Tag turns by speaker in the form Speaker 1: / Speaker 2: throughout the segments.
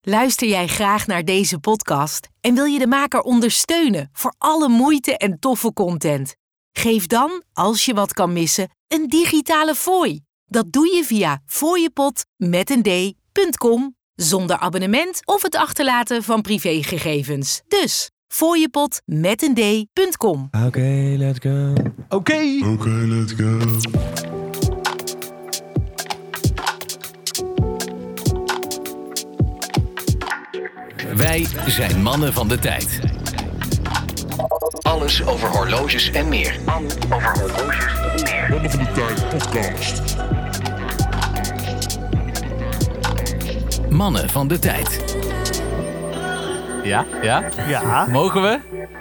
Speaker 1: Luister jij graag naar deze podcast en wil je de maker ondersteunen voor alle moeite en toffe content? Geef dan, als je wat kan missen, een digitale fooi. Dat doe je via fooiepot.com zonder abonnement of het achterlaten van privégegevens. Dus fooiepot.com.
Speaker 2: Oké, let's go. Oké.
Speaker 3: Okay, let's go.
Speaker 4: Wij zijn mannen van de tijd. Alles over horloges en meer. Mannen van de tijd.
Speaker 5: Ja, ja.
Speaker 2: Ja.
Speaker 5: Mogen we?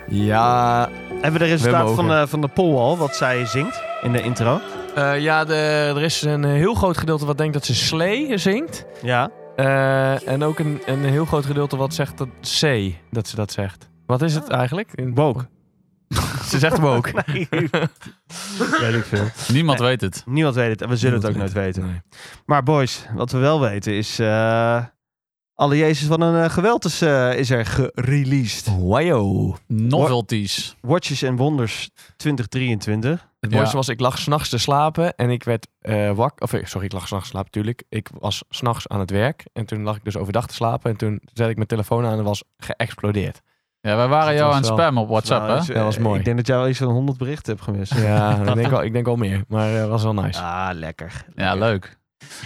Speaker 2: Ja. Hebben we de resultaten
Speaker 5: mogen.
Speaker 2: van de, van de poll al, wat zij zingt in de intro?
Speaker 5: Eh, ja, de, er is een heel groot gedeelte wat denkt dat ze Slee zingt.
Speaker 2: Ja.
Speaker 5: Eh, en ook een, een heel groot gedeelte wat zegt dat C, dat ze dat zegt. Wat is het eigenlijk? In-
Speaker 2: Woke.
Speaker 5: Ze zegt woke.
Speaker 2: Weet ik veel.
Speaker 6: Niemand weet het.
Speaker 2: Niemand weet het en we zullen het ook
Speaker 5: Niemand
Speaker 2: nooit weten.
Speaker 5: Nee.
Speaker 2: Maar boys, wat we wel weten is... eh alle Jezus, wat een eh, geweld is, eh, is er gereleased.
Speaker 5: Oh. Wajo.
Speaker 6: Novelties.
Speaker 2: Watches and Wonders 2023.
Speaker 5: Het mooiste
Speaker 6: Ja.
Speaker 5: was, ik lag s'nachts te slapen en ik werd eh wakker. Of eh, sorry, ik lag s'nachts te slapen natuurlijk. Ik was s'nachts aan het werk en toen lag ik dus overdag te slapen. En toen zette ik mijn telefoon aan en was geëxplodeerd.
Speaker 6: Ja, wij waren
Speaker 5: Dat
Speaker 6: jou
Speaker 5: was
Speaker 6: aan het
Speaker 5: wel-
Speaker 6: spammen op WhatsApp,
Speaker 2: Nou,
Speaker 6: hè?
Speaker 2: dus, eh,
Speaker 5: Dat was mooi.
Speaker 2: Ik denk dat jij wel iets van 100 berichten hebt gemist.
Speaker 5: Ja, ik denk wel, ik denk wel meer. Maar eh, was wel nice.
Speaker 2: Ah, lekker.
Speaker 6: Ja, leuk.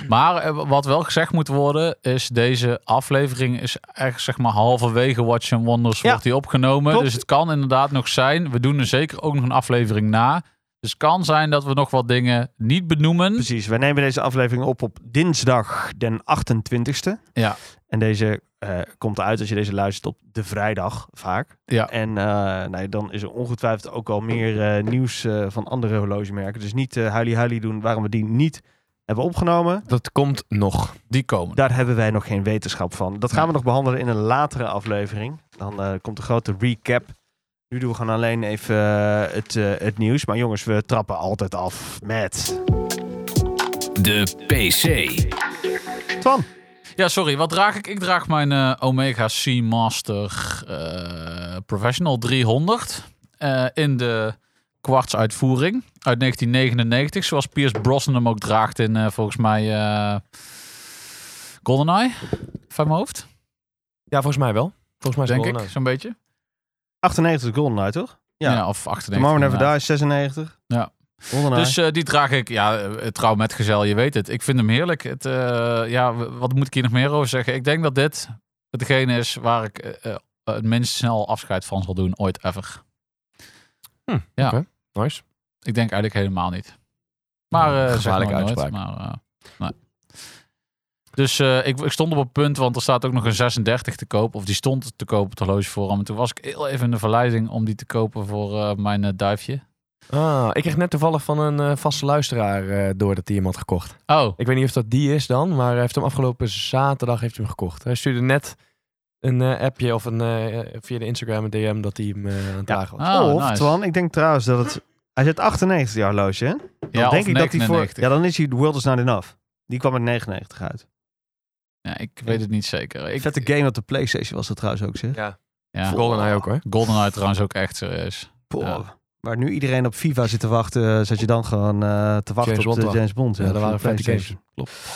Speaker 6: Maar eh, wat wel gezegd moet worden, is deze aflevering is echt zeg maar halverwege Watch and Wonders
Speaker 2: Ja.
Speaker 6: wordt die opgenomen.
Speaker 2: Klopt.
Speaker 6: Dus het kan inderdaad nog zijn. We doen er zeker ook nog een aflevering na. Dus het kan zijn dat we nog wat dingen niet benoemen.
Speaker 2: Precies, wij nemen deze aflevering op op dinsdag den 28ste.
Speaker 6: Ja.
Speaker 2: En deze eh, komt eruit als je deze luistert op de vrijdag vaak.
Speaker 6: Ja.
Speaker 2: En eh, nee, dan is er ongetwijfeld ook al meer eh, nieuws eh, van andere horlogemerken. Dus niet eh huilie huilie doen waarom we die niet hebben opgenomen.
Speaker 5: Dat komt nog.
Speaker 6: Die komen.
Speaker 2: Daar hebben wij nog geen wetenschap van. Dat gaan we nog behandelen in een latere aflevering. Dan eh, komt een grote recap. Nu doen we gewoon alleen even eh, het, eh, het nieuws. Maar jongens, we trappen altijd af met...
Speaker 4: De PC.
Speaker 2: Twan.
Speaker 6: Ja, sorry. Wat draag ik? Ik draag mijn eh, Omega C Master eh, Professional 300 eh, in de kwarts uitvoering uit 1999. Zoals Piers Brosnan hem ook draagt in eh, volgens mij eh GoldenEye. Van mijn hoofd,
Speaker 5: Ja, volgens mij wel. Volgens mij is het
Speaker 6: denk
Speaker 5: wel
Speaker 6: ik.
Speaker 5: nice.
Speaker 6: Zo'n beetje.
Speaker 2: 98 Golden Eye, nou, toch? Ja.
Speaker 6: Ja, of 98.
Speaker 2: Tomorrow Never
Speaker 6: inderdaad.
Speaker 2: Die is 96.
Speaker 6: Ja.
Speaker 2: Golden
Speaker 6: Dus eh, die draag ik, ja, eh, trouw met gezel, je weet het. Ik vind hem heerlijk. Het, eh, ja, w- wat moet ik hier nog meer over zeggen? Ik denk dat dit hetgene is waar ik eh, eh, het minst snel afscheid van zal doen, ooit ever.
Speaker 5: Hm,
Speaker 6: ja.
Speaker 5: oké. Nice.
Speaker 6: Ik denk eigenlijk helemaal niet. Maar eh zeg maar
Speaker 5: gevaarlijke
Speaker 6: nooit,
Speaker 5: uitspraak.
Speaker 6: maar, eh, nee. Dus eh, ik, ik stond op het punt, want er staat ook nog een 36 te koop. Of die stond te koop op het horlogeforum. En toen was ik heel even in de verleiding om die te kopen voor eh, mijn eh, duifje.
Speaker 5: Ah, ik kreeg net toevallig van een eh, vaste luisteraar eh, door dat hij hem had gekocht.
Speaker 6: Oh,
Speaker 5: Ik weet niet of dat die is dan, maar hij heeft hem afgelopen zaterdag heeft hij hem gekocht. Hij stuurde net een eh, appje of een, eh, via de Instagram een DM dat hij hem eh, aan het
Speaker 2: Ja.
Speaker 5: dragen was.
Speaker 6: Ah,
Speaker 2: of,
Speaker 6: nice.
Speaker 2: Twan, ik denk trouwens dat het... Hij zit 98 die horloge, hè? Dan
Speaker 6: ja,
Speaker 2: denk
Speaker 6: of
Speaker 2: ik dat hij voor...
Speaker 6: 99.
Speaker 2: Ja, dan is hij The World Is Not Enough. Die kwam met 99 uit.
Speaker 6: Ja, ik weet het niet zeker. Ik,
Speaker 2: Vette game op de Playstation was dat trouwens ook, zeg.
Speaker 5: Ja,
Speaker 6: Ja.
Speaker 5: GoldenEye ook hoor.
Speaker 6: GoldenEye trouwens ook echt serieus.
Speaker 2: Boah.
Speaker 6: Ja.
Speaker 2: Waar nu iedereen op FIFA zit te wachten, eh, zat je dan gewoon eh, te wachten
Speaker 5: James
Speaker 2: op de
Speaker 5: Bond
Speaker 2: James Bond.
Speaker 5: Ja, dat waren vette games.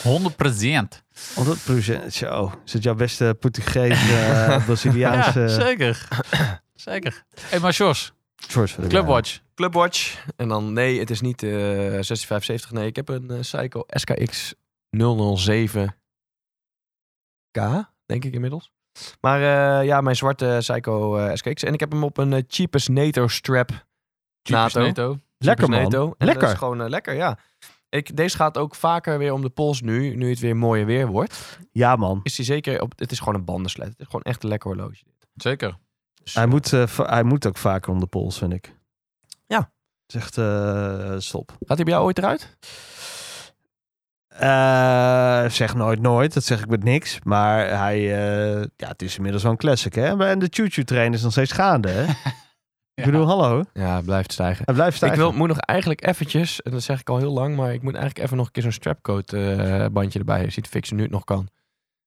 Speaker 6: 100%.
Speaker 2: 100 procent, zo. Is het jouw beste Portugees, eh,
Speaker 6: Ja,
Speaker 2: Braziliaanse...
Speaker 6: zeker. zeker. hey, maar Sjors,
Speaker 2: George van der
Speaker 6: Clubwatch.
Speaker 5: Clubwatch. En dan, nee, het is niet eh 6570. Nee, ik heb een eh, Seiko SKX 007K, denk ik inmiddels. Maar eh, ja, mijn zwarte Seiko eh, SKX. En ik heb hem op een eh, cheapest NATO strap.
Speaker 6: Typisch
Speaker 5: NATO.
Speaker 2: Lekker, man.
Speaker 5: NATO. En
Speaker 2: Lekker.
Speaker 5: dat is gewoon eh, lekker, ja. Ik, deze gaat ook vaker weer om de pols nu, nu het weer mooier weer wordt.
Speaker 2: Ja, man.
Speaker 5: Is die zeker op, het is gewoon een bandenslet. Het is gewoon echt een lekker horloge.
Speaker 6: Zeker.
Speaker 5: Dus,
Speaker 2: Hij
Speaker 5: eh,
Speaker 2: moet, eh, va- hij moet ook vaker om de pols, vind ik.
Speaker 5: Ja.
Speaker 2: Zegt eh stop.
Speaker 5: Gaat hij bij jou ooit eruit?
Speaker 2: Eh, zeg nooit nooit, dat zeg ik met niks. Maar hij, eh, ja, het is inmiddels wel een classic, hè? Maar- En de choo-choo train is nog steeds gaande, hè? Ik bedoel, hallo,
Speaker 5: Ja, blijft stijgen.
Speaker 2: hij blijft staan.
Speaker 5: Ik wil, moet nog eigenlijk eventjes, en dat zeg ik al heel lang, maar ik moet eigenlijk even nog een keer zo'n strapcoat eh bandje erbij zien te fixen nu het nog kan.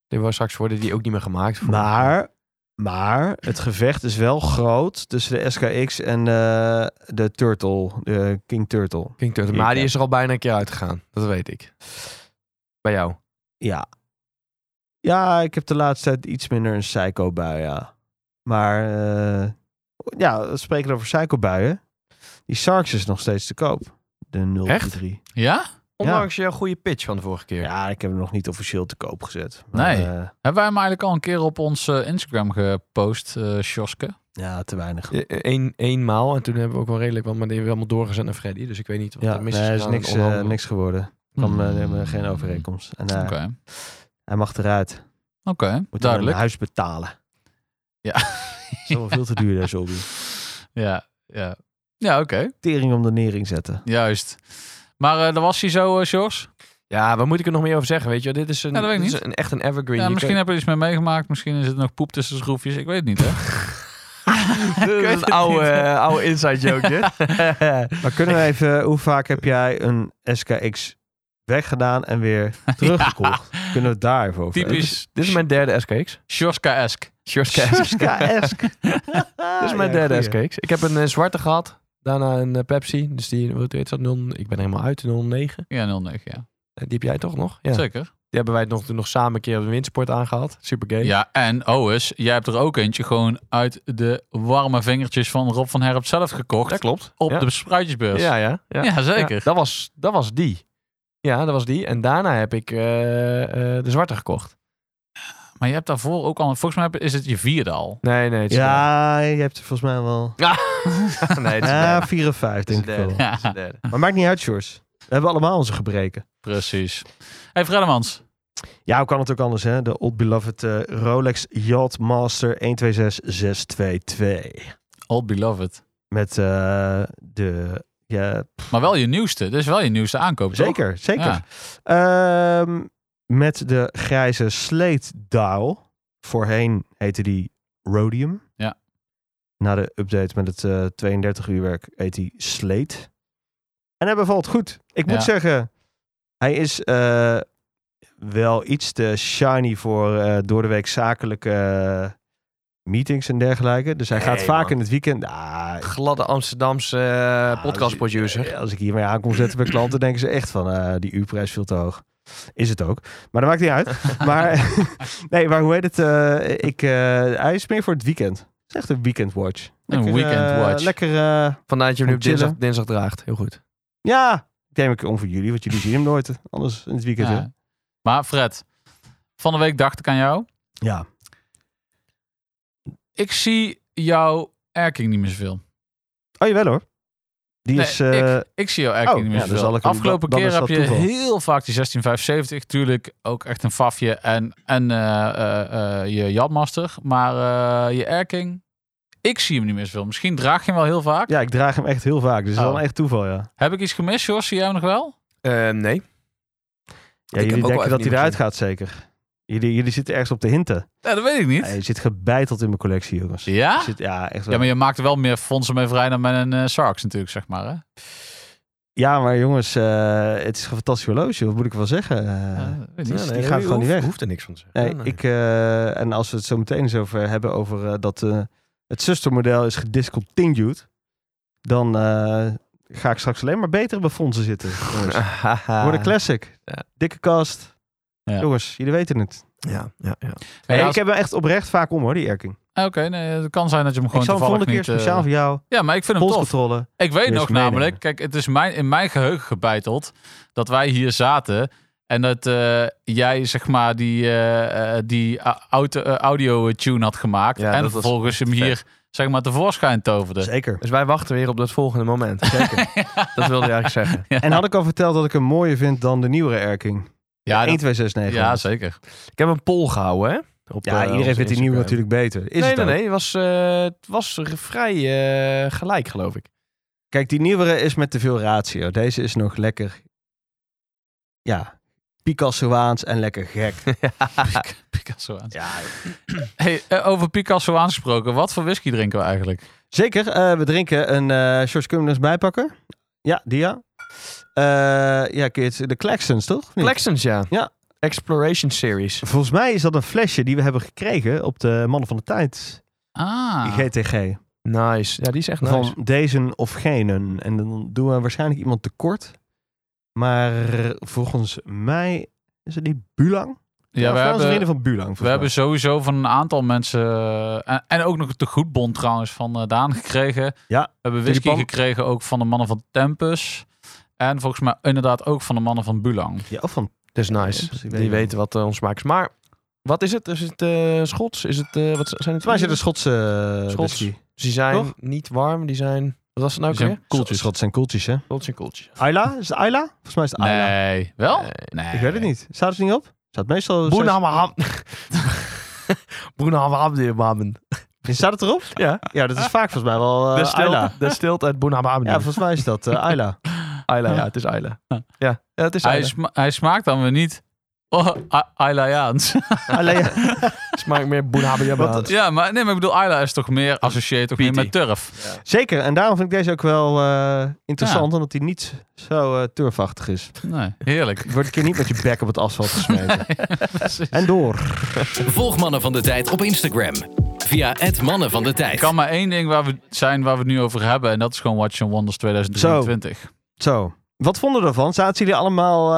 Speaker 5: Die wordt straks worden die ook niet meer gemaakt. voor-
Speaker 2: Maar, maar het gevecht is wel groot tussen de SKX en eh, de Turtle, de King Turtle.
Speaker 5: King Turtle.
Speaker 2: Ik,
Speaker 5: Maar die
Speaker 2: ja.
Speaker 5: is er al bijna een keer uitgegaan. Dat weet ik. Bij jou.
Speaker 2: Ja. Ja, ik heb de laatste tijd iets minder een psycho-bui, ja. Maar, eh, ja, we spreken over psycho-buien. Die Sarks is nog steeds te koop. De 0-3.
Speaker 6: Ja?
Speaker 5: Ondanks jouw goede pitch van de vorige keer.
Speaker 2: Ja, ik heb hem nog niet officieel te koop gezet.
Speaker 6: Nee.
Speaker 2: eh,
Speaker 6: Hebben wij hem eigenlijk al een keer op ons eh, Instagram gepost, eh Sjoske?
Speaker 2: ja, te weinig.
Speaker 5: Eh, Eén, maal en toen hebben we ook wel redelijk wat, maar die hebben we allemaal doorgezet naar Freddy. Dus ik weet niet wat
Speaker 2: Ja,
Speaker 5: er
Speaker 2: nee,
Speaker 5: mis
Speaker 2: er is
Speaker 5: gegaan in
Speaker 2: niks, eh,
Speaker 5: onderhandelen.
Speaker 2: niks geworden. Kan, eh,
Speaker 6: Hmm.
Speaker 2: hebben we geen overeenkomst. En eh,
Speaker 6: Oké, oké.
Speaker 2: hij mag eruit. Moet Duidelijk.
Speaker 6: duidelijk.
Speaker 2: een huis betalen.
Speaker 6: Ja.
Speaker 2: Dat is wel veel te duur, daar zombie.
Speaker 6: Ja, ja. Ja, oké.
Speaker 2: Tering om de nering zetten.
Speaker 6: Juist. Maar eh daar was hij zo, eh Sjors?
Speaker 5: Ja, waar moet ik er nog meer over zeggen? Weet je, dit is, een,
Speaker 6: Ja, dat weet ik
Speaker 5: dit is een, echt een evergreen.
Speaker 6: Ja,
Speaker 5: Je
Speaker 6: misschien
Speaker 5: kan-
Speaker 6: heb je er iets mee meegemaakt. Misschien is het nog poep tussen de schroefjes. Ik weet het niet, hè?
Speaker 5: dit is een oude, eh, oude inside joke. hè?
Speaker 2: Maar kunnen we even, hoe vaak heb jij een SKX weggedaan en weer teruggekocht? Kunnen we het daar even over hebben?
Speaker 6: Typisch
Speaker 5: dit is mijn derde SKX.
Speaker 6: Sjorska-esk.
Speaker 5: Shortcast.
Speaker 2: SKX.
Speaker 5: Dit
Speaker 2: Ah,
Speaker 5: is mijn derde SKX. Ik heb een eh, zwarte gehad. Daarna een eh, Pepsi. Dus die, wat heet dat? 0, ik ben helemaal uit, 09.
Speaker 6: Ja, 09, ja.
Speaker 5: Eh, die heb jij toch nog? Ja. Die
Speaker 6: Zeker.
Speaker 5: hebben wij nog, toen nog samen een keer op een windsport aangehad. Super game.
Speaker 6: Ja, en Oes, jij hebt er ook eentje gewoon uit de warme vingertjes van Rob van Herp zelf gekocht.
Speaker 5: dat klopt.
Speaker 6: Op
Speaker 5: ja.
Speaker 6: de spruitjesbeurs.
Speaker 5: Ja, ja, ja.
Speaker 6: Ja, zeker.
Speaker 5: Ja, dat, was, dat was die. Ja, dat was die. En daarna heb ik eh, eh, de zwarte gekocht.
Speaker 6: Maar je hebt daarvoor ook al... Volgens mij heb- is het je vierde al.
Speaker 5: Nee, nee. Het is
Speaker 2: Ja, je hebt er volgens mij wel...
Speaker 5: de- nee, het is de derde.
Speaker 2: Ja, 54 denk ik wel.
Speaker 5: Het is de derde.
Speaker 2: Maar maakt niet uit, Sjors. We hebben allemaal onze gebreken.
Speaker 6: Precies. hey, Fredemans.
Speaker 2: Ja, hoe kan het ook anders, hè? De Old Beloved eh, Rolex Yacht Master 126622.
Speaker 6: Old Beloved.
Speaker 2: Met eh, de... Ja,
Speaker 6: Maar wel je nieuwste. Dus wel je nieuwste aankoop, toch?
Speaker 2: zeker, zeker.
Speaker 6: Ja.
Speaker 2: Ehm, met de grijze Slate Dial. Voorheen heette die Rhodium.
Speaker 6: Ja.
Speaker 2: Na de update met het eh, 32 uur werk heet die Slate. En hij bevalt goed. Ik moet
Speaker 6: Ja.
Speaker 2: zeggen, hij is eh, wel iets te shiny voor eh, door de week zakelijke eh, meetings en dergelijke. Dus hij gaat
Speaker 5: Nee,
Speaker 2: vaak
Speaker 5: man.
Speaker 2: in het weekend. Ah,
Speaker 5: Gladde Amsterdamse eh, podcastproducer.
Speaker 2: als ik hiermee aan kom zetten bij klanten, denken ze echt van eh, die uurprijs veel te hoog. Is het ook. Maar dat maakt niet uit. maar, nee, maar hoe heet het? eh, ik, eh, hij is meer voor het weekend. Het is echt een weekend watch.
Speaker 6: Een weekend
Speaker 2: eh,
Speaker 6: watch.
Speaker 2: Lekker, eh,
Speaker 5: Vandaar dat je hem nu op
Speaker 2: Chillen.
Speaker 5: dinsdag, dinsdag draagt. Heel goed.
Speaker 2: ja, ik neem ik om voor jullie, want jullie zien hem nooit. Anders in het weekend. hè?
Speaker 6: Ja. Maar Fred, van de week dacht ik aan jou.
Speaker 2: ja.
Speaker 6: Ik zie jouw erking niet meer zoveel.
Speaker 2: Oh, jawel hoor. Die
Speaker 6: Nee,
Speaker 2: is... eh,
Speaker 6: Ik zie jouw erking
Speaker 2: Oh,
Speaker 6: niet meer
Speaker 2: ja, dan
Speaker 6: zoveel.
Speaker 2: zal ik hem-
Speaker 6: Afgelopen
Speaker 2: dan- dan
Speaker 6: keer
Speaker 2: is
Speaker 6: heb
Speaker 2: dat
Speaker 6: je
Speaker 2: toeval.
Speaker 6: heel vaak die 16570. Tuurlijk ook echt een fafje en, en eh, eh, eh, je Jadmaster. Maar eh, je erking, ik zie hem niet meer zoveel. Misschien draag je hem wel heel vaak.
Speaker 2: Ja, ik draag hem echt heel vaak. Dus dat is wel
Speaker 6: Oh.
Speaker 2: een echt toeval, ja.
Speaker 6: Heb ik iets gemist, Jos? Zie jij hem nog wel?
Speaker 5: Eh, nee.
Speaker 2: ja
Speaker 5: heb ook
Speaker 2: jullie
Speaker 5: wel
Speaker 2: denken
Speaker 5: even
Speaker 2: dat
Speaker 5: niet
Speaker 2: hij eruit
Speaker 5: gezien.
Speaker 2: gaat, zeker. Jullie, jullie zitten ergens op de hinten.
Speaker 6: Ja, dat weet ik niet.
Speaker 2: Hij zit gebeiteld in mijn collectie, jongens.
Speaker 6: Ja?
Speaker 2: Zit, ja, echt wel.
Speaker 6: Ja, maar je maakt er wel meer fondsen mee vrij dan met een eh, Sarks natuurlijk, zeg maar. Hè?
Speaker 2: Ja, maar jongens, eh, het is een fantastisch horloge. Wat moet ik wel zeggen? Eh,
Speaker 6: Ja, dat weet ik
Speaker 2: Dus
Speaker 6: niet.
Speaker 2: die gaat gewoon niet
Speaker 5: hoeft-
Speaker 2: weg.
Speaker 5: hoeft er niks van te zeggen.
Speaker 2: nee,
Speaker 5: Ja, nee.
Speaker 2: ik, eh, en als we het zo meteen eens over hebben, over eh, dat eh, het zustermodel is gediscontinued, dan eh, ga ik straks alleen maar beter bij fondsen zitten. jongens. Wordt een classic.
Speaker 5: Ja.
Speaker 2: Dikke kast.
Speaker 6: Ja.
Speaker 2: Jongens, jullie weten het.
Speaker 5: Ja, ja, ja.
Speaker 6: Hey,
Speaker 2: Hey,
Speaker 6: als-
Speaker 2: ik heb hem echt oprecht vaak om hoor, die erking.
Speaker 6: Ah, Oké, nee, het kan zijn dat je hem
Speaker 2: Ik
Speaker 6: gewoon
Speaker 2: zal hem volgende
Speaker 6: toevallig
Speaker 2: keer
Speaker 6: niet... eh,
Speaker 2: speciaal voor jou,
Speaker 6: Ja, maar ik vind hem tof.
Speaker 2: polscontrole.
Speaker 6: Ik weet
Speaker 2: Wil je
Speaker 6: nog
Speaker 2: ze meenemen?
Speaker 6: namelijk, kijk, het is mijn, in mijn geheugen gebeiteld dat wij hier zaten en dat eh, jij zeg maar die, eh, eh, die a- auto, eh, audio tune had gemaakt
Speaker 5: Ja,
Speaker 6: en
Speaker 5: dat was
Speaker 6: vervolgens hem
Speaker 5: vet.
Speaker 6: hier zeg maar tevoorschijn toverde.
Speaker 2: Zeker.
Speaker 5: Dus wij wachten weer op dat volgende moment. Zeker. Dat wilde je eigenlijk zeggen.
Speaker 2: En had ik al verteld dat ik hem mooier vind dan de nieuwere erking?
Speaker 6: Ja, dat-
Speaker 2: 1269.
Speaker 6: ja zeker.
Speaker 5: Ik heb een poll gehouden, hè? Op, eh,
Speaker 2: Ja, iedereen
Speaker 5: onze
Speaker 2: vindt die nieuwe
Speaker 5: Instagram.
Speaker 2: natuurlijk beter. Is
Speaker 5: nee,
Speaker 2: het
Speaker 5: nee,
Speaker 2: ook.
Speaker 5: nee. Het was, eh, het was r- vrij eh, gelijk, geloof ik.
Speaker 2: Kijk, die nieuwere is met te veel ratio. Deze is nog lekker, ja, Picassoaans en lekker gek.
Speaker 6: Picasso aan.
Speaker 2: ja,
Speaker 6: Hey, eh, over Picasso aangesproken, wat voor whisky drinken we eigenlijk?
Speaker 2: Zeker, eh, we drinken een eh George Cummings bijpakken. Ja, die ja. Eh, ja, kun je het, de Claxons toch? Of niet?
Speaker 5: Flexens, ja.
Speaker 2: Ja,
Speaker 5: Exploration Series.
Speaker 2: Volgens mij is dat een flesje die we hebben gekregen op de Mannen van de Tijd. die
Speaker 6: Ah,
Speaker 2: GTG.
Speaker 5: Nice. Ja, die is echt nice.
Speaker 2: Van deze of genen. En dan doen we waarschijnlijk iemand tekort. Maar volgens mij is het niet Bulang.
Speaker 6: ja, we
Speaker 2: volgens mij was het
Speaker 6: hebben,
Speaker 2: vrienden van Bulang.
Speaker 6: we hebben sowieso van een aantal mensen... eh, En, en ook nog de goedbon trouwens van eh, Daan gekregen.
Speaker 2: Ja,
Speaker 6: We hebben whisky
Speaker 2: Tulipan.
Speaker 6: gekregen ook van de mannen van Tempus. En volgens mij inderdaad ook van de mannen van Bulang.
Speaker 2: Ja, of van
Speaker 5: Dus
Speaker 2: Ja,
Speaker 5: nice.
Speaker 2: precies.
Speaker 5: die weten wat eh, ons smaak is. Maar wat is het? Is het eh, Schots? Is het, eh, wat z- zijn het?
Speaker 2: Volgens mij is het een Schotse eh,
Speaker 5: Schots.
Speaker 2: whisky.
Speaker 5: Dus die zijn
Speaker 2: Toch?
Speaker 5: niet warm. Die zijn... Wat was het nou
Speaker 6: Die zijn
Speaker 5: weer?
Speaker 6: koeltjes.
Speaker 2: Schots zijn koeltjes, hè?
Speaker 5: Koeltjes en koeltjes.
Speaker 2: Ayla? Is het Ayla? Volgens mij is het Ayla.
Speaker 6: Nee, wel?
Speaker 5: Nee.
Speaker 6: Nee.
Speaker 2: Ah, Ik weet het niet. Staat het er niet op? Staat meestal...
Speaker 5: Boenhammerham. Boenhammerhammerhammen.
Speaker 2: Staat het erop?
Speaker 5: Ja.
Speaker 2: Ja, dat is vaak volgens mij wel eh,
Speaker 5: Dat stilt,
Speaker 2: Ayla.
Speaker 5: de stilt uit Boenhammerhammen.
Speaker 2: Ja, volgens mij is dat eh, Ayla.
Speaker 5: Ayla, ja, het is Ayla. Ja, ja het is Ayla.
Speaker 6: Hij, sma- hij smaakt dan weer niet... Oh, A- Aylaans.
Speaker 2: Ayla.
Speaker 5: Het smaakt meer Boenhammerhammen.
Speaker 6: ja, maar, nee, maar ik bedoel, Ayla is toch meer associeert toch meer
Speaker 5: Pietie.
Speaker 6: met turf.
Speaker 2: Zeker, en daarom vind ik deze ook wel eh, interessant, omdat hij niet zo eh, turfachtig is.
Speaker 6: Nee, heerlijk.
Speaker 2: Je wordt een keer niet met je bek op het asfalt gesmeten. en door.
Speaker 4: Volg Mannen van de Tijd op Instagram. Via het Mannen van de
Speaker 6: Er
Speaker 4: Tijd.
Speaker 6: kan maar één ding waar we zijn waar we het nu over hebben. En dat is gewoon Watch and Wonders 2023.
Speaker 2: Zo. Wat vonden we ervan? Zaten jullie allemaal,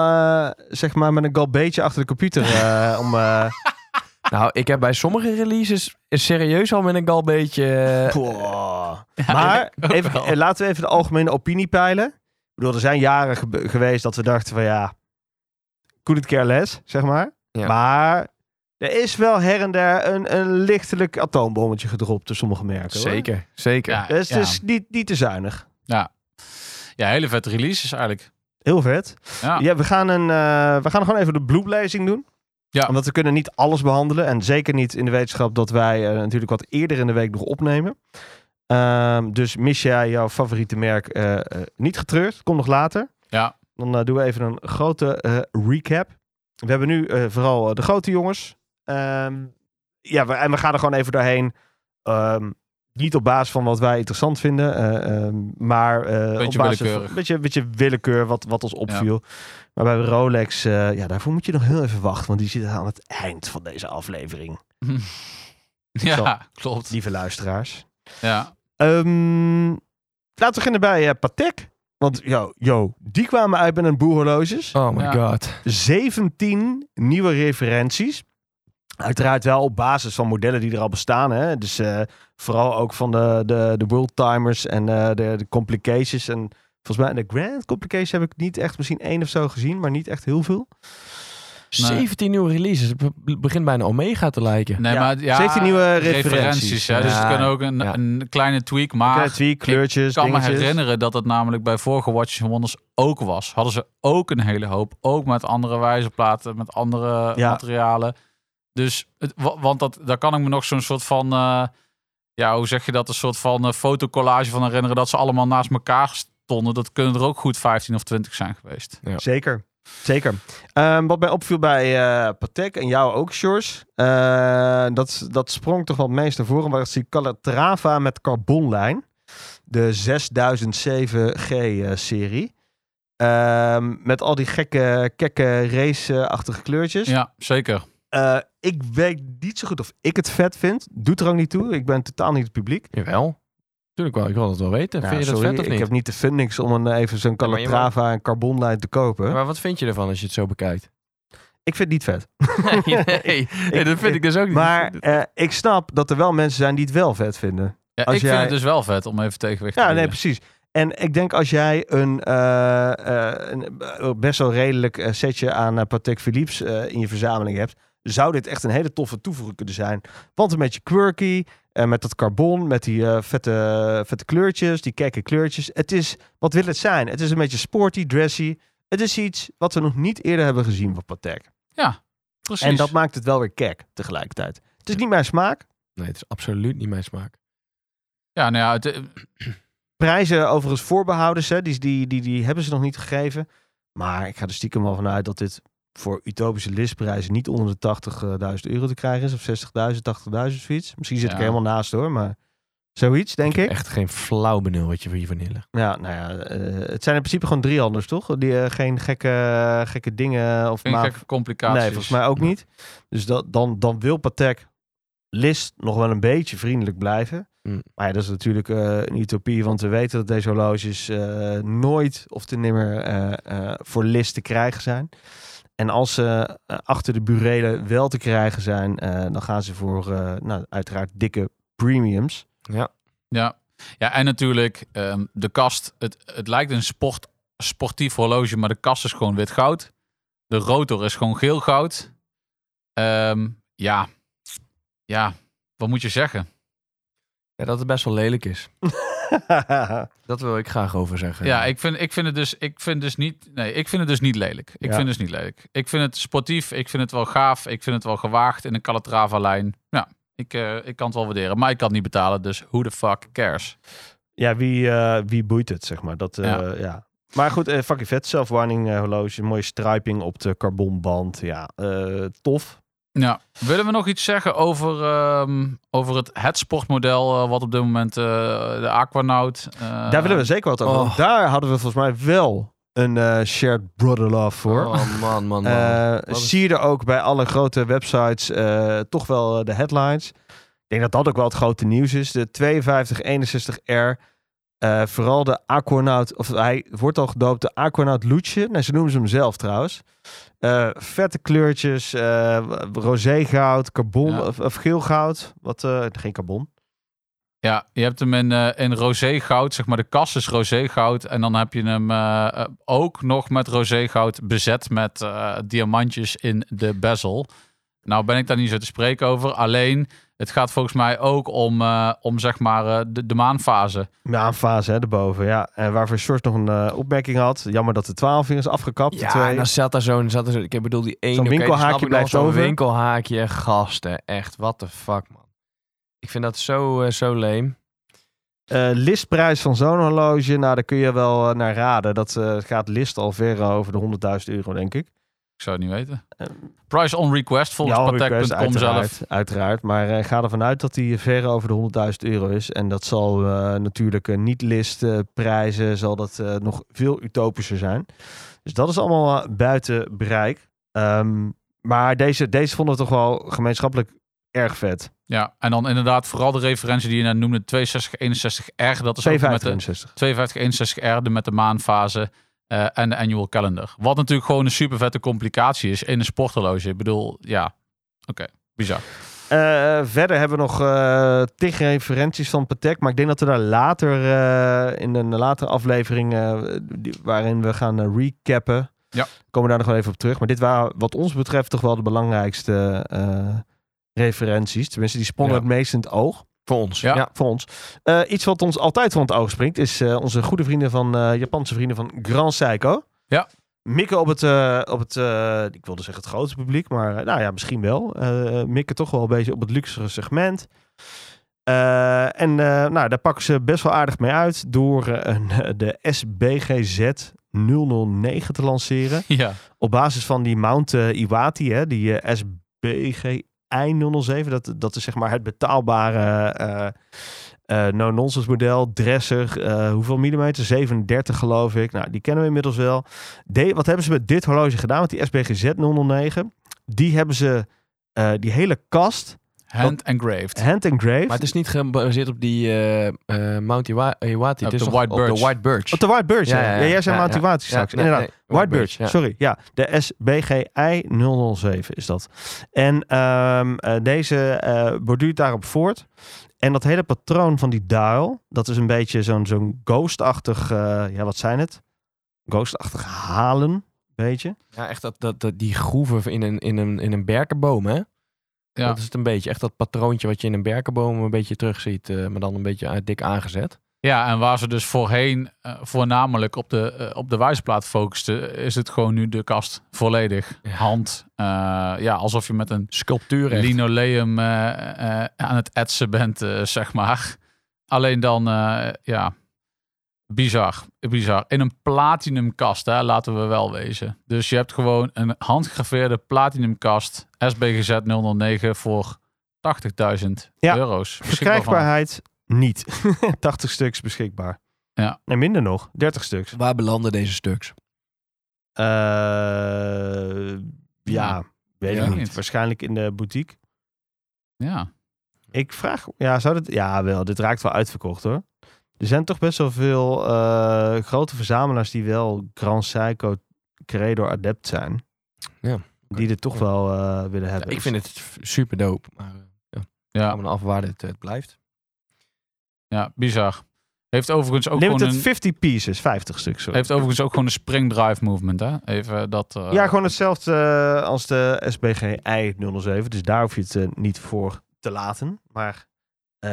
Speaker 2: eh, zeg maar, met een galbeetje achter de computer eh, om... eh,
Speaker 5: Nou, ik heb bij sommige releases is serieus al met een galbeetje... eh,
Speaker 2: Poh. maar even, eh, laten we even de algemene opinie peilen. Ik bedoel, er zijn jaren gebe- geweest dat we dachten van ja, couldn't care less, zeg maar.
Speaker 5: Ja.
Speaker 2: Maar er is wel her en der een, een lichtelijk atoombommetje gedropt door sommige merken. hoor.
Speaker 5: Zeker, zeker.
Speaker 6: Ja,
Speaker 2: Dus
Speaker 6: ja.
Speaker 2: het is niet, niet te zuinig.
Speaker 6: ja, hele vette release is eigenlijk.
Speaker 2: Heel vet.
Speaker 6: Ja.
Speaker 2: Ja, we, gaan een, eh, we gaan gewoon even de bloemlezing doen.
Speaker 6: Ja.
Speaker 2: Omdat we kunnen niet alles behandelen. En zeker niet in de wetenschap dat wij eh, natuurlijk wat eerder in de week nog opnemen. Ehm, dus mis jij jouw favoriete merk eh, eh, niet getreurd. Kom nog later.
Speaker 6: Ja.
Speaker 2: Dan eh, doen we even een grote eh, recap. We hebben nu eh, vooral eh, de grote jongens. Ehm, ja, we, en we gaan er gewoon even doorheen. Ehm, niet op basis van wat wij interessant vinden, eh, ehm, maar eh
Speaker 6: Beetje
Speaker 2: op basis
Speaker 6: willekeurig.
Speaker 2: Van, beetje, beetje willekeur wat, wat ons opviel. Maar bij Rolex, eh, ja, daarvoor moet je nog heel even wachten, want die zit aan het eind van deze aflevering.
Speaker 6: Ja, klopt.
Speaker 2: Lieve luisteraars.
Speaker 6: Ja.
Speaker 2: Ehm, laten we beginnen bij eh, Patek. Want yo, yo, die kwamen uit met een boerhorloges.
Speaker 5: Oh my
Speaker 6: Ja.
Speaker 5: god.
Speaker 2: 17 nieuwe referenties. Uiteraard wel op basis van modellen die er al bestaan. Hè? Dus eh, vooral ook van de, de, de world timers en eh, de, de complications. En volgens mij de grand complications heb ik niet echt misschien één of zo gezien, maar niet echt heel veel.
Speaker 5: 17 nieuwe releases. Het be- begint bijna Omega te lijken.
Speaker 6: Nee,
Speaker 2: Ja,
Speaker 6: maar ja,
Speaker 2: 17 nieuwe referenties,
Speaker 6: referenties. hè. Dus
Speaker 5: ja.
Speaker 6: het kan ook een,
Speaker 5: Ja.
Speaker 6: een kleine tweak, maar
Speaker 2: Kleine twee kleurtjes,
Speaker 6: ik kan me
Speaker 2: dingetjes.
Speaker 6: herinneren dat het namelijk bij vorige Watches and Wonders ook was. Hadden ze ook een hele hoop, ook met andere wijzerplaten, met andere
Speaker 2: Ja.
Speaker 6: materialen. Dus, het, wa- want dat, daar kan ik me nog zo'n soort van, eh, ja, hoe zeg je dat, een soort van eh, fotocollage van herinneren dat ze allemaal naast elkaar stonden. Dat kunnen er ook goed 15 of 20 zijn geweest.
Speaker 5: Ja.
Speaker 2: Zeker. Zeker. Ehm, wat mij opviel bij eh Patek en jou ook, Sjors. eh, dat, dat sprong toch wel het meest naar voren. Maar dat is die Calatrava met carbonlijn. De 6007G-serie. eh, Ehm, met al die gekke, gekke race-achtige kleurtjes.
Speaker 6: Ja, zeker.
Speaker 2: Eh, ik weet niet zo goed of ik het vet vind. Doet er ook niet toe. Ik ben totaal niet het publiek.
Speaker 5: Jawel. Tuurlijk wel, ik wil dat wel weten.
Speaker 2: Ja,
Speaker 5: Vind je dat
Speaker 2: sorry,
Speaker 5: vet of
Speaker 2: Ik
Speaker 5: niet?
Speaker 2: heb niet de fundings om een, even zo'n
Speaker 5: maar je mag-
Speaker 2: Calatrava en carbonlijn te kopen.
Speaker 5: Maar wat vind je ervan als je het zo bekijkt?
Speaker 2: Ik vind het niet vet.
Speaker 5: Nee, dat vind ik dus ook niet.
Speaker 2: Maar eh, ik snap dat er wel mensen zijn die het wel vet vinden.
Speaker 6: Ja, ik
Speaker 2: Als jij-
Speaker 6: vind het dus wel vet om even tegenwicht te
Speaker 2: Ja, nee,
Speaker 6: bieden.
Speaker 2: precies. En ik denk als jij een, eh, eh, een eh, best wel redelijk eh, setje aan eh, Patek Philips eh, in je verzameling hebt, zou dit echt een hele toffe toevoeging kunnen zijn. Want een beetje quirky, eh, met dat carbon, met die eh, vette, vette kleurtjes, die kekke kleurtjes. Het is, wat wil het zijn? Het is een beetje sporty, dressy. Het is iets wat we nog niet eerder hebben gezien van Patek.
Speaker 6: Precies.
Speaker 2: En dat maakt het wel weer kek tegelijkertijd. Het is niet mijn smaak.
Speaker 5: Nee, het is absoluut niet mijn smaak.
Speaker 6: Ja, nou ja, het,
Speaker 2: Prijzen overigens voorbehoudens, hè, die, die, die, die hebben ze nog niet gegeven. Maar ik ga er stiekem wel vanuit dat dit voor utopische listprijzen niet onder de 80.000 euro te krijgen is. Of 60.000, 80.000 zoiets. Misschien zit ik
Speaker 6: Ja.
Speaker 2: er helemaal naast hoor, maar Zoiets, denk ik.
Speaker 5: Echt geen flauw benul wat je van je vanille.
Speaker 2: Ja, nou ja, eh, het zijn in principe gewoon drie anders, toch? Die eh, geen gekke, gekke dingen of
Speaker 6: Geen
Speaker 2: maag-
Speaker 6: gekke complicaties.
Speaker 2: Nee, volgens mij ook niet. Dus dat, dan, dan wil Patek List nog wel een beetje vriendelijk blijven.
Speaker 5: Mm.
Speaker 2: Maar ja, dat is natuurlijk eh, een utopie, want we weten dat deze horloges eh, nooit of te nimmer eh, eh, voor List te krijgen zijn. En als ze eh, achter de burelen wel te krijgen zijn, eh, dan gaan ze voor eh, nou, uiteraard dikke premiums.
Speaker 6: Ja, ja en natuurlijk ehm, de kast. Het, het lijkt een sport, sportief horloge, maar de kast is gewoon wit goud. De rotor is gewoon geel goud. Ehm, ja. ja, wat moet je zeggen?
Speaker 5: Ja, dat het best wel lelijk is. Dat wil ik graag over zeggen.
Speaker 6: Ja, ik vind, ik vind het dus, ik vind dus niet, nee, ik vind het dus niet lelijk. Ik
Speaker 2: Ja.
Speaker 6: vind het dus niet lelijk. Ik vind het sportief, ik vind het wel gaaf, ik vind het wel gewaagd in een Calatrava-lijn. Ja, ik, eh, ik kan het wel waarderen, maar ik kan het niet betalen, dus who the fuck cares?
Speaker 2: Ja, wie, eh, wie boeit het, zeg maar. Dat, eh,
Speaker 6: Ja.
Speaker 2: ja. Maar goed, eh fucking vet. Self-warning eh, horloge. Mooie striping op de carbonband. Ja, eh, tof.
Speaker 6: Ja, willen we nog iets zeggen over, ehm, over het, het sportmodel eh, wat op dit moment eh, de Aquanaut... eh,
Speaker 2: Daar willen we zeker wat over.
Speaker 5: oh.
Speaker 2: want Daar hadden we volgens mij wel een eh, shared brother love voor.
Speaker 5: Oh man, man, man.
Speaker 2: Eh,
Speaker 5: Wat is-
Speaker 2: zie je er ook bij alle grote websites eh, toch wel eh, de headlines. Ik denk dat dat ook wel het grote nieuws is. De 5261R. eh, vooral de Aquanaut, of hij wordt al gedoopt de Aquanaut Loetje. Nee, ze noemen ze hem zelf trouwens. Eh, vette kleurtjes, eh rosé goud, carbon
Speaker 6: Ja.
Speaker 2: of, of geel goud. Wat, eh, geen carbon.
Speaker 6: Ja, je hebt hem in, eh, in rosé goud, zeg maar de kast is rosé goud. En dan heb je hem eh, eh, ook nog met rosé goud bezet met eh, diamantjes in de bezel. Nou ben ik daar niet zo te spreken over. Alleen, het gaat volgens mij ook om, eh, om zeg maar eh, de, de maanfase.
Speaker 2: Ja, een fase hè, erboven, ja. En waarvoor Short nog een eh, opmerking had. Jammer dat de 12 is afgekapt. de
Speaker 5: Ja,
Speaker 2: twee.
Speaker 5: en dan nou, zat daar zo'n... zat daar zo, ik bedoel, die ene...
Speaker 2: Zo'n
Speaker 5: oké, die snap
Speaker 2: winkelhaakje
Speaker 5: ik nog,
Speaker 2: blijft
Speaker 5: zo'n
Speaker 2: over.
Speaker 5: winkelhaakje, gasten. Echt, what the fuck, man. Ik vind dat zo, eh, zo leem.
Speaker 2: Eh, listprijs van zo'n horloge, nou daar kun je wel eh, naar raden. Dat eh, gaat list al ver over de 100.000 euro, denk ik.
Speaker 6: Ik zou het niet weten.
Speaker 2: Ehm,
Speaker 6: Price on request volgens
Speaker 2: Ja, request,
Speaker 6: patek.com
Speaker 2: uiteraard,
Speaker 6: zelf.
Speaker 2: Uiteraard, maar eh, ga ervan uit dat die ver over de 100.000 euro is. En dat zal eh, natuurlijk eh, niet list eh, prijzen, zal dat eh, nog veel utopischer zijn. Dus dat is allemaal eh, buiten bereik. Ehm, maar deze, deze vonden we toch wel gemeenschappelijk erg vet.
Speaker 6: Ja, en dan inderdaad vooral de referentie die je net noemde, 6261R. Dat is ook met de,
Speaker 2: 2,65.
Speaker 6: 5261R de met de maanfase eh, en de annual calendar. Wat natuurlijk gewoon een super vette complicatie is in een sporthorloge. Ik bedoel, ja, oké, bizar.
Speaker 2: Eh, verder hebben we nog eh tig referenties van Patek. Maar ik denk dat we daar later eh, in een latere aflevering, eh, die- waarin we gaan eh, recappen,
Speaker 6: Ja.
Speaker 2: komen we daar nog wel even op terug. Maar dit waren wat ons betreft toch wel de belangrijkste eh, referenties. Tenminste, die sponnen
Speaker 5: Ja.
Speaker 2: het meest in het oog
Speaker 5: Voor ons.
Speaker 6: Ja.
Speaker 2: voor ons. Eh, iets wat ons altijd van het oog springt, is eh, onze goede vrienden van eh, Japanse vrienden van Grand Seiko.
Speaker 6: Ja.
Speaker 2: Mikken op het, eh, op het eh, ik wilde zeggen het grootste publiek, maar eh, nou ja, misschien wel. Eh mikken toch wel een beetje op het luxere segment. Eh, en eh, nou, daar pakken ze best wel aardig mee uit door eh, een, eh, de SBGZ 009 te lanceren.
Speaker 6: Ja,
Speaker 2: Op basis van die Mount eh, Iwati, hè, die eh, SBGI 007, dat, dat is zeg maar het betaalbare eh, eh, no-nonsense model. Dresser, eh, hoeveel millimeter? 37 geloof ik. Nou, die kennen we inmiddels wel. De, wat hebben ze met dit horloge gedaan, met die SBGZ 009? Die hebben ze, eh, die hele kast,
Speaker 6: hand engraved.
Speaker 2: hand engraved.
Speaker 5: Maar het is niet gebaseerd op die eh, eh, Mount Iwa- Iwati.
Speaker 6: Op
Speaker 5: het is
Speaker 6: de
Speaker 5: nog
Speaker 6: White
Speaker 5: op
Speaker 6: Birch.
Speaker 5: de White Birch.
Speaker 2: Op de White Birch, ja. ja, jij zei
Speaker 5: ja,
Speaker 2: Mount
Speaker 5: ja.
Speaker 2: Iwati straks. Inderdaad.
Speaker 5: nee,
Speaker 2: White Birch,
Speaker 5: ja.
Speaker 2: sorry. Ja, de SBGI 007 is dat. En ehm, eh, deze eh, borduurt daarop voort. En dat hele patroon van die dial, dat is een beetje zo'n zo'n ghostachtig, eh, ja wat zijn het? Ghostachtig halen, beetje.
Speaker 5: Ja, echt dat, dat, dat, die groeven in een, in, een, in een berkenboom, hè?
Speaker 6: Ja.
Speaker 5: Dat is het een beetje. Echt dat patroontje wat je in een berkenboom een beetje terugziet. eh maar dan een beetje eh, dik aangezet.
Speaker 6: Ja, en waar ze dus voorheen eh, voornamelijk op de, eh, op de wijsplaat focusten, is het gewoon nu de kast volledig. Hand, eh, ja, alsof je met een
Speaker 5: Sculptuur echt.
Speaker 6: linoleum eh, eh, aan het etsen bent, eh, zeg maar. Alleen dan, eh, ja, bizar, bizar. In een platinumkast, hè, laten we wel wezen. Dus je hebt gewoon een handgegraveerde platinumkast SBGZ 009 voor 80.000
Speaker 2: Ja,
Speaker 6: euro's. Beschikbaar van-
Speaker 2: Verkrijgbaarheid niet. 80 stuks beschikbaar.
Speaker 6: Ja.
Speaker 2: Nee, minder nog. 30 stuks.
Speaker 3: Waar belanden deze stuks?
Speaker 2: Eh, ja, weet
Speaker 6: Ja,
Speaker 2: ik niet.
Speaker 6: niet.
Speaker 2: Waarschijnlijk in de boutique.
Speaker 6: Ja.
Speaker 2: Ik vraag... Ja, zou dat... Ja, wel. Dit raakt wel uitverkocht, hoor. Er zijn toch best wel veel eh, grote verzamelaars die wel Grand Psycho Credo adept zijn.
Speaker 5: Ja.
Speaker 2: Die dit toch wel eh, willen hebben.
Speaker 5: ik vind het super dope. Maar eh, ja,
Speaker 6: Ja.
Speaker 5: gaan we dan af waar dit eh, blijft.
Speaker 6: ja, bizar. Heeft overigens ook gewoon
Speaker 2: Limited
Speaker 6: een,
Speaker 2: 50 pieces, 50 stuks. sorry.
Speaker 6: heeft overigens ook gewoon een spring drive movement, hè? Even dat... eh,
Speaker 2: Ja, gewoon hetzelfde eh, als de SBG I007. Dus daar hoef je het eh, niet voor te laten. Maar eh,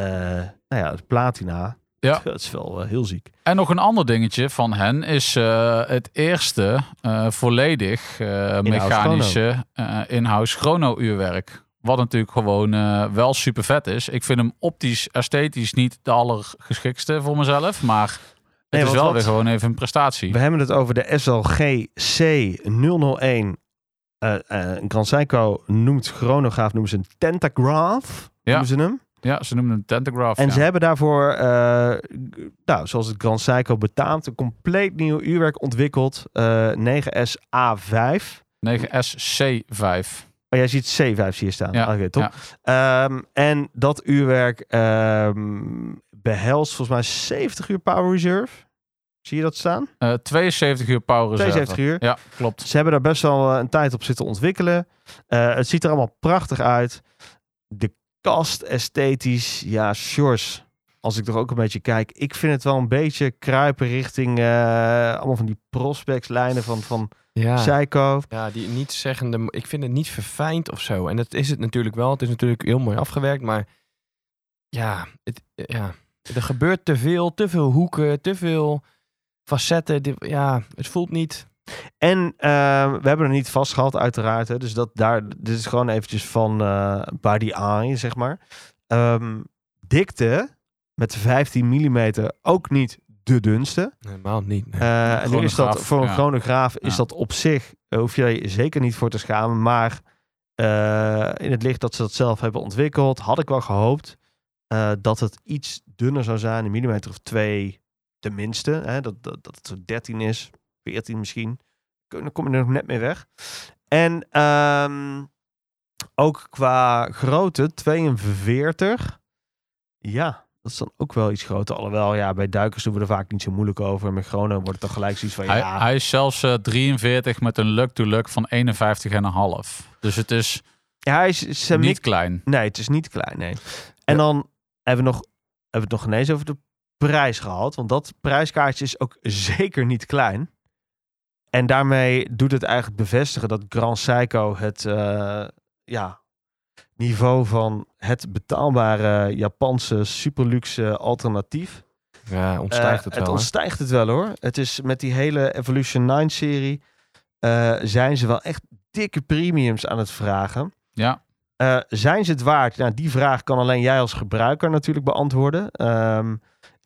Speaker 2: nou ja, het platina,
Speaker 6: Ja.
Speaker 2: dat is wel eh, heel ziek.
Speaker 6: En nog een ander dingetje van hen is eh, het eerste eh, volledig eh, mechanische eh, in-house chrono-uurwerk. Wat natuurlijk gewoon eh, wel super vet is. Ik vind hem optisch, esthetisch niet de allergeschikste voor mezelf. Maar het
Speaker 2: Nee,
Speaker 6: is
Speaker 2: want
Speaker 6: wel
Speaker 2: wat-
Speaker 6: weer gewoon even een prestatie.
Speaker 2: We hebben het over de SLG C001. eh eh Grand Seiko noemt chronograaf, noemen ze een tentagraph. Noemen ze hem.
Speaker 6: Ja, ze noemen hem Tentagraph.
Speaker 2: En
Speaker 6: ja.
Speaker 2: ze hebben daarvoor, eh, nou, zoals het Grand Seiko betaamt, een compleet nieuw uurwerk ontwikkeld. eh 9SA5.
Speaker 6: 9SC5.
Speaker 2: Oh, jij ziet C5 zie je staan.
Speaker 6: Ja,
Speaker 2: Oké, top. Ehm, en dat uurwerk ehm, behelst volgens mij 70 uur power reserve. Zie je dat staan?
Speaker 6: Eh, 72 uur power reserve.
Speaker 2: 72 uur.
Speaker 6: Ja, klopt.
Speaker 2: Ze hebben daar best wel eh, een tijd op zitten ontwikkelen. Eh, het ziet er allemaal prachtig uit. De kast esthetisch, ja, shores. Als ik er ook een beetje kijk, ik vind het wel een beetje kruipen richting eh, allemaal van die prospects lijnen van, van
Speaker 5: Ja.
Speaker 2: Psycho.
Speaker 5: Ja, die niet zeggende. Ik vind het niet verfijnd of zo. En dat is het natuurlijk wel. Het is natuurlijk heel mooi afgewerkt, maar ja, het, ja. er gebeurt te veel, te veel hoeken, te veel facetten. Dit- ja, het voelt niet.
Speaker 2: En eh, we hebben er niet vastgehad, uiteraard. Hè, dus dat daar, dit is gewoon eventjes van eh body eye, zeg maar. Ehm, dikte met 15 mm ook niet de dunste.
Speaker 5: Helemaal niet. nee.
Speaker 2: Eh, en nu is dat
Speaker 6: Chronograaf,
Speaker 2: voor een
Speaker 6: ja.
Speaker 2: chronograaf is
Speaker 6: Ja.
Speaker 2: dat op zich, eh, hoef je je zeker niet voor te schamen. Maar eh, in het licht dat ze dat zelf hebben ontwikkeld, had ik wel gehoopt eh, dat het iets dunner zou zijn, een millimeter of twee tenminste. Hè, dat, dat, dat het zo 13 is, 14 misschien. Kun- Dan kom je er nog net mee weg. En ehm, ook qua grootte, 42. Ja, dat is dan ook wel iets groter. Alhoewel, ja, bij duikers doen we er vaak niet zo moeilijk over. En Met Groningen wordt het dan gelijk zoiets van,
Speaker 6: Hij,
Speaker 2: ja...
Speaker 6: hij is zelfs eh, 43 met een luck-to-luck van 51,5. Dus het is
Speaker 2: Ja, hij is, is hem
Speaker 6: niet
Speaker 2: niet...
Speaker 6: klein.
Speaker 2: Nee, het is niet klein, nee. En dan hebben we, nog, hebben we het nog ineens over de prijs gehad. Want dat prijskaartje is ook zeker niet klein. En daarmee doet het eigenlijk bevestigen dat Grand Seiko het eh, ja, niveau van het betaalbare Japanse superluxe alternatief
Speaker 5: ja, ontstijgt het
Speaker 2: eh,
Speaker 5: wel. hè?
Speaker 2: ontstijgt het wel hoor. Het is met die hele Evolution 9-serie zijn ze wel echt dikke premiums aan het vragen.
Speaker 6: Ja.
Speaker 2: Eh, zijn ze het waard? Nou, die vraag kan alleen jij als gebruiker natuurlijk beantwoorden. Ehm,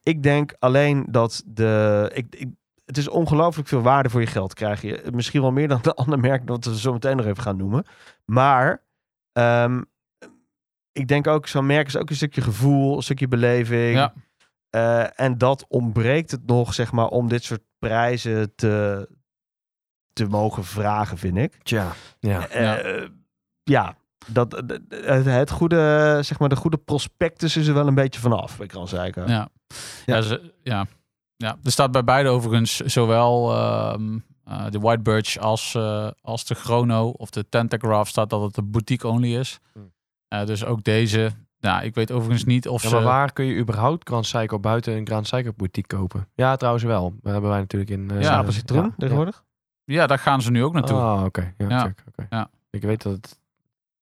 Speaker 2: ik denk alleen dat de. Ik, ik, het is ongelooflijk veel waarde voor je geld krijg je. Misschien wel meer dan de andere merk dat we zo meteen nog even gaan noemen. Maar ehm, ik denk ook, zo'n merk is ook een stukje gevoel, een stukje beleving.
Speaker 6: Ja.
Speaker 2: Eh, en dat ontbreekt het nog, zeg maar, om dit soort prijzen te, te mogen vragen, vind ik.
Speaker 5: Tja, ja.
Speaker 2: Eh,
Speaker 6: Ja.
Speaker 2: ja. dat, dat- het, het goede, zeg maar, de goede prospectus is er wel een beetje vanaf, bij Kran Seiko.
Speaker 6: Ja. Ja. ze- ja. ja. Er staat bij beide overigens zowel ehm, eh, de White Birch als, eh, als de Chrono of de Tentagraph staat dat het de boutique only is.
Speaker 5: Hmm.
Speaker 6: Eh, dus ook deze. Nou, ik weet overigens niet of
Speaker 5: Ja,
Speaker 6: ze...
Speaker 5: maar waar kun je überhaupt Grand Psycho buiten een Grand Psycho boutique kopen? Ja, trouwens wel. Daar hebben wij natuurlijk in... eh,
Speaker 6: Ja,
Speaker 2: Apen citroen
Speaker 5: ja.
Speaker 2: tegenwoordig.
Speaker 6: Ja, daar gaan ze nu ook naartoe.
Speaker 5: Ah, oké. Ja,
Speaker 6: Ja.
Speaker 5: check, oké.
Speaker 6: Ja.
Speaker 5: Ik weet dat het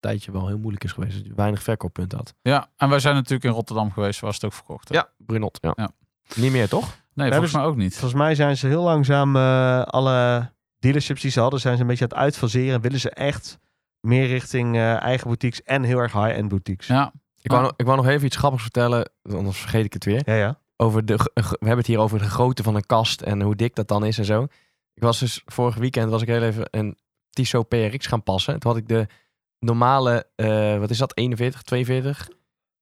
Speaker 5: tijdje wel heel moeilijk is geweest. Dat je weinig verkooppunten had.
Speaker 6: Ja, en wij zijn natuurlijk in Rotterdam geweest waar ze het ook verkocht. hebben.
Speaker 5: Brunot. Ja.
Speaker 6: Ja.
Speaker 5: Niet meer, toch?
Speaker 6: Nee,
Speaker 2: hebben
Speaker 6: volgens
Speaker 2: ze-
Speaker 6: mij ook niet.
Speaker 2: Volgens mij zijn ze heel langzaam eh, alle dealerships die ze hadden, zijn ze een beetje aan het uitfaseren. En willen ze echt meer richting eh, eigen boutiques en heel erg high-end boutiques.
Speaker 6: Ja.
Speaker 5: Ik wou,
Speaker 6: Ah.
Speaker 5: nog- ik wou nog even iets grappigs vertellen, anders vergeet ik het weer.
Speaker 2: Ja, ja.
Speaker 5: Over de, ge- ge- we hebben het hier over de grootte van een kast en hoe dik dat dan is en zo. Ik was dus vorig weekend was ik heel even een Tissot PRX gaan passen. Toen had ik de normale, eh, wat is dat, 41, 42?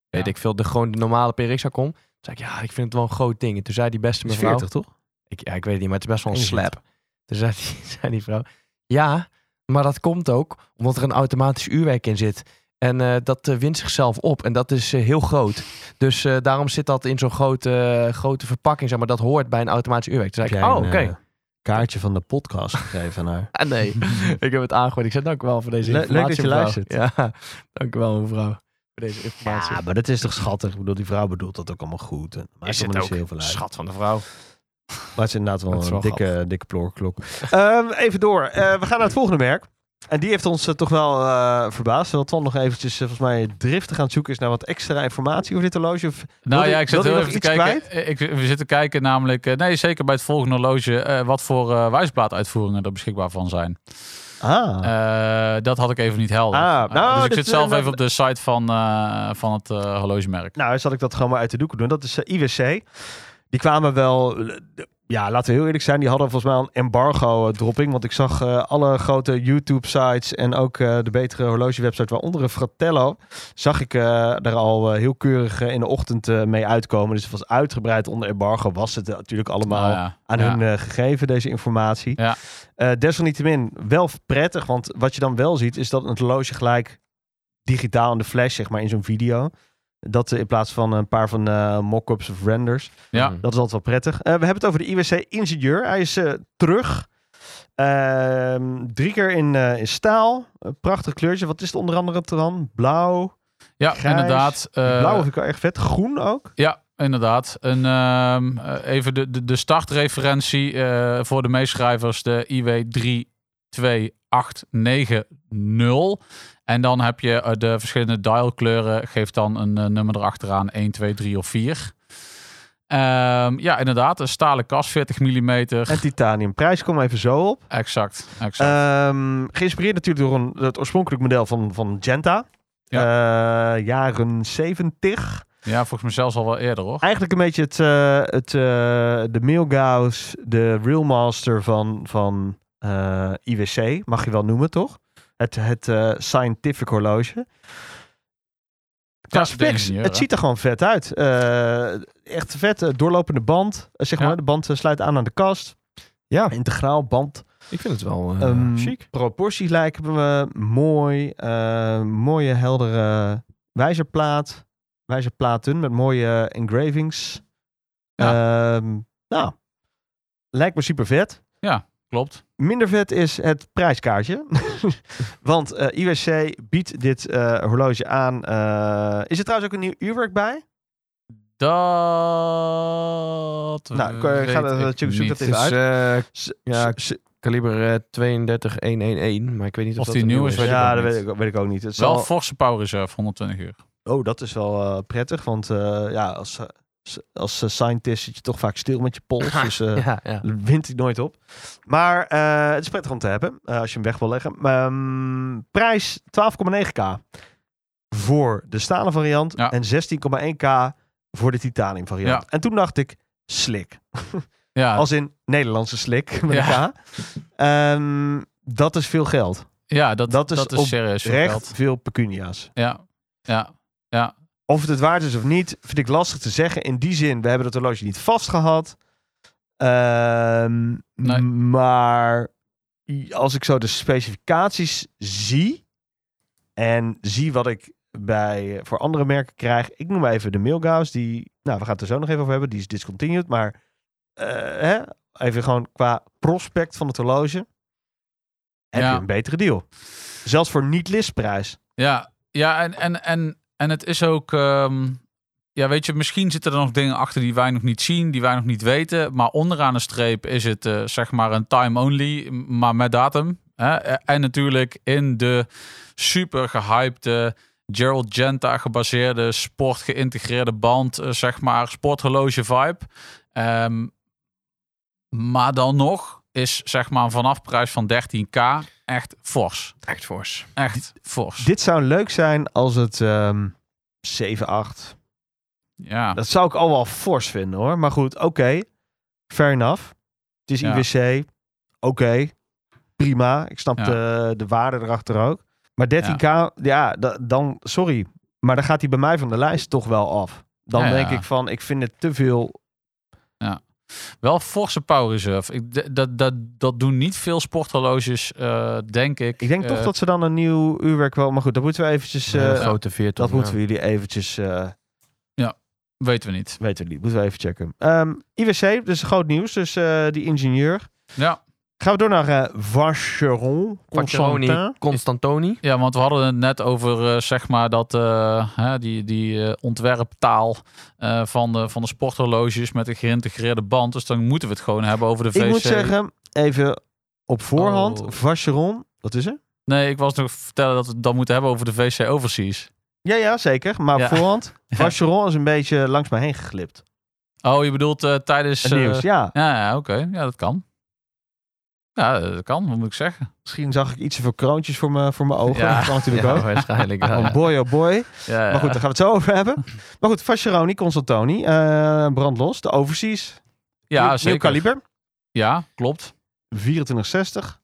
Speaker 5: Weet
Speaker 6: Ja.
Speaker 5: ik veel, de, gewoon de normale PRX-acom. Toen zei ik, ja, ik vind het wel een groot ding. En toen zei die beste
Speaker 2: Is
Speaker 5: mevrouw...
Speaker 2: 40, toch?
Speaker 5: Ik, ja, ik weet het niet, maar het is best wel een
Speaker 2: 41.
Speaker 5: slap. Toen zei die, zei die vrouw, ja, maar dat komt ook omdat er een automatisch uurwerk in zit. En eh, dat eh, wint zichzelf op en dat is eh, heel groot. Dus eh, daarom zit dat in zo'n grote, eh, grote verpakking, zeg maar. Dat hoort bij een automatisch uurwerk. Toen zei ik, oh, oké.
Speaker 2: eh, kaartje van de podcast gegeven aan haar.
Speaker 5: Ah, nee, ik heb het aangegooid. Ik zei, dank u wel voor deze
Speaker 2: Le- leuk
Speaker 5: informatie,
Speaker 2: dat je
Speaker 5: mevrouw.
Speaker 2: luistert.
Speaker 5: Ja, dank u wel, mevrouw, voor deze informatie.
Speaker 2: Ja, Ah, maar dat is toch schattig? Ik bedoel, die vrouw bedoelt dat ook allemaal goed. En maakt
Speaker 5: is het
Speaker 2: allemaal niet zo
Speaker 5: ook
Speaker 2: heel veel uit.
Speaker 5: schat van de vrouw.
Speaker 2: Maar het is inderdaad wel
Speaker 5: Dat is
Speaker 2: een
Speaker 5: wel
Speaker 2: dikke, dikke ploorklok. Ehm, even door. Eh, we gaan naar het volgende merk. En die heeft ons eh, toch wel eh, verbaasd. Terwijl Twan nog eventjes, eh, volgens mij, driftig aan het zoeken is naar wat extra informatie over dit horloge. Of-
Speaker 6: Nou
Speaker 2: Wil
Speaker 6: ja,
Speaker 2: je-
Speaker 6: ik zit
Speaker 2: wil je
Speaker 6: heel
Speaker 2: nog
Speaker 6: even te
Speaker 2: iets
Speaker 6: kijken. Eh, Ik, we zitten kijken namelijk, eh, nee zeker bij het volgende horloge, eh, wat voor eh, wijsplaatuitvoeringen er beschikbaar van zijn.
Speaker 2: Ah,
Speaker 6: Eh, dat had ik even niet helder.
Speaker 2: Ah,
Speaker 6: Eh,
Speaker 2: nou,
Speaker 6: dus ik
Speaker 2: dit-
Speaker 6: zit zelf
Speaker 2: eh,
Speaker 6: even op de site van, eh, van het eh, horlogemerk.
Speaker 2: nou, zal ik dat gewoon maar uit de doeken doen. Dat is eh, IWC. Die kwamen wel... eh, de- Ja, laten we heel eerlijk zijn. Die hadden volgens mij al een embargo-dropping. Want ik zag eh, alle grote YouTube-sites en ook eh, de betere horlogewebsite, waaronder een Fratello, zag ik eh daar al eh, heel keurig eh, in de ochtend eh, mee uitkomen. Dus het was uitgebreid onder embargo. Was het eh, natuurlijk allemaal...
Speaker 6: Nou ja,
Speaker 2: aan
Speaker 6: ja.
Speaker 2: hun eh, gegeven, deze informatie.
Speaker 6: Ja.
Speaker 2: Eh, desalniettemin wel prettig, want wat je dan wel ziet is dat het horloge gelijk digitaal in de flash, zeg maar, in zo'n video. Dat eh, in plaats van een paar van eh mock-ups of renders.
Speaker 6: Ja.
Speaker 5: Mm.
Speaker 2: Dat is altijd wel prettig. Eh, we hebben het over de IWC Ingenieur. Hij is eh, terug. Ehm, drie keer in, eh, in staal. Een prachtig kleurtje. Wat is het onder andere dan? Blauw.
Speaker 6: Ja,
Speaker 2: grijs,
Speaker 6: inderdaad. eh,
Speaker 2: Blauw vind ik wel erg vet. Groen ook.
Speaker 6: Ja, inderdaad. En, ehm, eh, even de, de, de startreferentie eh, voor de meeschrijvers, de IW32890. En dan heb je eh, de verschillende dialkleuren, geeft dan een eh, nummer erachteraan, 1, 2, 3 of 4. Ehm, ja, inderdaad, een stalen kast, 40 mm.
Speaker 2: En titanium. Prijs kom even zo op.
Speaker 6: Exact, exact.
Speaker 2: Ehm, geïnspireerd natuurlijk door een, het oorspronkelijk model van, van Genta. Eh, jaren 70.
Speaker 6: ja, volgens mij zelfs al wel eerder hoor.
Speaker 2: Eigenlijk een beetje het, eh, het, eh, de Milgauss, de Realmaster van, van eh, IWC, mag je wel noemen toch? Het, het eh, scientific horloge. Qua
Speaker 6: Ja, de
Speaker 2: specs,
Speaker 6: ingenieur,
Speaker 2: het
Speaker 6: hè?
Speaker 2: ziet er gewoon vet uit. Eh, echt vet, eh, doorlopende band. Eh, zeg
Speaker 6: Ja.
Speaker 2: maar, de band eh, sluit aan aan de kast.
Speaker 5: Ja.
Speaker 2: Integraal band.
Speaker 5: Ik vind het wel eh,
Speaker 2: Ehm,
Speaker 5: chic.
Speaker 2: Proporties lijken me mooi. eh, mooie heldere wijzerplaat. Wijzerplaten met mooie eh, engravings. Ehm, nou, lijkt me super vet.
Speaker 6: Klopt.
Speaker 2: Minder vet is het prijskaartje. Want eh, IWC biedt dit eh, horloge aan. Eh, is er trouwens ook een nieuw uurwerk bij?
Speaker 6: Dat.
Speaker 2: Nou, ik, eh, ga
Speaker 6: weet
Speaker 2: dat-
Speaker 6: ik
Speaker 2: dat zoek- zoek
Speaker 6: niet.
Speaker 2: dat
Speaker 5: Het
Speaker 2: even
Speaker 5: is eh,
Speaker 2: uit. S-
Speaker 5: Ja,
Speaker 2: s- s-
Speaker 5: kaliber eh, 32111, maar ik weet niet of,
Speaker 6: Of
Speaker 5: dat
Speaker 6: die
Speaker 5: een
Speaker 6: nieuw
Speaker 5: nieuw
Speaker 6: is, weet ik
Speaker 2: ja,
Speaker 6: ook
Speaker 2: dat
Speaker 6: niet.
Speaker 2: weet ik, weet ik ook niet. Het
Speaker 6: Wel
Speaker 2: zal-
Speaker 6: forse power reserve, 120 uur.
Speaker 2: Oh, dat is wel eh, prettig. Want eh, ja, als, eh, s- als eh, scientist zit je toch vaak stil met je pols. dus eh,
Speaker 5: Ja, ja.
Speaker 2: wint hij nooit op. Maar eh, het is prettig om te hebben. eh, als je hem weg wil leggen. Ehm, prijs 12,9k voor de stalen variant.
Speaker 6: Ja.
Speaker 2: En 16,1k voor de titanium variant.
Speaker 6: Ja.
Speaker 2: En toen dacht ik, slik.
Speaker 6: Ja,
Speaker 2: Als in Nederlandse slik. Met
Speaker 6: Ja.
Speaker 2: een K. Ehm, dat is veel geld.
Speaker 6: ja dat,
Speaker 2: dat
Speaker 6: dat
Speaker 2: is
Speaker 6: is,
Speaker 2: op
Speaker 6: serieus veel
Speaker 2: Recht
Speaker 6: geld.
Speaker 2: veel pecunia's.
Speaker 6: Ja, ja, ja.
Speaker 2: Of het het waard is of niet, vind ik lastig te zeggen. In die zin, we hebben dat horloge niet vastgehad. Ehm,
Speaker 6: Nee.
Speaker 2: Maar als ik zo de specificaties zie en zie wat ik bij, eh, voor andere merken krijg. Ik noem maar even de Milgauss, die, nou we gaan het er zo nog even over hebben, die is discontinued. Maar eh, hè, even gewoon qua prospect van het horloge, heb
Speaker 6: Ja.
Speaker 2: je een betere deal. Zelfs voor niet-listprijs.
Speaker 6: Ja, ja en, en, en, en het is ook... ehm, ja, weet je, misschien zitten er nog dingen achter die wij nog niet zien, die wij nog niet weten. Maar onderaan de streep is het eh, zeg maar een time-only, m- maar met datum. Hè? E- En natuurlijk in de super gehypte Gerald Genta gebaseerde sport geïntegreerde band, eh, zeg maar sporthorloge vibe. Ehm, maar dan nog is zeg maar een vanafprijs van 13k echt fors.
Speaker 5: Echt fors.
Speaker 6: Echt fors.
Speaker 2: Dit zou leuk zijn als het ehm 7, 8.
Speaker 6: Ja.
Speaker 2: Dat zou ik al wel fors vinden hoor. Maar goed, oké. Fair enough. Het is
Speaker 6: Ja.
Speaker 2: IWC. Oké. Prima. Ik snap
Speaker 6: Ja.
Speaker 2: de, de waarde erachter ook. Maar 13k, ja, da- dan, sorry. Maar dan gaat hij bij mij van de lijst toch wel af. Dan
Speaker 6: Ja, ja.
Speaker 2: denk ik van, ik vind het te veel.
Speaker 6: Wel forse power reserve. Ik, d- dat, dat, dat doen niet veel sporthorloges, eh, denk ik.
Speaker 2: Ik denk
Speaker 6: Eh,
Speaker 2: toch dat ze dan een nieuw uurwerk wel... Maar goed, dat moeten we eventjes... eh,
Speaker 5: Een grote veertig.
Speaker 2: dat moeten we jullie eventjes... eh,
Speaker 6: Weten we niet.
Speaker 2: weten we niet, moeten we even checken. Ehm, IWC, dus groot nieuws. Dus eh, die ingenieur.
Speaker 6: Ja.
Speaker 2: Gaan we door naar eh Vacheron. Constantin.
Speaker 5: Constantoni.
Speaker 6: ja, want we hadden het net over, eh, zeg maar, dat eh, hè, die, die eh, ontwerptaal eh, van, de, van de sporthorloges met een geïntegreerde band. Dus dan moeten we het gewoon hebben over de VC.
Speaker 2: Ik moet zeggen, even op voorhand.
Speaker 6: Oh.
Speaker 2: Vacheron, wat is er?
Speaker 6: Nee, ik was nog vertellen dat we het dan moeten hebben over de VC Overseas.
Speaker 2: Ja, ja, zeker. Maar op
Speaker 6: Ja.
Speaker 2: voorhand. Vacheron is een beetje langs mij heen geglipt.
Speaker 6: Oh, je bedoelt eh, tijdens...
Speaker 2: Het
Speaker 6: eh,
Speaker 2: nieuws, ja.
Speaker 6: Ja, ja oké. Ja, dat kan. Ja, dat kan, wat moet ik zeggen.
Speaker 2: Misschien zag ik iets te veel kroontjes voor mijn voor mijn ogen.
Speaker 6: Ja.
Speaker 2: Dat kan natuurlijk
Speaker 5: Ja,
Speaker 2: ook.
Speaker 5: waarschijnlijk wel.
Speaker 2: Oh boy, oh boy.
Speaker 6: Ja,
Speaker 2: Maar goed, daar gaan we het zo over hebben. Maar goed, Vacheroni, Consultoni, eh brandlos, de overseas.
Speaker 6: ja,
Speaker 2: nieuw, nieuw
Speaker 6: zeker.
Speaker 2: kaliber,
Speaker 6: Ja, klopt.
Speaker 2: 2460.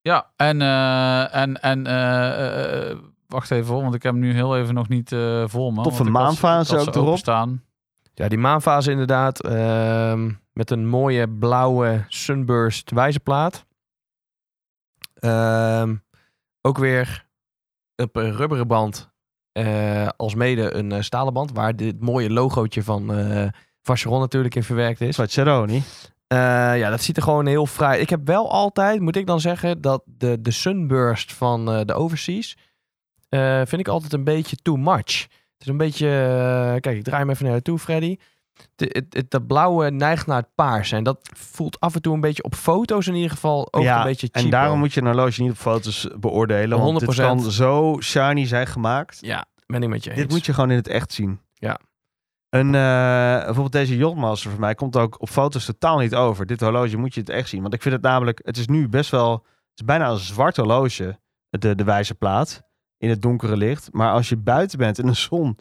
Speaker 6: Ja, en, eh, en, en eh, eh, wacht even hoor, want ik heb hem nu heel even nog niet eh vol. Man,
Speaker 2: Toffe
Speaker 6: want ik had-
Speaker 2: maanfase
Speaker 6: ik had ze
Speaker 2: ook erop.
Speaker 6: openstaan.
Speaker 5: Ja, die maanfase inderdaad. ehm, met een mooie blauwe sunburst wijzerplaat. Ehm, ook weer op een rubberen band. eh, als mede een eh, stalen band. Waar dit mooie logootje van eh Vacheron natuurlijk in verwerkt is.
Speaker 2: Vacheroni.
Speaker 5: Eh, ja, dat ziet er gewoon heel fraai. Ik heb wel altijd, moet ik dan zeggen, dat de, de sunburst van eh, de overseas eh, vind ik altijd een beetje too much. Het is een beetje, eh, kijk, ik draai hem even naar je toe, Freddy. De- het- het- Dat blauwe neigt naar het paars en dat voelt af en toe een beetje op foto's in ieder geval ook
Speaker 2: Ja,
Speaker 5: een beetje cheap.
Speaker 2: En daarom moet je een horloge niet op foto's beoordelen. Want dit
Speaker 5: 100%.
Speaker 2: kan zo shiny zijn gemaakt.
Speaker 5: Ja, ben ik met je eens.
Speaker 2: Dit moet je gewoon in het echt zien.
Speaker 5: Ja.
Speaker 2: Een, eh, bijvoorbeeld deze Yachtmaster van mij komt ook op foto's totaal niet over. Dit horloge moet je in het echt zien. Want ik vind het namelijk, het is nu best wel, het is bijna een zwart horloge, de, de wijze plaat, in het donkere licht. Maar als je buiten bent in de zon,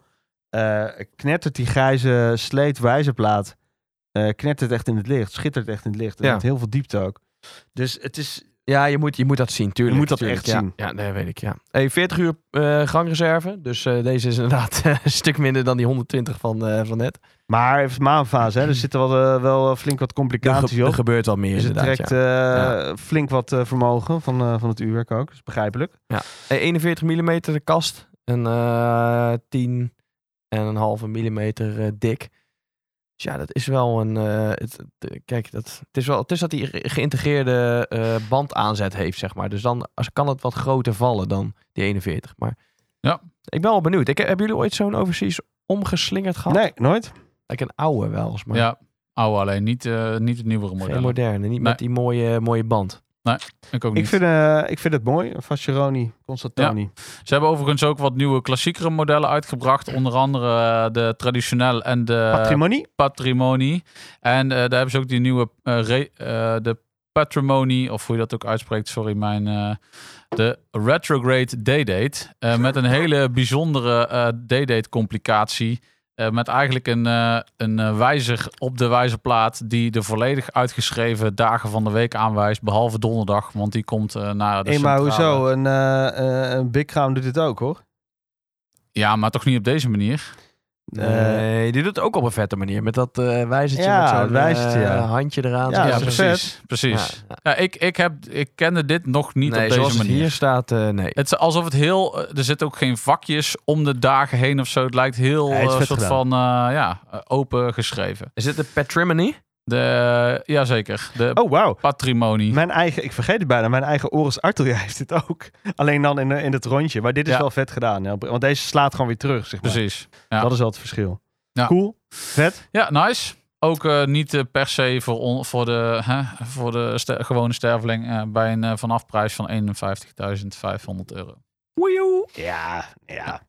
Speaker 2: eh, knettert die grijze sleet wijze plaat, eh, knettert echt in het licht, schittert echt in het licht. En
Speaker 5: Ja.
Speaker 2: heeft heel veel diepte ook. Dus het is,
Speaker 5: Ja, je moet, je moet dat zien, tuurlijk.
Speaker 2: Je moet dat
Speaker 5: tuurlijk,
Speaker 2: echt
Speaker 5: ja.
Speaker 2: zien.
Speaker 5: Ja, nee, weet ik, ja. Hey, 40 uur eh, gangreserve, dus eh, deze is inderdaad een stuk minder dan die 120 van, eh, van net.
Speaker 2: maar het is maanfase, hè? er zitten wel, eh, wel flink wat
Speaker 5: Er, ge-
Speaker 2: complicaties
Speaker 5: er
Speaker 2: op.
Speaker 5: gebeurt wel meer
Speaker 2: Dus het
Speaker 5: inderdaad.
Speaker 2: trekt
Speaker 5: ja.
Speaker 2: eh, flink wat eh, vermogen van, eh, van het uurwerk ook. Dat is begrijpelijk.
Speaker 5: Eh, 41 mm de kast. En eh 10 en een halve millimeter eh, dik. Dus ja, dat is wel een... eh, het, het- kijk, dat, het, is wel, het is dat hij ge- geïntegreerde eh, bandaanzet heeft, zeg maar. Dus dan als, kan het wat groter vallen dan die 41. Maar
Speaker 6: Ja.
Speaker 5: ik ben wel benieuwd. Ik, hebben jullie ooit zo'n overseas omgeslingerd gehad?
Speaker 2: Nee, nooit.
Speaker 5: Ik een oude wel eens, maar
Speaker 6: Ja, oude alleen, niet, eh, niet het nieuwere
Speaker 5: geen
Speaker 6: model.
Speaker 5: moderne. Niet met die mooie, mooie band.
Speaker 6: Ik ook niet.
Speaker 2: Ik vind, eh, ik vind het mooi. Fascheroni, Constantoni.
Speaker 6: Ze hebben overigens ook wat nieuwe klassiekere modellen uitgebracht. Onder andere eh, de traditioneel en de
Speaker 2: Patrimonie.
Speaker 6: Patrimonie. En eh, daar hebben ze ook die nieuwe eh, re- eh, de Patrimonie, of hoe je dat ook uitspreekt, sorry, mijn eh, de retrograde day-date. eh, met een hele bijzondere eh day-date complicatie. eh, met eigenlijk een, eh, een eh, wijzer op de wijzerplaat die de volledig uitgeschreven dagen van de week aanwijst, behalve donderdag, want die komt eh naar de
Speaker 2: Hé, maar
Speaker 6: centrale-
Speaker 2: hoezo? Een, eh, eh, een Big Crown doet dit ook, hoor.
Speaker 6: Ja, maar toch niet op deze manier.
Speaker 2: Eh,
Speaker 5: Nee, die doet het ook op een vette manier. Met dat eh wijzertje
Speaker 2: Ja,
Speaker 5: met zo'n
Speaker 2: het wijzertje,
Speaker 5: eh,
Speaker 2: ja.
Speaker 5: handje eraan.
Speaker 2: Ja,
Speaker 5: Zo'n-
Speaker 2: dat is vet.
Speaker 6: Precies.
Speaker 5: Ja,
Speaker 6: Ja, ik, ik, heb, ik kende dit nog niet
Speaker 5: nee,
Speaker 6: op deze
Speaker 5: zoals het
Speaker 6: manier.
Speaker 5: hier staat, eh, nee.
Speaker 6: Het is alsof het heel. eh, Er zitten ook geen vakjes om de dagen heen of zo. Het lijkt heel
Speaker 2: Ja, het is
Speaker 6: eh,
Speaker 2: vet
Speaker 6: soort
Speaker 2: gedaan.
Speaker 6: van eh, ja, eh, open geschreven.
Speaker 5: Is dit de patrimony?
Speaker 6: De, eh, ja jazeker. De
Speaker 2: oh, wauw.
Speaker 6: patrimonie.
Speaker 2: Mijn eigen, ik vergeet het bijna, mijn eigen Oris Arteria heeft dit ook. Alleen dan in, eh, in het rondje. Maar dit is
Speaker 6: Ja.
Speaker 2: wel vet gedaan. ja. Want deze slaat gewoon weer terug, zeg maar.
Speaker 6: Precies. ja.
Speaker 2: Dat is wel het verschil.
Speaker 6: Ja.
Speaker 2: Cool, vet.
Speaker 6: Ja, nice. Ook eh, niet eh, per se voor, on- voor de, hè, voor de ster- gewone sterveling eh, bij een eh, vanafprijs van 51.500 euro.
Speaker 5: Woejoe.
Speaker 2: Ja, ja.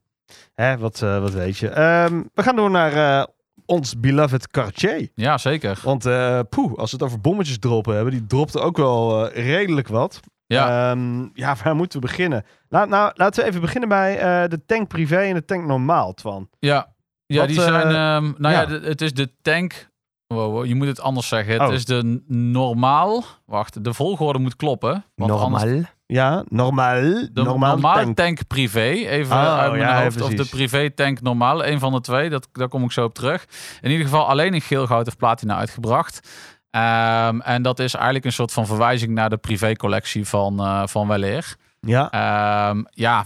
Speaker 2: Hè, wat, eh, wat weet je. Ehm, we gaan door naar eh, ons beloved Cartier.
Speaker 6: Ja, zeker.
Speaker 2: Want eh, poeh, als we het over bommetjes droppen hebben, die dropte ook wel eh, redelijk wat.
Speaker 6: Ja.
Speaker 2: Ehm, ja, waar moeten we beginnen? Laat, nou, laten we even beginnen bij eh, de tank privé en de tank normaal, Twan.
Speaker 6: Ja, ja
Speaker 2: Wat,
Speaker 6: die
Speaker 2: eh,
Speaker 6: zijn. ehm, nou ja,
Speaker 2: ja.
Speaker 6: de- het is de tank Wow, wow, je moet het anders zeggen. Het
Speaker 2: Oh.
Speaker 6: is de n- normaal. Wacht, de volgorde moet kloppen. Want anders
Speaker 5: Normaal.
Speaker 2: Ja, normaal.
Speaker 6: De
Speaker 2: normaal
Speaker 6: normale tank.
Speaker 2: tank.
Speaker 6: privé, even
Speaker 2: Oh,
Speaker 6: uit mijn
Speaker 2: ja,
Speaker 6: hoofd. Of
Speaker 2: precies.
Speaker 6: de privé tank normale, een van de twee. Dat, daar kom ik zo op terug. In ieder geval alleen in geel, goud of platina uitgebracht. Ehm, en dat is eigenlijk een soort van verwijzing naar de privécollectie van, eh van Weleer.
Speaker 2: Ja,
Speaker 6: Ehm, ja,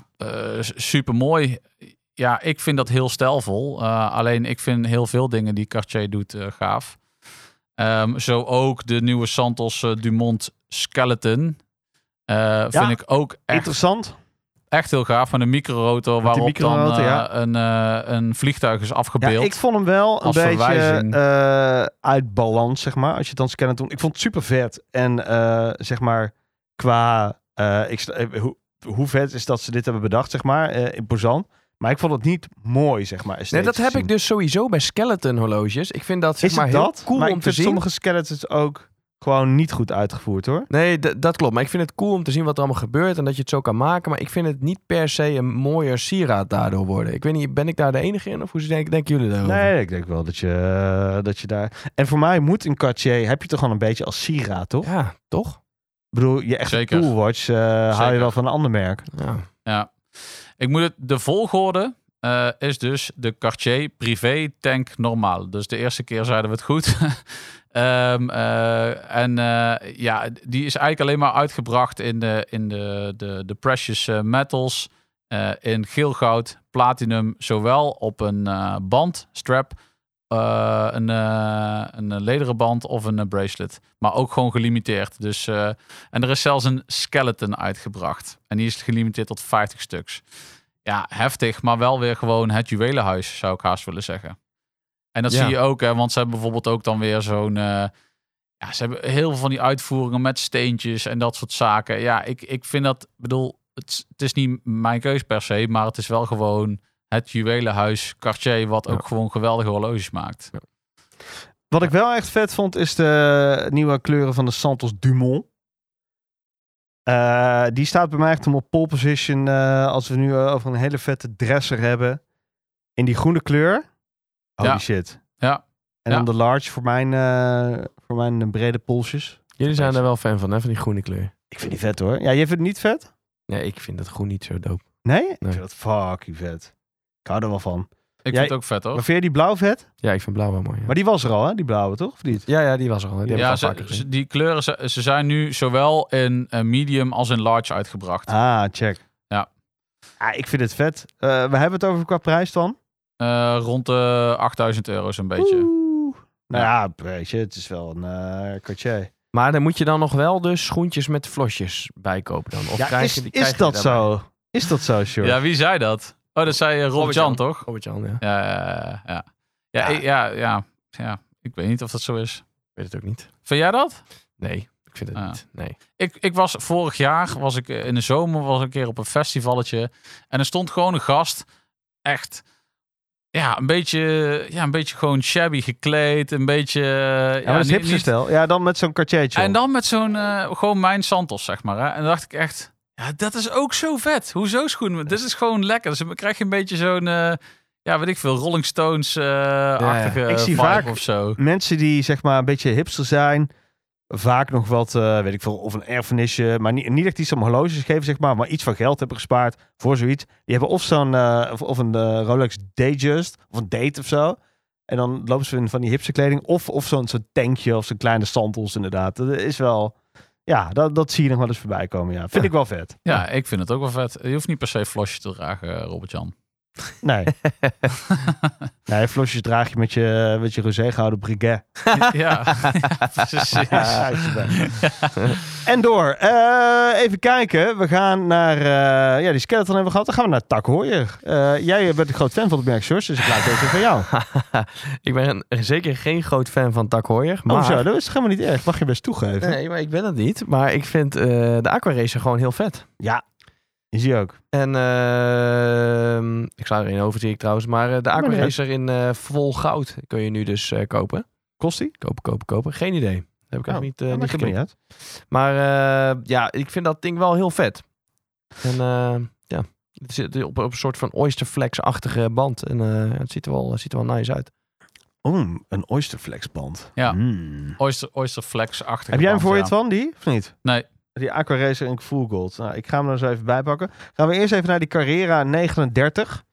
Speaker 6: super mooi. Ja, ik vind dat heel stijlvol. Eh, alleen ik vind heel veel dingen die Cartier doet eh, gaaf. Ehm, zo ook de nieuwe Santos eh, Dumont Skeleton. Eh, Vind ik ook echt
Speaker 2: interessant.
Speaker 6: echt heel gaaf met een microrotor
Speaker 2: Met die
Speaker 6: waarop dan
Speaker 2: microrotor,
Speaker 6: eh,
Speaker 2: ja.
Speaker 6: een, eh, een vliegtuig is
Speaker 2: Ja,
Speaker 6: afgebeeld.
Speaker 2: ik vond hem wel een
Speaker 6: Als
Speaker 2: beetje
Speaker 6: verwijzing.
Speaker 2: eh, uit balans, zeg maar. Als je het dan scannen doet. Ik vond het super vet. En eh, zeg maar, qua... eh, ik, sta- eh, hoe, hoe vet is dat ze dit hebben bedacht, zeg maar, eh, in Porzan. Maar ik vond het niet mooi, zeg maar.
Speaker 5: Nee, dat
Speaker 2: esthetisch
Speaker 5: heb
Speaker 2: gezien.
Speaker 5: ik dus sowieso bij skeleton horloges. Ik vind dat zeg
Speaker 2: is
Speaker 5: maar
Speaker 2: het
Speaker 5: heel
Speaker 2: dat?
Speaker 5: cool
Speaker 2: maar
Speaker 5: om
Speaker 2: ik
Speaker 5: te
Speaker 2: vind
Speaker 5: zien.
Speaker 2: sommige skeletons ook gewoon niet goed uitgevoerd, hoor.
Speaker 5: Nee, d- dat klopt. Maar ik vind het cool om te zien wat er allemaal gebeurt en dat je het zo kan maken. Maar ik vind het niet per se een mooier sieraad daardoor worden. Ik weet niet, ben ik daar de enige in of hoe denken, denken jullie daarover?
Speaker 2: Nee, ik denk wel dat je, eh, dat je daar... En voor mij moet een Cartier... Heb je toch wel een beetje als sieraad, toch?
Speaker 5: Ja, toch?
Speaker 2: Ik bedoel, je echt
Speaker 6: Zeker.
Speaker 2: coolwatch eh haal je
Speaker 6: Zeker.
Speaker 2: wel van een ander merk.
Speaker 5: Ja.
Speaker 6: Ja. Ik moet het, de volgorde eh, is dus de Cartier Privé Tank Normaal. Dus de eerste keer zeiden we het goed. Ehm, eh, en eh, ja, die is eigenlijk alleen maar uitgebracht in de, in de, de, de precious eh, metals. eh, in geel goud, platinum, zowel op een eh, band, strap, eh, een, eh, een eh, lederen band of een eh, bracelet. Maar ook gewoon gelimiteerd. Dus eh, en er is zelfs een skeleton uitgebracht. En die is gelimiteerd tot 50 stuks. Ja, heftig, maar wel weer gewoon het juwelenhuis, zou ik haast willen zeggen. En dat
Speaker 5: Ja.
Speaker 6: zie je ook, hè, want ze hebben bijvoorbeeld ook dan weer zo'n... eh, ja, ze hebben heel veel van die uitvoeringen met steentjes en dat soort zaken. Ja, ik, ik vind dat, bedoel, het, is- het is niet mijn keus per se, maar het is wel gewoon het juwelenhuis Cartier, wat ook
Speaker 5: Ja.
Speaker 6: gewoon geweldige horloges maakt.
Speaker 2: Wat ik wel echt vet vond, is de nieuwe kleuren van de Santos Dumont. Eh, die staat bij mij echt om op pole position. eh, als we nu eh, over een hele vette dresser hebben. In die groene kleur. Holy
Speaker 6: Ja.
Speaker 2: shit.
Speaker 6: Ja.
Speaker 2: En
Speaker 6: Ja.
Speaker 2: dan de large voor mijn, eh, voor mijn eh, brede polsjes.
Speaker 5: Jullie zijn
Speaker 2: Beetje.
Speaker 5: er wel fan van, hè, van die groene kleur.
Speaker 2: Ik vind die vet hoor. Ja, jij vindt het niet vet?
Speaker 5: Nee, ik vind dat groen niet zo dope.
Speaker 2: Nee? Ik
Speaker 5: Nee.
Speaker 2: vind dat fucking vet. Ik hou er wel van.
Speaker 6: Ik
Speaker 2: Jij-
Speaker 6: vind het ook vet, hoor.
Speaker 2: Maar vind je die blauw vet?
Speaker 5: Ja, ik vind blauw wel mooi. Ja,
Speaker 2: Maar die was er al hè, die blauwe toch? Of niet?
Speaker 5: ja, ja, die was er al. hè. Die
Speaker 6: ja,
Speaker 5: ja,
Speaker 6: ze- ze- die kleuren ze, ze zijn nu zowel in eh, medium als in large uitgebracht.
Speaker 2: Ah, check.
Speaker 6: Ja.
Speaker 2: Ah, ik vind het vet. Eh, we hebben het over qua prijs dan.
Speaker 6: Eh, rond de 8000 euro zo'n beetje.
Speaker 2: Oeh. Nou ja, weet je, het is wel een eh Cartier.
Speaker 5: Maar dan moet je dan nog wel dus schoentjes met vlosjes bijkopen dan. Of
Speaker 2: Ja,
Speaker 5: krijg
Speaker 2: is,
Speaker 5: je, die
Speaker 2: is
Speaker 5: krijg je
Speaker 2: dat
Speaker 5: daarbij.
Speaker 2: zo? Is dat zo, Sjoerd?
Speaker 6: Ja, wie zei dat? Oh, dat zei eh, Rob
Speaker 5: Robert-Jan.
Speaker 6: Jan, toch?
Speaker 5: Robert-Jan, ja. Ik
Speaker 6: Ja, ja, ja. Ja, ik- ja, ja, ja. Ik weet niet of dat zo is.
Speaker 5: weet het ook niet.
Speaker 6: Vind jij dat?
Speaker 5: Nee, ik vind het
Speaker 6: Ah.
Speaker 5: niet. Nee.
Speaker 6: Ik, ik was vorig jaar, was ik eh, in de zomer, was ik een keer op een festivalletje. En er stond gewoon een gast, echt, ja, een beetje, ja, een beetje gewoon shabby gekleed. Een beetje, eh,
Speaker 2: Ja, maar dat is
Speaker 6: niet-
Speaker 2: hipster
Speaker 6: niet-
Speaker 2: stijl. Ja, dan met zo'n Cartiertje.
Speaker 6: En dan met zo'n, eh, gewoon mijn Santos, zeg maar. Hè? En dan dacht ik echt, ja, dat is ook zo vet. Hoezo schoenen? Dit is gewoon lekker. Dus dan krijg je een beetje zo'n, eh, ja, weet ik veel, Rolling Stones-achtige
Speaker 2: ik zie
Speaker 6: vibe
Speaker 2: vaak-
Speaker 6: of zo.
Speaker 2: Mensen die zeg maar een beetje hipster zijn, vaak nog wat, eh, weet ik veel, of een erfenisje, maar niet, niet echt iets om horloges geven, zeg maar, maar iets van geld hebben gespaard voor zoiets. Die hebben of zo'n, eh, of, of een eh, Rolex Datejust, of een date of zo. En dan lopen ze in van die hipster kleding, of, of zo'n zo'n tankje, of zo'n kleine sandals inderdaad. Dat is wel, ja, dat, dat zie je nog wel eens voorbij komen, ja. Vind ik wel vet.
Speaker 6: Ja, ik vind het ook wel vet. Je hoeft niet per se flosje te dragen, eh, Robert-Jan.
Speaker 2: Nee. nee, flosjes draag je met je, met je rosé gehouden briguet.
Speaker 6: ja, ja, precies.
Speaker 2: Ja, als je bent. en door. Eh, even kijken. We gaan naar... eh, ja, die skeleton hebben we gehad. Dan gaan we naar Tak Hoyer. Eh, jij bent een groot fan van het merk Sjors, dus ik laat deze van jou.
Speaker 5: ik ben een- zeker geen groot fan van Tak Hoyer. Maar...
Speaker 2: Oh zo, dat is helemaal niet erg. Mag je best toegeven.
Speaker 5: Nee, maar ik ben het niet. Maar ik vind eh, de Aquaracer gewoon heel vet.
Speaker 2: Ja, is die ook.
Speaker 5: En ehm, ik sla er één over, zie ik trouwens. Maar eh, de
Speaker 2: maar niet
Speaker 5: Aquaracer in eh, vol goud kun je nu dus eh, kopen.
Speaker 2: Kost die?
Speaker 5: Kopen, kopen, kopen. Geen idee. Dat heb ik
Speaker 2: Oh,
Speaker 5: eigenlijk niet, eh,
Speaker 2: Ja,
Speaker 5: niet
Speaker 2: maakt helemaal
Speaker 5: gekeken.
Speaker 2: niet uit.
Speaker 5: Maar eh, ja, ik vind dat ding wel heel vet. En eh, ja, het zit op, op een soort van oysterflex-achtige band. En eh, het ziet er, wel, het ziet er wel nice uit.
Speaker 2: Oh, een oysterflexband.
Speaker 6: Ja.
Speaker 2: Hmm.
Speaker 6: Oyster, Oyster Flex-achtige
Speaker 2: Heb jij hem
Speaker 6: band,
Speaker 2: voor
Speaker 6: ja.
Speaker 2: je, Twan, die? Of niet?
Speaker 6: Nee.
Speaker 2: Die Aqua Racer en Full Gold. Nou, ik ga hem er eens even bij pakken. Gaan we eerst even naar die Carrera 39.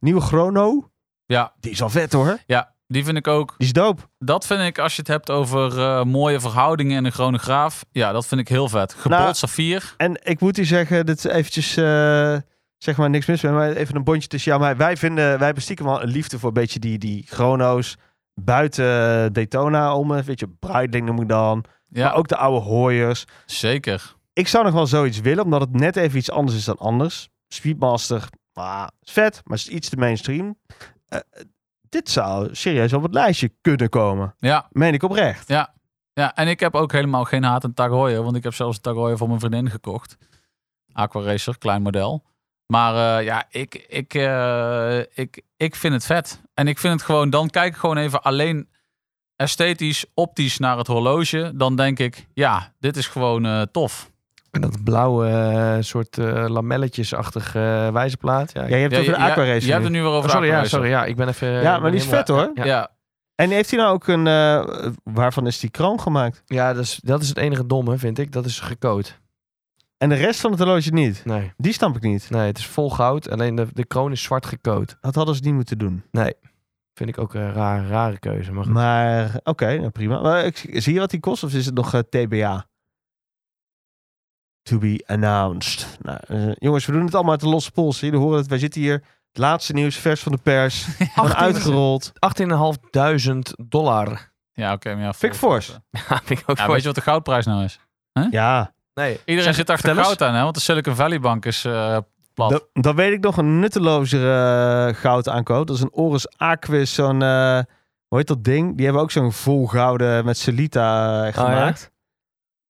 Speaker 2: Nieuwe chrono.
Speaker 6: Ja.
Speaker 2: Die is al vet, hoor.
Speaker 6: Ja, die vind ik ook.
Speaker 2: Die is dope.
Speaker 6: Dat vind ik, als je het hebt over eh, mooie verhoudingen en een chronograaf. Ja, dat vind ik heel vet. Gebold
Speaker 2: Nou,
Speaker 6: saffier.
Speaker 2: En ik moet u zeggen, dit is eventjes... eh, zeg maar niks mis met maar even een bondje tussen jou en mij. Wij vinden, wij hebben stiekem wel een liefde voor een beetje die, die chrono's buiten Daytona om. Een beetje Breitling noem ik dan.
Speaker 6: Ja,
Speaker 2: Maar ook de oude hooiers.
Speaker 6: zeker.
Speaker 2: Ik zou nog wel zoiets willen, omdat het net even iets anders is dan anders. Speedmaster, ah, is vet, maar is iets te mainstream. Eh, dit zou serieus op het lijstje kunnen komen.
Speaker 6: Ja,
Speaker 2: Meen ik oprecht.
Speaker 6: ja, en ik heb ook helemaal geen haat aan Tagoyer. Want ik heb zelfs een Tagoyer voor mijn vriendin gekocht. Aqua Racer, klein model. Maar eh, ja, ik, ik, eh, ik, ik vind het vet. En ik vind het gewoon, dan kijk ik gewoon even alleen esthetisch, optisch naar het horloge. Dan denk ik, ja, dit is gewoon eh, tof.
Speaker 5: En dat blauwe eh, soort eh, lamelletjesachtig eh, wijzerplaat. Ja, ik-
Speaker 2: Ja, je hebt het over de
Speaker 6: ja,
Speaker 2: Aqua
Speaker 6: jij-
Speaker 2: Racer
Speaker 6: jij hebt
Speaker 2: nu.
Speaker 6: het nu weer over
Speaker 5: Oh, sorry,
Speaker 6: de
Speaker 5: ja,
Speaker 6: Aqua Racer.
Speaker 5: sorry, ja, ik ben even... eh,
Speaker 2: Ja, maar die is
Speaker 5: helemaal-
Speaker 2: vet, hoor.
Speaker 5: Ja, ja.
Speaker 6: ja,
Speaker 2: En heeft hij nou ook een... eh, waarvan is die kroon gemaakt?
Speaker 5: Ja, dat, is, dat is het enige domme, vind ik. Dat is gecoat.
Speaker 2: En de rest van het horloge niet?
Speaker 5: Nee.
Speaker 2: Die stamp ik niet.
Speaker 5: nee, het is vol goud. Alleen de, de kroon is zwart gecoat.
Speaker 2: Dat hadden ze niet moeten doen.
Speaker 5: Vind ik ook een raar, rare keuze. Maar goed.
Speaker 2: Maar oké, nou prima. Maar ik, zie je wat die kost of is het nog eh, TBA? To be announced. Nou, eh, jongens, we doen het allemaal uit de losse pols. Jullie horen het. Wij zitten hier. Het laatste nieuws, vers van de pers. Gewoon uitgerold.
Speaker 5: 18.500 dollar.
Speaker 6: ja oké. maar ja,
Speaker 2: Vind ik fors.
Speaker 5: Ja, vind ik ook Oh,
Speaker 6: Ja,
Speaker 5: voor-
Speaker 6: weet je wat de goudprijs nou is?
Speaker 2: Ja,
Speaker 5: Nee.
Speaker 6: Iedereen
Speaker 5: Zeg,
Speaker 6: zit achter
Speaker 5: vertel eens.
Speaker 6: goud aan, hè? Want de Silicon Valley Bank is eh, plat.
Speaker 2: dan, dan weet ik nog een nuttelozere eh, goud aankoop. Dat is een Oris Aquis, zo'n... eh, hoe heet dat ding? Die hebben ook zo'n vol gouden met Celita eh,
Speaker 5: Oh, ja?
Speaker 2: gemaakt.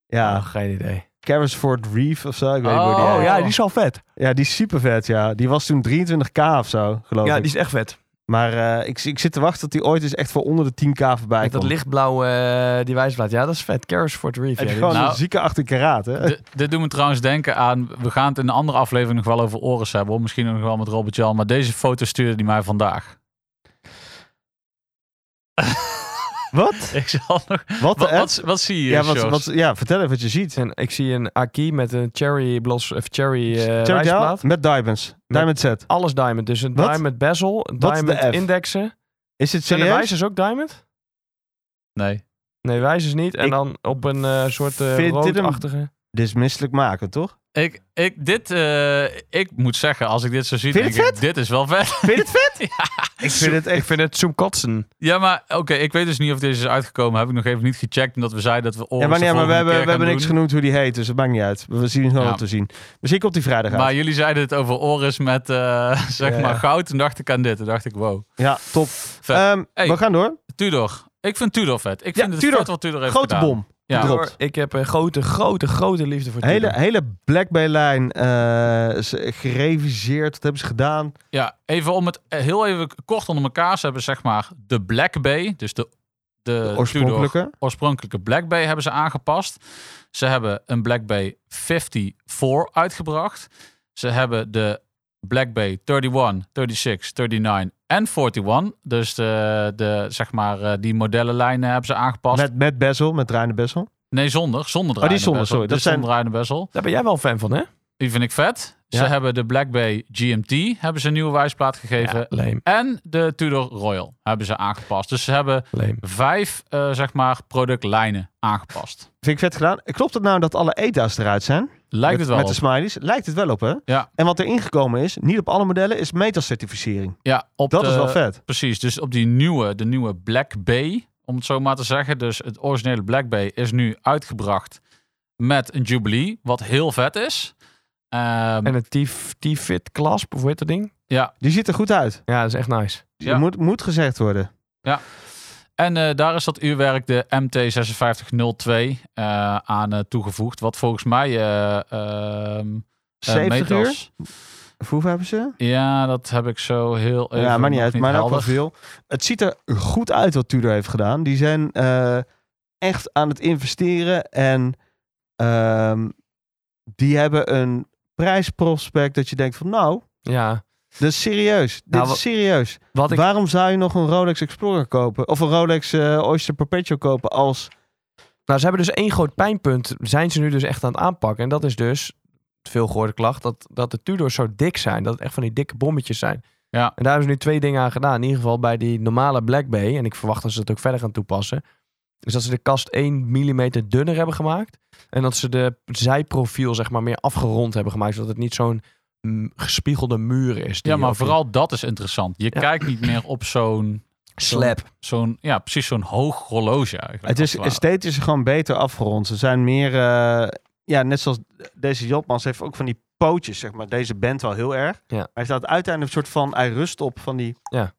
Speaker 2: ja?
Speaker 5: Oh, geen idee.
Speaker 2: Carrasford Reef of zo. Ik weet niet hoe die
Speaker 6: Oh,
Speaker 2: heet.
Speaker 6: ja, die is
Speaker 5: al vet.
Speaker 2: Ja, die is super vet, ja. Die was toen 23k of zo, geloof
Speaker 5: Ja,
Speaker 2: ik.
Speaker 5: die is echt vet.
Speaker 2: Maar eh, ik, ik zit te wachten tot die ooit eens echt voor onder de 10k voorbij
Speaker 5: Met dat
Speaker 2: komt.
Speaker 5: lichtblauwe, eh, die wijzerplaat. Ja, dat is vet. Carrasford Reef.
Speaker 2: Heb
Speaker 5: ja, die-
Speaker 2: je gewoon
Speaker 6: Nou-
Speaker 2: een zieke 18 karaat, hè?
Speaker 6: D- dit doet me trouwens denken aan... We gaan het in een andere aflevering nog wel over Oris hebben. hoor. Misschien nog wel met Robert Jan. Maar deze foto stuurde hij mij vandaag.
Speaker 2: Wat?
Speaker 6: Ik zal nog...
Speaker 2: Wat de
Speaker 6: Wat,
Speaker 2: app?
Speaker 6: wat, wat zie je,
Speaker 2: Ja, wat,
Speaker 6: Sjors?
Speaker 2: wat, ja, vertel even wat je ziet.
Speaker 5: En ik zie een Aki met een cherry blos of cherry eh
Speaker 2: Check it
Speaker 5: wijzerplaat.
Speaker 2: out. Met diamonds. Diamond set.
Speaker 5: Alles diamond. Dus een
Speaker 2: Hm. Wat?
Speaker 5: diamond bezel, een
Speaker 2: Wat de
Speaker 5: diamond
Speaker 2: F?
Speaker 5: indexen.
Speaker 2: Is het
Speaker 5: Zijn de
Speaker 2: serieus?
Speaker 5: wijzers ook diamond?
Speaker 6: Nee.
Speaker 5: Nee, wijzers niet. En
Speaker 2: Ik
Speaker 5: dan op een eh, soort
Speaker 2: vind
Speaker 5: eh
Speaker 2: dit een-
Speaker 5: roodachtige...
Speaker 2: Dit is misselijk maken, toch?
Speaker 6: Ik, ik, dit, eh, ik moet zeggen, als ik dit zo zie,
Speaker 2: Vind je
Speaker 6: denk
Speaker 2: het
Speaker 6: ik, dit is wel vet.
Speaker 2: Vind je het vet? Ik vind het
Speaker 5: Ik
Speaker 2: echt...
Speaker 5: vind het zoomkotsen.
Speaker 6: Ja, maar oké, ik weet dus niet of deze is uitgekomen. Heb ik nog even niet gecheckt, omdat we zeiden dat we Oris
Speaker 2: Ja, maar,
Speaker 6: de
Speaker 2: nee, maar we
Speaker 6: volgende
Speaker 2: hebben,
Speaker 6: keer
Speaker 2: we hebben
Speaker 6: gaan
Speaker 2: niks
Speaker 6: doen.
Speaker 2: genoemd hoe die heet, dus het maakt niet uit. We zien het wel
Speaker 6: Ja.
Speaker 2: wat te zien. Misschien komt die vrijdag uit.
Speaker 6: Maar jullie zeiden het over Oris met, eh, zeg
Speaker 2: Ja, ja.
Speaker 6: maar, goud. Toen dacht ik aan dit. Toen dacht ik, wow.
Speaker 2: Ja, top.
Speaker 6: Vet.
Speaker 2: Ehm,
Speaker 6: Hey.
Speaker 2: We gaan door.
Speaker 6: Tudor. Ik vind Tudor vet. Ik
Speaker 2: Ja,
Speaker 6: vind het
Speaker 2: Tudor.
Speaker 6: vet wat Tudor heeft
Speaker 2: Grote
Speaker 6: gedaan.
Speaker 2: bom.
Speaker 6: Ja.
Speaker 2: Gedropt.
Speaker 5: Ik heb een grote, grote, grote liefde voor
Speaker 2: Hele,
Speaker 5: Tudor.
Speaker 2: hele Black Bay lijn eh, is gereviseerd. Dat hebben ze gedaan.
Speaker 6: Ja, even om het eh, heel even kort onder elkaar. Ze hebben zeg maar de Black Bay, dus de, de,
Speaker 2: De oorspronkelijke.
Speaker 6: Tudor oorspronkelijke Black Bay hebben ze aangepast. Ze hebben een Black Bay 54 uitgebracht. Ze hebben de Black Bay 31, 36, 39 en 41. Dus de, de, zeg maar, eh, die modellenlijnen hebben ze aangepast.
Speaker 2: Met, met bezel, met draaiende bezel.
Speaker 6: Nee, zonder. Zonder
Speaker 2: Oh, die
Speaker 6: draaiende
Speaker 2: zonder,
Speaker 6: bezel.
Speaker 2: sorry. Dat
Speaker 6: Dus
Speaker 2: zijn-
Speaker 6: zonder draaiende bezel.
Speaker 5: Daar ben jij wel fan van, hè?
Speaker 6: Die vind ik vet. Ze
Speaker 2: Ja.
Speaker 6: hebben de Black Bay GMT hebben ze een nieuwe wijsplaat gegeven.
Speaker 5: Leem,
Speaker 6: En de Tudor Royal hebben ze aangepast. Dus ze hebben
Speaker 5: leem.
Speaker 6: vijf, eh, zeg maar, productlijnen aangepast.
Speaker 2: Vind ik vet gedaan. Klopt het nou dat alle ETA's eruit zijn?
Speaker 6: Lijkt
Speaker 2: met,
Speaker 6: het wel
Speaker 2: Met
Speaker 6: op.
Speaker 2: de smileys. Lijkt het wel op, hè?
Speaker 6: Ja.
Speaker 2: En wat er ingekomen is, niet op alle modellen, is metacertificering.
Speaker 6: Ja, op
Speaker 2: Dat
Speaker 6: de,
Speaker 2: is wel vet.
Speaker 6: Precies, dus op die nieuwe, de nieuwe Black Bay, om het zo maar te zeggen. Dus het originele Black Bay is nu uitgebracht met een Jubilee, wat heel vet is. Ehm,
Speaker 5: En een T- T-Fit clasp, of hoe heet dat ding?
Speaker 6: ja,
Speaker 2: Die ziet er goed uit.
Speaker 5: Ja, dat is echt nice.
Speaker 2: Die
Speaker 6: Ja.
Speaker 2: Moet, moet gezegd worden.
Speaker 6: en eh, daar is dat uurwerk, de MT5602, eh, aan eh, toegevoegd. Wat volgens mij... eh, ehm, eh,
Speaker 2: 70 uur?
Speaker 6: meters-
Speaker 2: Of hoeveel hebben ze?
Speaker 6: Ja, dat heb ik zo heel even
Speaker 2: ja,
Speaker 6: nog
Speaker 2: maar niet uit. Maar ook wel
Speaker 6: helder.
Speaker 2: veel. Het ziet er goed uit wat Tudor heeft gedaan. Die zijn eh, echt aan het investeren. En ehm, die hebben een prijsprospect dat je denkt van nou,
Speaker 5: Ja.
Speaker 2: Dus serieus. Dit
Speaker 5: Nou, wa-
Speaker 2: is serieus.
Speaker 5: Wat ik,
Speaker 2: Waarom zou je nog een Rolex Explorer kopen? Of een Rolex eh, Oyster Perpetual kopen als...
Speaker 5: nou, ze hebben dus één groot pijnpunt. Zijn ze nu dus echt aan het aanpakken. En dat is dus, veel gehoorde klacht, dat, dat de Tudors zo dik zijn. Dat het echt van die dikke bommetjes zijn.
Speaker 6: Ja.
Speaker 5: En daar hebben ze nu twee dingen aan gedaan. In ieder geval bij die normale Black Bay. En ik verwacht dat ze dat ook verder gaan toepassen. Is dat ze de kast 1 mm dunner hebben gemaakt. En dat ze de zijprofiel zeg maar meer afgerond hebben gemaakt. Zodat het niet zo'n mm, gespiegelde muur is. die
Speaker 6: Ja, maar
Speaker 5: ook-
Speaker 6: vooral dat is interessant. Je
Speaker 5: Ja.
Speaker 6: kijkt niet meer op zo'n,
Speaker 5: slap.
Speaker 6: zo'n ja, precies zo'n hoog horloge eigenlijk.
Speaker 2: Het is
Speaker 6: als het ware.
Speaker 2: esthetisch gewoon beter afgerond. Ze zijn meer... eh, ja, net zoals deze Jotmans heeft ook van die pootjes, zeg maar. Deze band wel heel erg.
Speaker 5: Ja.
Speaker 2: Hij staat uiteindelijk een soort van... Hij rust op van die
Speaker 5: Ja.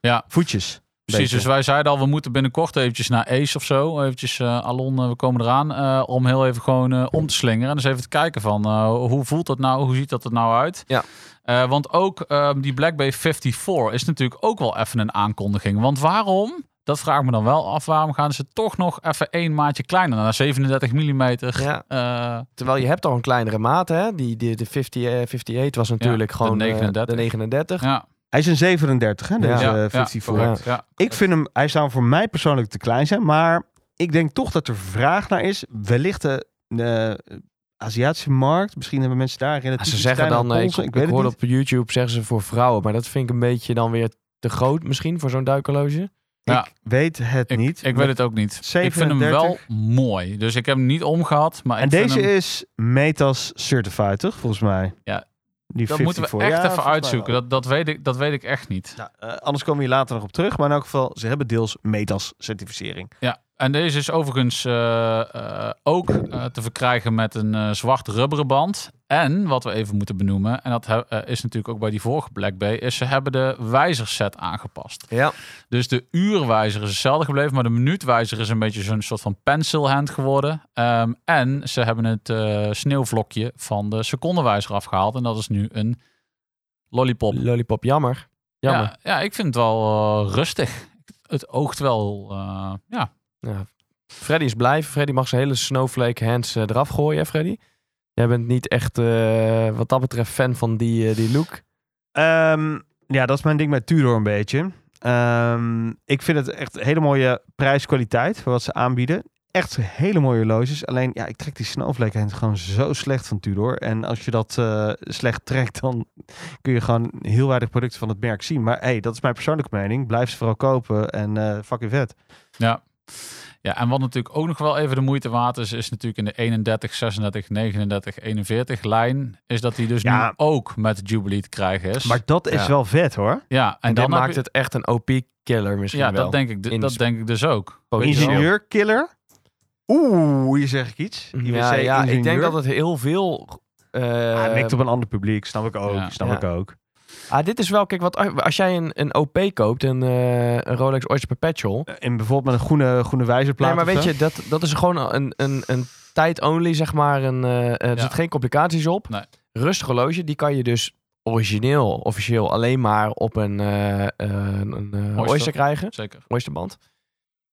Speaker 6: Ja.
Speaker 2: voetjes.
Speaker 6: Precies,
Speaker 2: Beetje.
Speaker 6: dus wij zeiden al, we moeten binnenkort eventjes naar Ace of zo. Eventjes, eh, Alon, eh, we komen eraan. eh, om heel even gewoon eh, om te slingeren. En dus even te kijken van, eh, hoe voelt dat nou? Hoe ziet dat er nou uit?
Speaker 5: Ja.
Speaker 6: Eh, want ook eh, die Black Bay 54 is natuurlijk ook wel even een aankondiging. Want waarom, dat vraag ik me dan wel af, waarom gaan ze toch nog even één maatje kleiner naar 37 mm?
Speaker 5: Ja.
Speaker 6: eh,
Speaker 5: Terwijl je hebt al een kleinere maat, hè? Die, die, de 50, eh, 58 was natuurlijk
Speaker 6: de
Speaker 5: gewoon eh,
Speaker 6: 39.
Speaker 5: de 39.
Speaker 6: ja.
Speaker 2: Hij is een 37, hè, deze
Speaker 5: Ja.
Speaker 2: eh,
Speaker 6: ja,
Speaker 2: 54.
Speaker 6: Ja, correct. Ja.
Speaker 2: Ik vind hem, hij zou voor mij persoonlijk te klein zijn, maar ik denk toch dat er vraag naar is. Wellicht de eh, Aziatische markt, misschien hebben mensen daar in
Speaker 5: Ja,
Speaker 2: het
Speaker 5: Ah, ze zeggen dan, eh, ik,
Speaker 2: polsen,
Speaker 5: ik,
Speaker 2: ik, weet het
Speaker 5: hoorde
Speaker 2: niet.
Speaker 5: op YouTube zeggen ze voor vrouwen, maar dat vind ik een beetje dan weer te groot misschien voor zo'n duikhorloge.
Speaker 6: Ja.
Speaker 2: Ik weet het
Speaker 6: Ik,
Speaker 2: niet.
Speaker 6: ik weet het ook niet. Ik vind hem
Speaker 2: 37.
Speaker 6: wel mooi. Dus ik heb hem niet omgehad. Maar
Speaker 2: En
Speaker 6: ik vind
Speaker 2: deze
Speaker 6: hem-
Speaker 2: is Metas certified, toch? Volgens mij.
Speaker 6: Ja.
Speaker 2: Die
Speaker 6: Dat moeten we
Speaker 2: 54.
Speaker 6: echt
Speaker 2: Ja, volgens
Speaker 6: even
Speaker 2: mij
Speaker 6: uitzoeken.
Speaker 2: wel.
Speaker 6: Dat, dat, weet ik, dat weet ik echt niet.
Speaker 2: Nou, eh, anders komen we hier later nog op terug. Maar in elk geval, ze hebben deels Metas certificering.
Speaker 6: Ja. En deze is overigens eh, eh, ook eh, te verkrijgen met een eh, zwart rubberen band. En wat we even moeten benoemen, en dat he- eh, is natuurlijk ook bij die vorige Black Bay, is ze hebben de wijzerset aangepast.
Speaker 5: Ja.
Speaker 6: Dus de uurwijzer is hetzelfde gebleven, maar de minuutwijzer is een beetje zo'n soort van pencil hand geworden. Ehm, en ze hebben het eh, sneeuwvlokje van de secondenwijzer afgehaald. En dat is nu een lollipop.
Speaker 5: Lollipop, jammer. Jammer.
Speaker 6: Ja, ja, ik vind het wel eh, rustig. Het oogt wel, eh, ja.
Speaker 5: Ja. Freddy is blij. Freddy mag zijn hele snowflake hands eh, eraf gooien, hè Freddy? Jij bent niet echt, eh, wat dat betreft, fan van die, eh, die look.
Speaker 2: Ehm, ja, dat is mijn ding met Tudor een beetje. Ehm, ik vind het echt een hele mooie prijs-kwaliteit voor wat ze aanbieden. Echt hele mooie horloges. Alleen, ja, ik trek die snowflake hand gewoon zo slecht van Tudor. En als je dat eh, slecht trekt, dan kun je gewoon heel weinig producten van het merk zien. Maar hey, dat is mijn persoonlijke mening. Blijf ze vooral kopen en eh fucking vet.
Speaker 6: ja. En wat natuurlijk ook nog wel even de moeite waard is, is natuurlijk in de 31, 36, 39, 41 lijn, is dat die dus
Speaker 2: Ja.
Speaker 6: nu ook met Jubilee te krijgen is.
Speaker 2: Maar dat is
Speaker 5: Ja.
Speaker 2: wel vet hoor.
Speaker 6: ja, en,
Speaker 5: En,
Speaker 6: dan
Speaker 5: dat
Speaker 6: heb
Speaker 5: maakt
Speaker 6: je-
Speaker 5: het echt een OP-killer misschien
Speaker 6: Ja,
Speaker 5: wel.
Speaker 6: dat denk ik,
Speaker 5: In
Speaker 6: d- dat
Speaker 5: sp-
Speaker 6: denk ik dus ook.
Speaker 5: Potentieel.
Speaker 2: Ingenieur-killer. Oeh, hier zeg ik iets. IWC
Speaker 5: Ja, ja ik denk
Speaker 2: ingenieur.
Speaker 5: dat het heel veel... eh,
Speaker 2: Ah, mikt op een ander publiek, snap ik ook.
Speaker 6: Ja.
Speaker 2: Snap
Speaker 5: Ja.
Speaker 2: ik ook.
Speaker 5: Ah, dit is wel, kijk, wat, als jij een, een OP koopt, een, eh, een Rolex Oyster Perpetual.
Speaker 2: Eh, In bijvoorbeeld met een groene, groene wijzerplaat.
Speaker 5: Nee, maar
Speaker 2: of
Speaker 5: weet
Speaker 2: zo.
Speaker 5: je, dat, dat is gewoon een, een, een tijd-only, zeg maar. Een, eh, er
Speaker 6: Ja.
Speaker 5: zitten geen complicaties op.
Speaker 6: Nee.
Speaker 5: Rustig horloge, die kan je dus origineel, officieel, alleen maar op een, eh, eh, een eh,
Speaker 6: Oyster.
Speaker 5: oyster. krijgen.
Speaker 6: Zeker.
Speaker 5: Oysterband.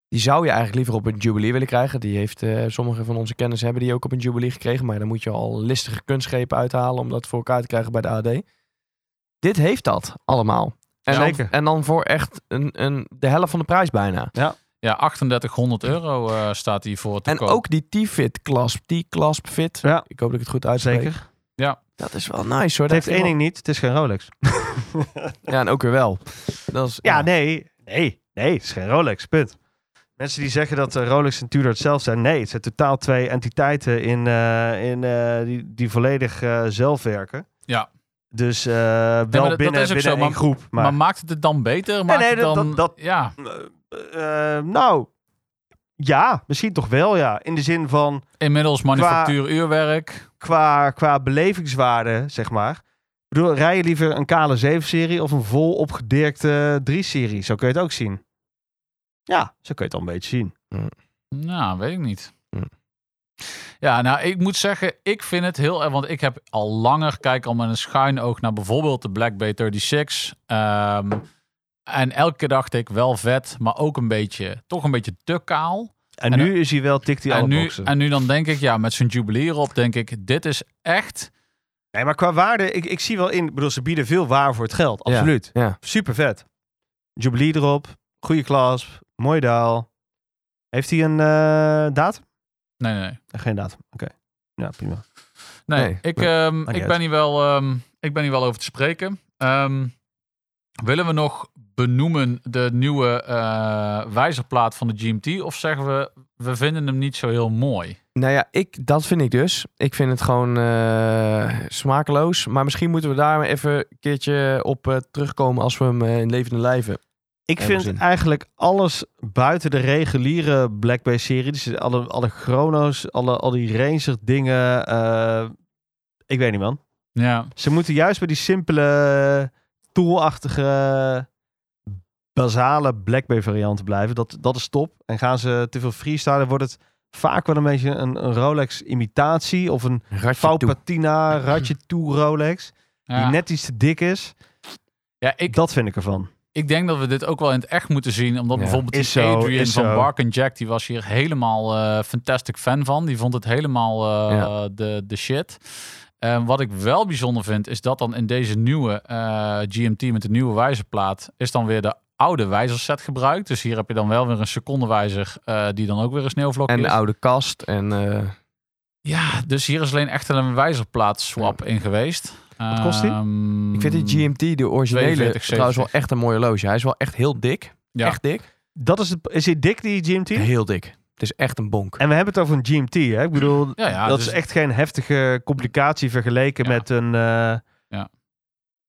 Speaker 5: Die zou je eigenlijk liever op een Jubilee willen krijgen. Die heeft, eh, sommige van onze kennis hebben die ook op een Jubilee gekregen. Maar dan moet je al listige kunstschepen uithalen om dat voor elkaar te krijgen bij de AD. Dit heeft dat allemaal. En,
Speaker 2: Ja,
Speaker 5: dan,
Speaker 2: zeker.
Speaker 5: en dan voor echt een, een, de helft van de prijs bijna.
Speaker 6: Ja, 3800 euro eh, staat hier voor te
Speaker 5: En
Speaker 6: koop.
Speaker 5: ook die T-fit clasp, T-clasp fit.
Speaker 2: Ja.
Speaker 5: Ik hoop dat ik het goed uitspreek.
Speaker 2: Zeker.
Speaker 5: Dat is wel nice hoor.
Speaker 2: Het heeft
Speaker 5: Dat
Speaker 2: één
Speaker 5: vind ik
Speaker 2: ding niet, het is geen Rolex.
Speaker 5: wel- Ja, en ook weer wel. Dat is,
Speaker 2: ja, nee. Nee, nee, het is geen Rolex, punt. Mensen die zeggen dat eh, Rolex en Tudor hetzelfde zijn. Nee, het zijn totaal twee entiteiten in, eh, in, eh, die, die volledig eh, zelf werken.
Speaker 6: Ja.
Speaker 2: Dus eh,
Speaker 6: dat-
Speaker 2: wel
Speaker 6: dat
Speaker 2: binnen,
Speaker 6: is ook
Speaker 2: binnen
Speaker 6: zo,
Speaker 2: één
Speaker 6: maar-
Speaker 2: groep.
Speaker 6: maar,
Speaker 2: Maar,
Speaker 6: maakt het het dan beter? Maakt
Speaker 2: nee,
Speaker 6: het
Speaker 2: dat-
Speaker 6: dan,
Speaker 2: dat- dat-
Speaker 6: ja,
Speaker 2: Eh, eh, nou, ja, misschien toch wel ja. In de zin van,
Speaker 6: inmiddels manufactuur, uurwerk.
Speaker 2: qua, qua belevingswaarde, zeg maar. Ik bedoel, rij je liever een kale 7-serie of een vol opgedirkte 3-serie? Zo kun je het ook zien. Ja, zo kun je het al een beetje zien.
Speaker 6: Nou, weet ik niet.
Speaker 5: Hm.
Speaker 6: Ja, nou, ik moet zeggen, ik vind het heel erg, want ik heb al langer, kijk al met een schuin oog naar bijvoorbeeld de Black Bay 36. Ehm, en elke keer dacht ik, wel vet, maar ook een beetje, toch een beetje te kaal.
Speaker 2: En,
Speaker 6: En,
Speaker 2: nu is hij wel, tikt hij alle
Speaker 6: en, nu,
Speaker 2: boxen.
Speaker 6: en nu dan denk ik, ja, met zo'n jubilee erop denk ik, dit is echt
Speaker 2: Nee, maar qua waarde, ik, ik zie wel in. Ik bedoel, ze bieden veel waar voor het geld.
Speaker 5: Ja.
Speaker 2: Absoluut.
Speaker 5: Ja.
Speaker 2: Super vet. Jubilee erop. Goede klas. Mooi daal. Heeft hij een eh, datum? Eh,
Speaker 6: Nee, nee.
Speaker 2: Geen datum. Oké. Ja, prima.
Speaker 6: Nee,
Speaker 5: Nee,
Speaker 6: ik,
Speaker 5: nee.
Speaker 6: ehm,
Speaker 2: niet
Speaker 6: ik,
Speaker 2: uit.
Speaker 6: ben hier wel, ehm, ik ben hier wel over te spreken. Ehm, willen we nog benoemen de nieuwe eh, wijzerplaat van de GMT? Of zeggen we, we vinden hem niet zo heel mooi?
Speaker 5: Nou ja, ik, dat vind ik dus. Ik vind het gewoon eh, smakeloos. Maar misschien moeten we daar even een keertje op eh, terugkomen als we hem eh, in levende lijven.
Speaker 2: Ik
Speaker 5: Helemaal
Speaker 2: vind
Speaker 5: zin.
Speaker 2: eigenlijk alles buiten de reguliere Black Bay serie. Dus alle, alle chrono's, alle, al die ranger dingen. eh, ik weet niet man.
Speaker 6: Ja,
Speaker 2: Ze moeten juist bij die simpele toolachtige basale Black Bay varianten blijven. Dat, dat is top. En gaan ze te veel freestylen, wordt het vaak wel een beetje een, een Rolex imitatie of een
Speaker 5: Ratje
Speaker 2: Vouw
Speaker 5: toe.
Speaker 2: Patina Ratje Toe Rolex. Die
Speaker 6: ja.
Speaker 2: net iets te dik is.
Speaker 6: ja ik,
Speaker 2: Dat vind ik ervan.
Speaker 6: ik denk dat we dit ook wel in het echt moeten zien. Omdat
Speaker 5: Ja.
Speaker 6: bijvoorbeeld die
Speaker 2: Is zo,
Speaker 6: Adrian
Speaker 2: is
Speaker 6: van
Speaker 2: zo.
Speaker 6: Bark Jack, die was hier helemaal eh, fantastic fan van. Die vond het helemaal eh, de, de shit. En wat ik wel bijzonder vind, is dat dan in deze nieuwe eh, GMT met de nieuwe wijzerplaat, is dan weer de oude wijzerset gebruikt. Dus hier heb je dan wel weer een secondenwijzer eh, die dan ook weer een sneeuwvlok
Speaker 5: En
Speaker 6: is.
Speaker 5: de oude kast. En eh,
Speaker 6: Ja, dus hier is alleen echt een wijzerplaat swap in geweest. Ehm, Wat
Speaker 2: kost die?
Speaker 5: ik vind de GMT, de originele,
Speaker 6: 42,70.
Speaker 5: trouwens wel echt een mooi horloge. Hij is wel echt heel dik.
Speaker 6: Ja.
Speaker 5: Echt dik.
Speaker 2: Dat is, het, is hij dik, die GMT?
Speaker 5: Heel dik. Het is echt een bonk.
Speaker 2: En we hebben het over een GMT, hè? Ik bedoel,
Speaker 6: Ja, ja,
Speaker 2: dat
Speaker 6: dus-
Speaker 2: is echt geen heftige complicatie vergeleken
Speaker 6: Ja.
Speaker 2: met een... eh,
Speaker 6: Ja.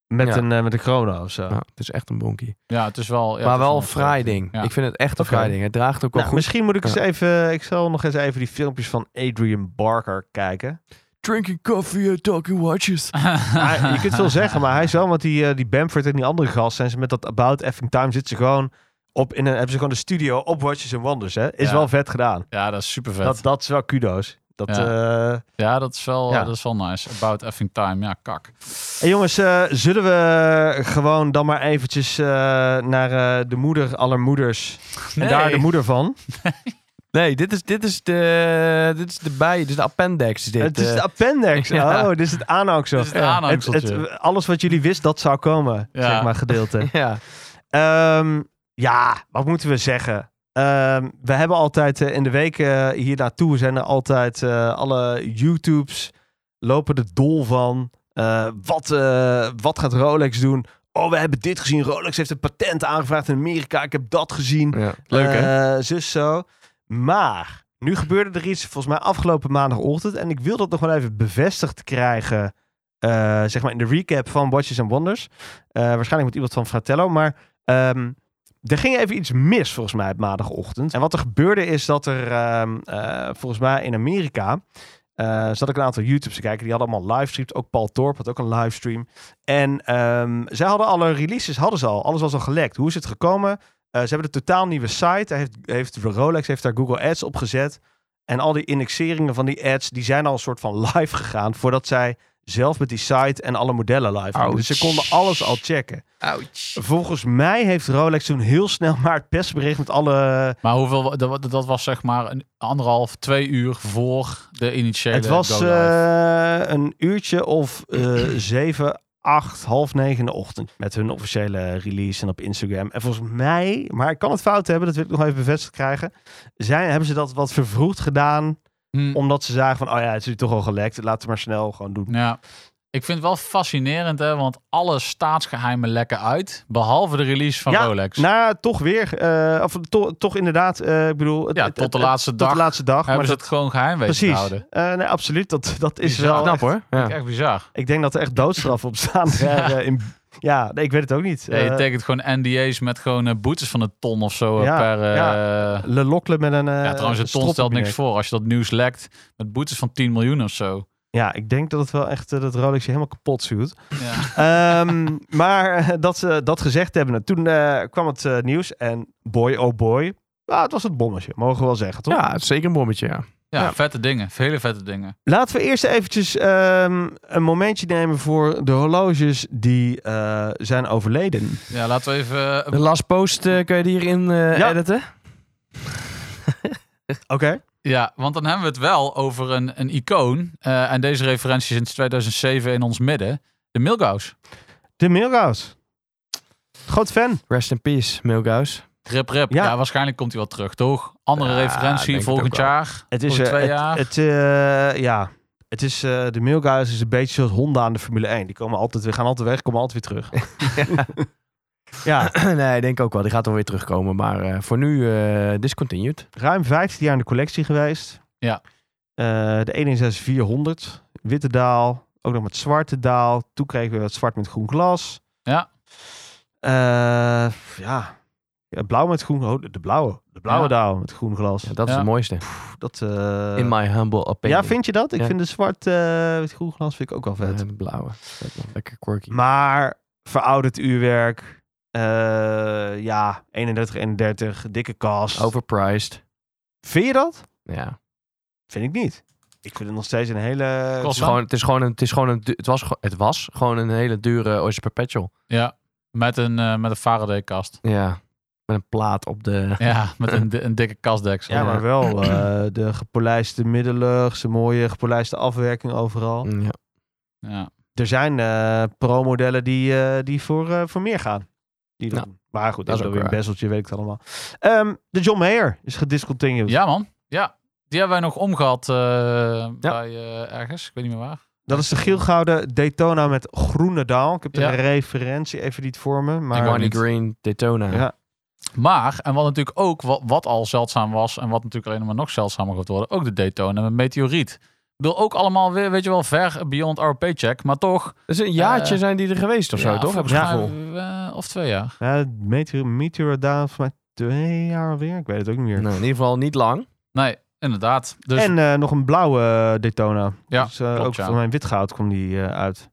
Speaker 2: Met,
Speaker 5: Ja.
Speaker 2: Een, eh, met een chrono of zo.
Speaker 5: Ja, het is echt een bonkie.
Speaker 6: Ja, het is wel... ja, het
Speaker 5: maar
Speaker 6: is
Speaker 5: wel
Speaker 6: wel
Speaker 5: een fraai ding.
Speaker 6: Ja.
Speaker 5: Ik vind het echt een
Speaker 2: Oké.
Speaker 5: fraai ding. Het draagt ook wel
Speaker 2: Nou,
Speaker 5: goed.
Speaker 2: misschien moet ik eens
Speaker 5: Ja.
Speaker 2: even... Ik zal nog eens even die filmpjes van Adrian Barker kijken.
Speaker 5: Drinking coffee and talking watches.
Speaker 2: Hij- je kunt veel zeggen, maar hij is wel... Want die, eh, die Bamford en die andere gast zijn ze met dat About Effing Time... zitten ze gewoon op in een... Hebben ze gewoon de studio op Watches and Wonders, hè? Is
Speaker 6: Ja.
Speaker 2: wel vet gedaan.
Speaker 6: Ja, dat is super vet.
Speaker 2: Dat, dat is wel kudo's. Dat, eh,
Speaker 6: Ja, dat is wel,
Speaker 2: Ja.
Speaker 6: dat is wel nice. About effing time, ja, kak.
Speaker 2: Hey jongens, eh, zullen we gewoon dan maar eventjes eh, naar eh, de moeder aller moeders. En daar de moeder van.
Speaker 5: Nee, dit is, dit is de, dit is de bij, dit is de appendix. Dit,
Speaker 2: het is
Speaker 5: eh.
Speaker 2: de appendix.
Speaker 5: ja.
Speaker 2: Oh, dit is het aanhangsel.
Speaker 6: Dit is het
Speaker 2: Ja.
Speaker 6: aanhangseltje.
Speaker 2: Het- het- alles wat jullie wisten, dat zou komen.
Speaker 6: Ja.
Speaker 2: Zeg maar gedeelte.
Speaker 5: ja.
Speaker 2: Ehm, ja, wat moeten we zeggen? Ehm, we hebben altijd eh, in de weken eh, hier naartoe zijn er altijd eh, alle YouTubes lopen er dol van. Eh, wat, eh, wat gaat Rolex doen? Oh, we hebben dit gezien. Rolex heeft een patent aangevraagd in Amerika. Ik heb dat gezien.
Speaker 5: ja.
Speaker 2: Eh, zus zo. Maar nu gebeurde er iets volgens mij afgelopen maandagochtend. En ik wil dat nog wel even bevestigd krijgen. eh, zeg maar in de recap van Watches and Wonders. Eh, waarschijnlijk met iemand van Fratello. Maar ehm, er ging even iets mis volgens mij op maandagochtend. En wat er gebeurde is dat er ehm, eh, volgens mij in Amerika... eh, zat ik een aantal YouTubes te kijken. Die hadden allemaal livestreams. Ook Paul Torp had ook een livestream. En ehm, zij hadden alle releases hadden ze al. Alles was al gelekt. Hoe is het gekomen? Eh, ze hebben een totaal nieuwe site. Daar heeft, heeft Rolex heeft daar Google Ads op gezet. En al die indexeringen van die ads, die zijn al een soort van live gegaan. Voordat zij zelf met die site en alle modellen live gingen. Dus ze konden alles al checken.
Speaker 5: Ouch.
Speaker 2: Volgens mij heeft Rolex toen heel snel maar het persbericht met alle...
Speaker 6: Maar hoeveel, dat, dat was zeg maar een anderhalf, twee uur voor de initiële
Speaker 2: het was
Speaker 6: go-live.
Speaker 2: eh, een uurtje of eh, zeven, acht, half negen in de ochtend. Met hun officiële release en op Instagram. En volgens mij, maar ik kan het fout hebben, dat wil ik nog even bevestigd krijgen. Zijn, hebben ze dat wat vervroegd gedaan...
Speaker 6: Hm,
Speaker 2: Omdat ze zagen van, oh ja, het is nu toch al gelekt. Laten we maar snel gewoon doen.
Speaker 6: ja. Ik vind het wel fascinerend, hè, want alle staatsgeheimen lekken uit, behalve de release van
Speaker 2: Ja,
Speaker 6: Rolex.
Speaker 2: Nou, toch weer. eh, of to- toch inderdaad, eh, ik bedoel... het-
Speaker 6: ja,
Speaker 2: het-
Speaker 6: tot de
Speaker 2: het-
Speaker 6: laatste
Speaker 2: tot
Speaker 6: dag
Speaker 2: de laatste dag.
Speaker 6: hebben
Speaker 2: Maar
Speaker 6: ze
Speaker 2: dat,
Speaker 6: het gewoon geheim weten te
Speaker 2: precies.
Speaker 6: houden.
Speaker 2: Eh, nee, absoluut. Dat, dat is
Speaker 6: Bizar.
Speaker 2: wel...
Speaker 5: Knap
Speaker 2: echt-
Speaker 5: hoor. Ja.
Speaker 6: Echt bizar.
Speaker 2: Ik denk dat er echt doodstraf op staan. Ja, in, ja nee, ik weet het ook niet.
Speaker 6: Ja, je
Speaker 2: Eh,
Speaker 6: tekent gewoon NDA's met gewoon eh, boetes van een ton of zo eh,
Speaker 2: Ja,
Speaker 6: per... eh,
Speaker 2: Le Locle met een... eh,
Speaker 6: ja, trouwens, een ton
Speaker 2: strop
Speaker 6: stelt
Speaker 2: op je
Speaker 6: niks
Speaker 2: nek.
Speaker 6: voor. Als je dat nieuws lekt met boetes van 10 miljoen of zo.
Speaker 2: Ja, ik denk dat het wel echt... eh, dat Rolex je helemaal kapot zuurt.
Speaker 6: Ja.
Speaker 2: Ehm, maar eh, dat ze dat gezegd hebben. Toen eh, kwam het eh, nieuws en boy oh boy. Ah, het was het bommetje, mogen we wel zeggen, toch?
Speaker 5: Ja, het is zeker een bommetje, ja.
Speaker 6: Ja,
Speaker 2: Ja.
Speaker 6: vette dingen. Vele vette dingen.
Speaker 2: Laten we eerst eventjes ehm, een momentje nemen voor de horloges die eh, zijn overleden.
Speaker 6: Ja, laten we even... eh,
Speaker 5: De last post eh, kun je die hierin eh,
Speaker 2: Ja.
Speaker 5: editen.
Speaker 2: Oké.
Speaker 6: Ja, want dan hebben we het wel over een, een icoon. eh, en deze referentie is sinds 2007 in ons midden. De Milgaus.
Speaker 2: De Milgaus. Groot fan.
Speaker 5: Rest in peace, Milgaus.
Speaker 6: Rip, rip. Ja.
Speaker 2: Ja.
Speaker 6: waarschijnlijk komt hij wel terug, toch? Andere
Speaker 5: Ja, denk
Speaker 6: referentie
Speaker 5: het
Speaker 6: volgend
Speaker 5: ook wel.
Speaker 6: jaar.
Speaker 2: Het is,
Speaker 6: over
Speaker 2: eh,
Speaker 6: twee
Speaker 2: het,
Speaker 6: jaar.
Speaker 2: Het, eh, ja. Het is, eh, de Milgaus is een beetje zoals Honda aan de Formule 1. Die komen altijd, we gaan altijd weg, komen altijd weer terug. ja,
Speaker 5: nee, ik denk ook wel. Die gaat wel weer terugkomen. Maar eh, voor nu eh, discontinued.
Speaker 2: ruim 15 jaar in de collectie geweest.
Speaker 6: Ja.
Speaker 2: Eh, de 1 in 6 400. Witte daal. Ook nog met zwarte daal. Toen kregen we het zwart met groen glas.
Speaker 6: Ja.
Speaker 2: Eh, ja. ja. Blauw met groen. oh, de blauwe. De blauwe
Speaker 6: Ja.
Speaker 2: daal met groen glas.
Speaker 5: Ja, dat is
Speaker 6: Ja.
Speaker 5: het mooiste.
Speaker 2: Pff, Dat, eh,
Speaker 5: in my humble opinion.
Speaker 2: ja, vind je dat? Ik
Speaker 5: Ja.
Speaker 2: vind de zwart eh, met groen glas vind ik ook wel vet.
Speaker 5: Eh, blauwe. Lekker quirky.
Speaker 2: Maar verouderd uurwerk. eh, ja, 31, 31. Dikke kast.
Speaker 5: Overpriced.
Speaker 2: Vind je dat?
Speaker 5: Ja.
Speaker 2: Vind ik niet. Ik vind het nog steeds een hele...
Speaker 5: Het, is gewoon, het, is gewoon een, het, is gewoon een, du- het, was, gewoon- het was gewoon een hele dure Oyster Perpetual.
Speaker 6: Ja, met een, eh, met een Faraday-kast.
Speaker 5: Ja. Met een plaat op de...
Speaker 6: Ja, met een, di- een dikke kastdeksel.
Speaker 2: Ja,
Speaker 5: Ja.
Speaker 2: maar wel eh, de gepolijste middellug, zijn mooie gepolijste afwerking overal.
Speaker 5: Ja.
Speaker 6: Ja.
Speaker 2: Er zijn eh pro-modellen die, eh, die voor, eh, voor meer gaan. Die dat
Speaker 5: Ja.
Speaker 2: doen. Maar
Speaker 5: Dat
Speaker 2: goed, dat
Speaker 5: is
Speaker 2: is
Speaker 5: ook
Speaker 2: weer een
Speaker 5: waar.
Speaker 2: besteltje, weet ik het allemaal. Ehm, de John Mayer is gediscontinued.
Speaker 6: ja, man. Ja, die hebben wij nog omgehad eh, bij eh, ergens. Ik weet niet meer waar.
Speaker 2: Dat is de geelgouden Daytona met groene daal. Ik heb de
Speaker 6: Ja.
Speaker 2: referentie even niet voor me. Maar
Speaker 6: wou
Speaker 5: Money
Speaker 6: niet.
Speaker 5: Green, Daytona.
Speaker 2: Ja.
Speaker 6: Maar, en wat natuurlijk ook, wat, wat al zeldzaam was... en wat natuurlijk alleen maar nog zeldzamer gaat worden... ook de Daytona met meteoriet. Ik bedoel, ook allemaal weer, weet je wel, ver beyond our paycheck. Maar toch...
Speaker 5: Dus een jaartje
Speaker 6: Eh,
Speaker 5: zijn die er geweest of zo,
Speaker 6: ja,
Speaker 5: toch? Heb ik
Speaker 6: volgens
Speaker 5: het
Speaker 6: mij,
Speaker 5: gevoel.
Speaker 6: eh, of twee jaar.
Speaker 2: Ja, Meteor, Meteor Daal voor mij twee jaar alweer. Ik weet het ook niet meer.
Speaker 5: Nou, in ieder geval niet lang.
Speaker 6: Nee, inderdaad. Dus
Speaker 2: en eh, nog een blauwe eh, Daytona.
Speaker 6: Ja,
Speaker 2: dus, eh,
Speaker 6: klopt,
Speaker 2: ook
Speaker 6: ja.
Speaker 2: van mijn witgoud kwam die eh, uit.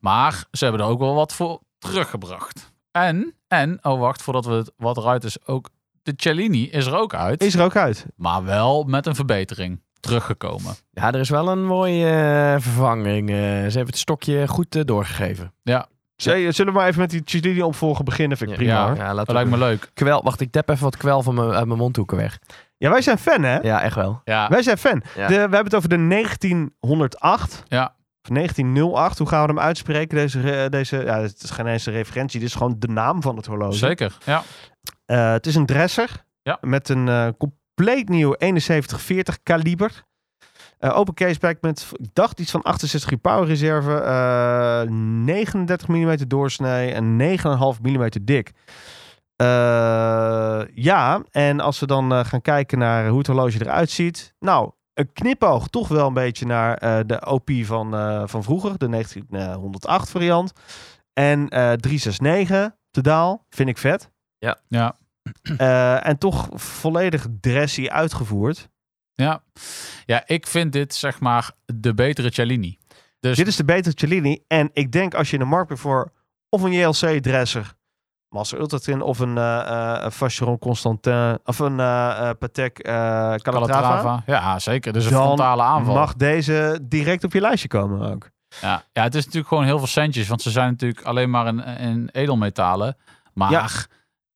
Speaker 6: Maar ze hebben er ook wel wat voor teruggebracht. En, en oh wacht, voordat we het wat eruit is, ook de Cellini is er ook uit.
Speaker 2: Is er ook uit.
Speaker 6: Maar wel met een verbetering teruggekomen.
Speaker 5: Ja, er is wel een mooie eh, vervanging. eh, ze hebben het stokje goed eh, doorgegeven.
Speaker 2: Zul- eh, Zullen we maar even met die Chilini opvolgen beginnen? Vind ik prima
Speaker 6: ja.
Speaker 2: hoor.
Speaker 5: Ja,
Speaker 6: Dat
Speaker 5: laten
Speaker 6: lijkt
Speaker 5: we...
Speaker 6: me leuk.
Speaker 5: Kwel, wacht, ik tap even wat kwel van mijn, uit mijn mondhoeken weg.
Speaker 2: Ja, wij zijn fan hè?
Speaker 5: Ja, echt wel.
Speaker 6: Ja,
Speaker 2: Wij zijn fan.
Speaker 5: Ja.
Speaker 2: De, we hebben het over de 1908.
Speaker 6: Ja.
Speaker 2: Of 1908. Hoe gaan we hem uitspreken? Deze, re- deze, ja, het is geen eens een referentie. Dit is gewoon de naam van het horloge.
Speaker 6: zeker. Ja.
Speaker 2: Eh, het is een dresser.
Speaker 6: Ja.
Speaker 2: Met een eh, compleet nieuw 7140 kaliber. Eh, open caseback met, ik dacht iets van 68 uur power reserve. eh, 39 mm doorsnij en 9,5 mm dik. Eh, ja, en als we dan eh, gaan kijken naar hoe het horloge eruit ziet. Nou, een knipoog toch wel een beetje naar eh, de OP van, eh, van vroeger. De 1908 variant. En eh 369 de daal. Vind ik vet.
Speaker 6: Ja.
Speaker 2: Eh, en toch volledig dressy uitgevoerd.
Speaker 6: Ja. ja, ik vind dit zeg maar de betere Cellini. Dus
Speaker 2: Dit is de betere Cellini. En ik denk als je in de markt bent voor of een JLC-dresser, Master Ultratwin of een eh eh, een Vacheron Constantin of een eh, eh, Patek eh Calatrava,
Speaker 6: Calatrava. Ja, zeker. Dus een
Speaker 2: Dan
Speaker 6: frontale aanval.
Speaker 2: mag deze direct op je lijstje komen ook.
Speaker 6: Ja. ja, het is natuurlijk gewoon heel veel centjes. Want ze zijn natuurlijk alleen maar in, in edelmetalen. Maar
Speaker 2: Ja.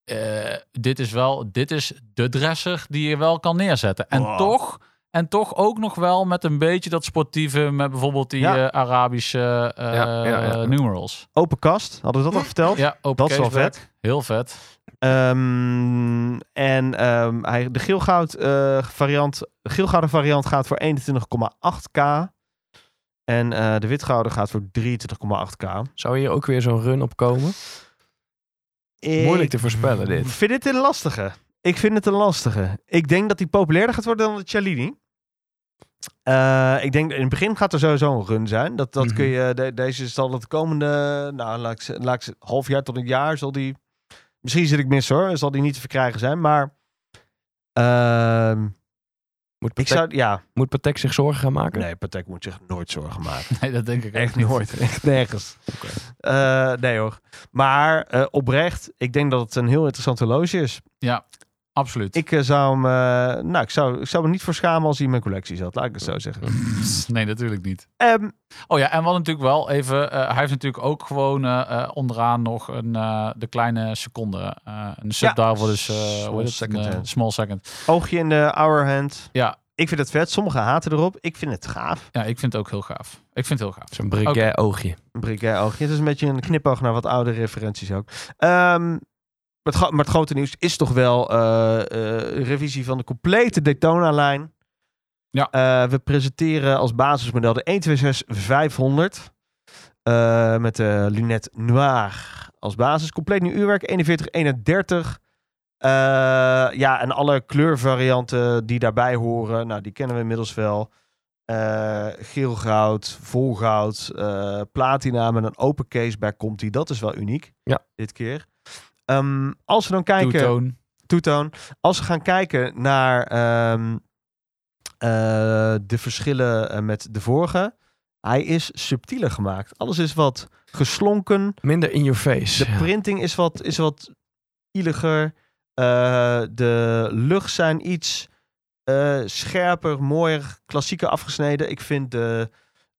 Speaker 6: eh, dit is wel, dit is de dresser die je wel kan neerzetten. En
Speaker 2: Wow.
Speaker 6: toch. En toch ook nog wel met een beetje dat sportieve, met bijvoorbeeld die
Speaker 2: Ja.
Speaker 6: eh, Arabische eh,
Speaker 5: Ja, ja, ja.
Speaker 6: numerals.
Speaker 2: Open kast, hadden we dat al verteld?
Speaker 6: Ja, open
Speaker 2: dat is wel
Speaker 6: caseback.
Speaker 2: vet.
Speaker 6: Heel vet.
Speaker 2: Ehm, en ehm, hij, de geelgoud eh, variant, de geelgouden variant gaat voor 21,8k. En eh, de witgouden gaat voor 23,8k.
Speaker 5: Zou hier ook weer zo'n run op komen? Moeilijk te voorspellen
Speaker 2: Ik
Speaker 5: dit.
Speaker 2: vind dit een lastige. Ik vind het een lastige. Ik denk dat die populairder gaat worden dan de Cialini. Eh, ik denk in het begin gaat er sowieso een run zijn. Dat, dat
Speaker 5: Mhm.
Speaker 2: kun je, de- deze zal het komende, nou, laat ik, ze- laat ik ze- half jaar tot een jaar, zal die, misschien zit ik mis hoor, zal die niet te verkrijgen zijn. Maar ehm,
Speaker 5: Moet
Speaker 2: ik
Speaker 5: Patek,
Speaker 2: zou, ja,
Speaker 5: moet Patek zich zorgen gaan maken?
Speaker 2: nee, Patek moet zich nooit zorgen maken.
Speaker 6: Nee, dat denk ik ook
Speaker 2: Echt
Speaker 6: niet.
Speaker 2: nooit. Echt nergens. Eh, nee hoor. Maar eh, oprecht, ik denk dat het een heel interessant horloge is.
Speaker 6: Ja. Absoluut.
Speaker 2: Ik eh, zou hem, eh, nou, ik zou, ik zou me niet voor schamen als hij in mijn collectie zat, laat ik het zo zeggen.
Speaker 6: Nee, natuurlijk niet.
Speaker 2: Ehm,
Speaker 6: Oh ja, en wat natuurlijk wel even... eh, hij heeft natuurlijk ook gewoon eh, eh, onderaan nog een, eh, de kleine seconde. eh, een sub
Speaker 2: Ja.
Speaker 6: daarvoor dus...
Speaker 2: Small second hand.
Speaker 6: small second.
Speaker 2: oogje in de hour hand.
Speaker 6: Ja.
Speaker 2: Ik vind het vet. Sommigen haten erop. Ik vind het gaaf.
Speaker 6: Ja, ik vind het ook heel gaaf. Ik vind het heel gaaf.
Speaker 5: Zo'n briquet oogje.
Speaker 2: Een briquet oogje. Het is een beetje een knipoog naar wat oude referenties ook. Ehm, maar, het, gro- maar het grote nieuws is toch wel eh, eh, revisie van de complete Daytona-lijn.
Speaker 6: Ja.
Speaker 2: Eh, we presenteren als basismodel de 126500 eh met de lunet noir als basis. Compleet nieuw uurwerk, 4131. Eh ja, en alle kleurvarianten die daarbij horen, nou, die kennen we inmiddels wel. Eh, geel goud, vol goud, eh, platina met een open case bij komt die. Dat is wel uniek.
Speaker 5: Ja.
Speaker 2: Dit keer. Ehm, als we dan kijken
Speaker 6: Two-tone.
Speaker 2: toetoon. Als we gaan kijken naar ehm, eh, de verschillen eh, met de vorige. Hij is subtieler gemaakt. Alles is wat geslonken.
Speaker 5: Minder in your face.
Speaker 2: De printing is wat, is wat ieliger. Eh, de lucht zijn iets eh, scherper, mooier, klassieker afgesneden. Ik vind de...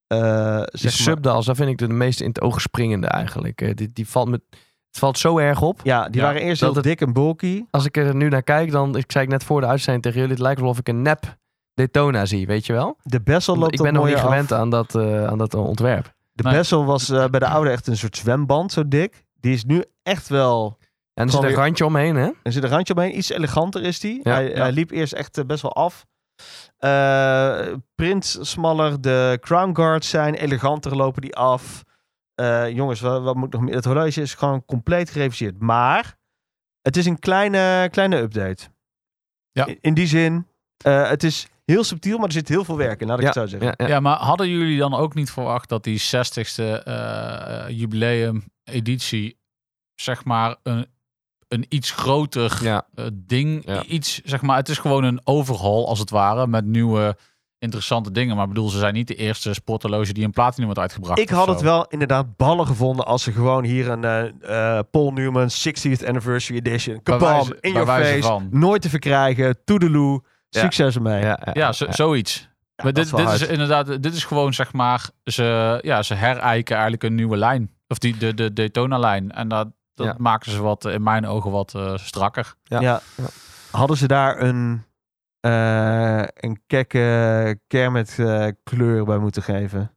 Speaker 2: eh
Speaker 5: Die
Speaker 2: zeg maar-
Speaker 5: subdals, daar vind ik de meest in het oog springende eigenlijk. Eh, die, die valt me, het valt zo erg op.
Speaker 2: ja, die
Speaker 6: Ja,
Speaker 2: waren eerst
Speaker 5: dat
Speaker 2: heel
Speaker 5: het-
Speaker 2: dik en bulky.
Speaker 5: Als ik er nu naar kijk, dan ik zei ik net voor de uitzending tegen jullie, het lijkt alsof ik een nep Daytona zie, weet je wel?
Speaker 2: De bezel loopt
Speaker 5: ik
Speaker 2: wat
Speaker 5: ben nog niet
Speaker 2: mooier af.
Speaker 5: gewend aan dat, eh, aan dat eh, ontwerp.
Speaker 2: De
Speaker 6: Nee.
Speaker 2: bezel was eh, bij de oude echt een soort zwemband, zo dik. Die is nu echt wel
Speaker 5: En er
Speaker 2: Gewoon
Speaker 5: zit een
Speaker 2: weer-
Speaker 5: randje omheen, hè?
Speaker 2: Er zit een randje omheen. Iets eleganter is die.
Speaker 5: Ja,
Speaker 2: hij,
Speaker 5: ja.
Speaker 2: hij liep eerst echt eh, best wel af. Eh, print smaller. De crown guards zijn eleganter. Lopen die af. Eh, jongens, wat, wat moet nog meer? Het horloge is gewoon compleet gereviseerd. Maar het is een kleine, kleine update.
Speaker 6: Ja.
Speaker 2: In, in die zin. eh, het is heel subtiel, maar er zit heel veel werk in. Laat ik het zo zeggen.
Speaker 5: Ja, ja.
Speaker 6: Ja. maar hadden jullie dan ook niet verwacht dat die 60ste eh, jubileum editie, zeg maar, een, een iets groter
Speaker 5: Ja.
Speaker 6: eh, ding,
Speaker 5: Ja.
Speaker 6: iets, zeg maar, het is gewoon een overhaul als het ware, met nieuwe interessante dingen. Maar ik bedoel, ze zijn niet de eerste sporthorloge die een platinum wordt uitgebracht.
Speaker 2: Ik
Speaker 6: of
Speaker 2: had
Speaker 6: zo.
Speaker 2: het wel inderdaad ballen gevonden als ze gewoon hier een eh, eh, Paul Newman 60th Anniversary Edition.
Speaker 6: Bij
Speaker 2: Kabam,
Speaker 6: wijze-
Speaker 2: in
Speaker 6: bij
Speaker 2: your
Speaker 6: wijze
Speaker 2: face.
Speaker 6: van.
Speaker 2: Nooit te verkrijgen. Toedeloe.
Speaker 5: Ja.
Speaker 2: Succes ermee. Ja,
Speaker 5: Ja, ja,
Speaker 6: Ja, zo- zoiets. maar
Speaker 2: dat
Speaker 6: dit,
Speaker 2: is
Speaker 6: is,
Speaker 2: wel
Speaker 6: dit is
Speaker 2: hard.
Speaker 6: inderdaad, dit is gewoon zeg maar, ze, ja, ze herijken eigenlijk een nieuwe lijn. Of die, de, de Daytona-lijn. En dat, dat
Speaker 5: Ja.
Speaker 6: maken ze wat, eh, in mijn ogen wat eh, strakker.
Speaker 5: Ja.
Speaker 2: Ja.
Speaker 5: Ja.
Speaker 2: Hadden ze daar een, eh een kekke Kermit eh, kleur bij moeten geven?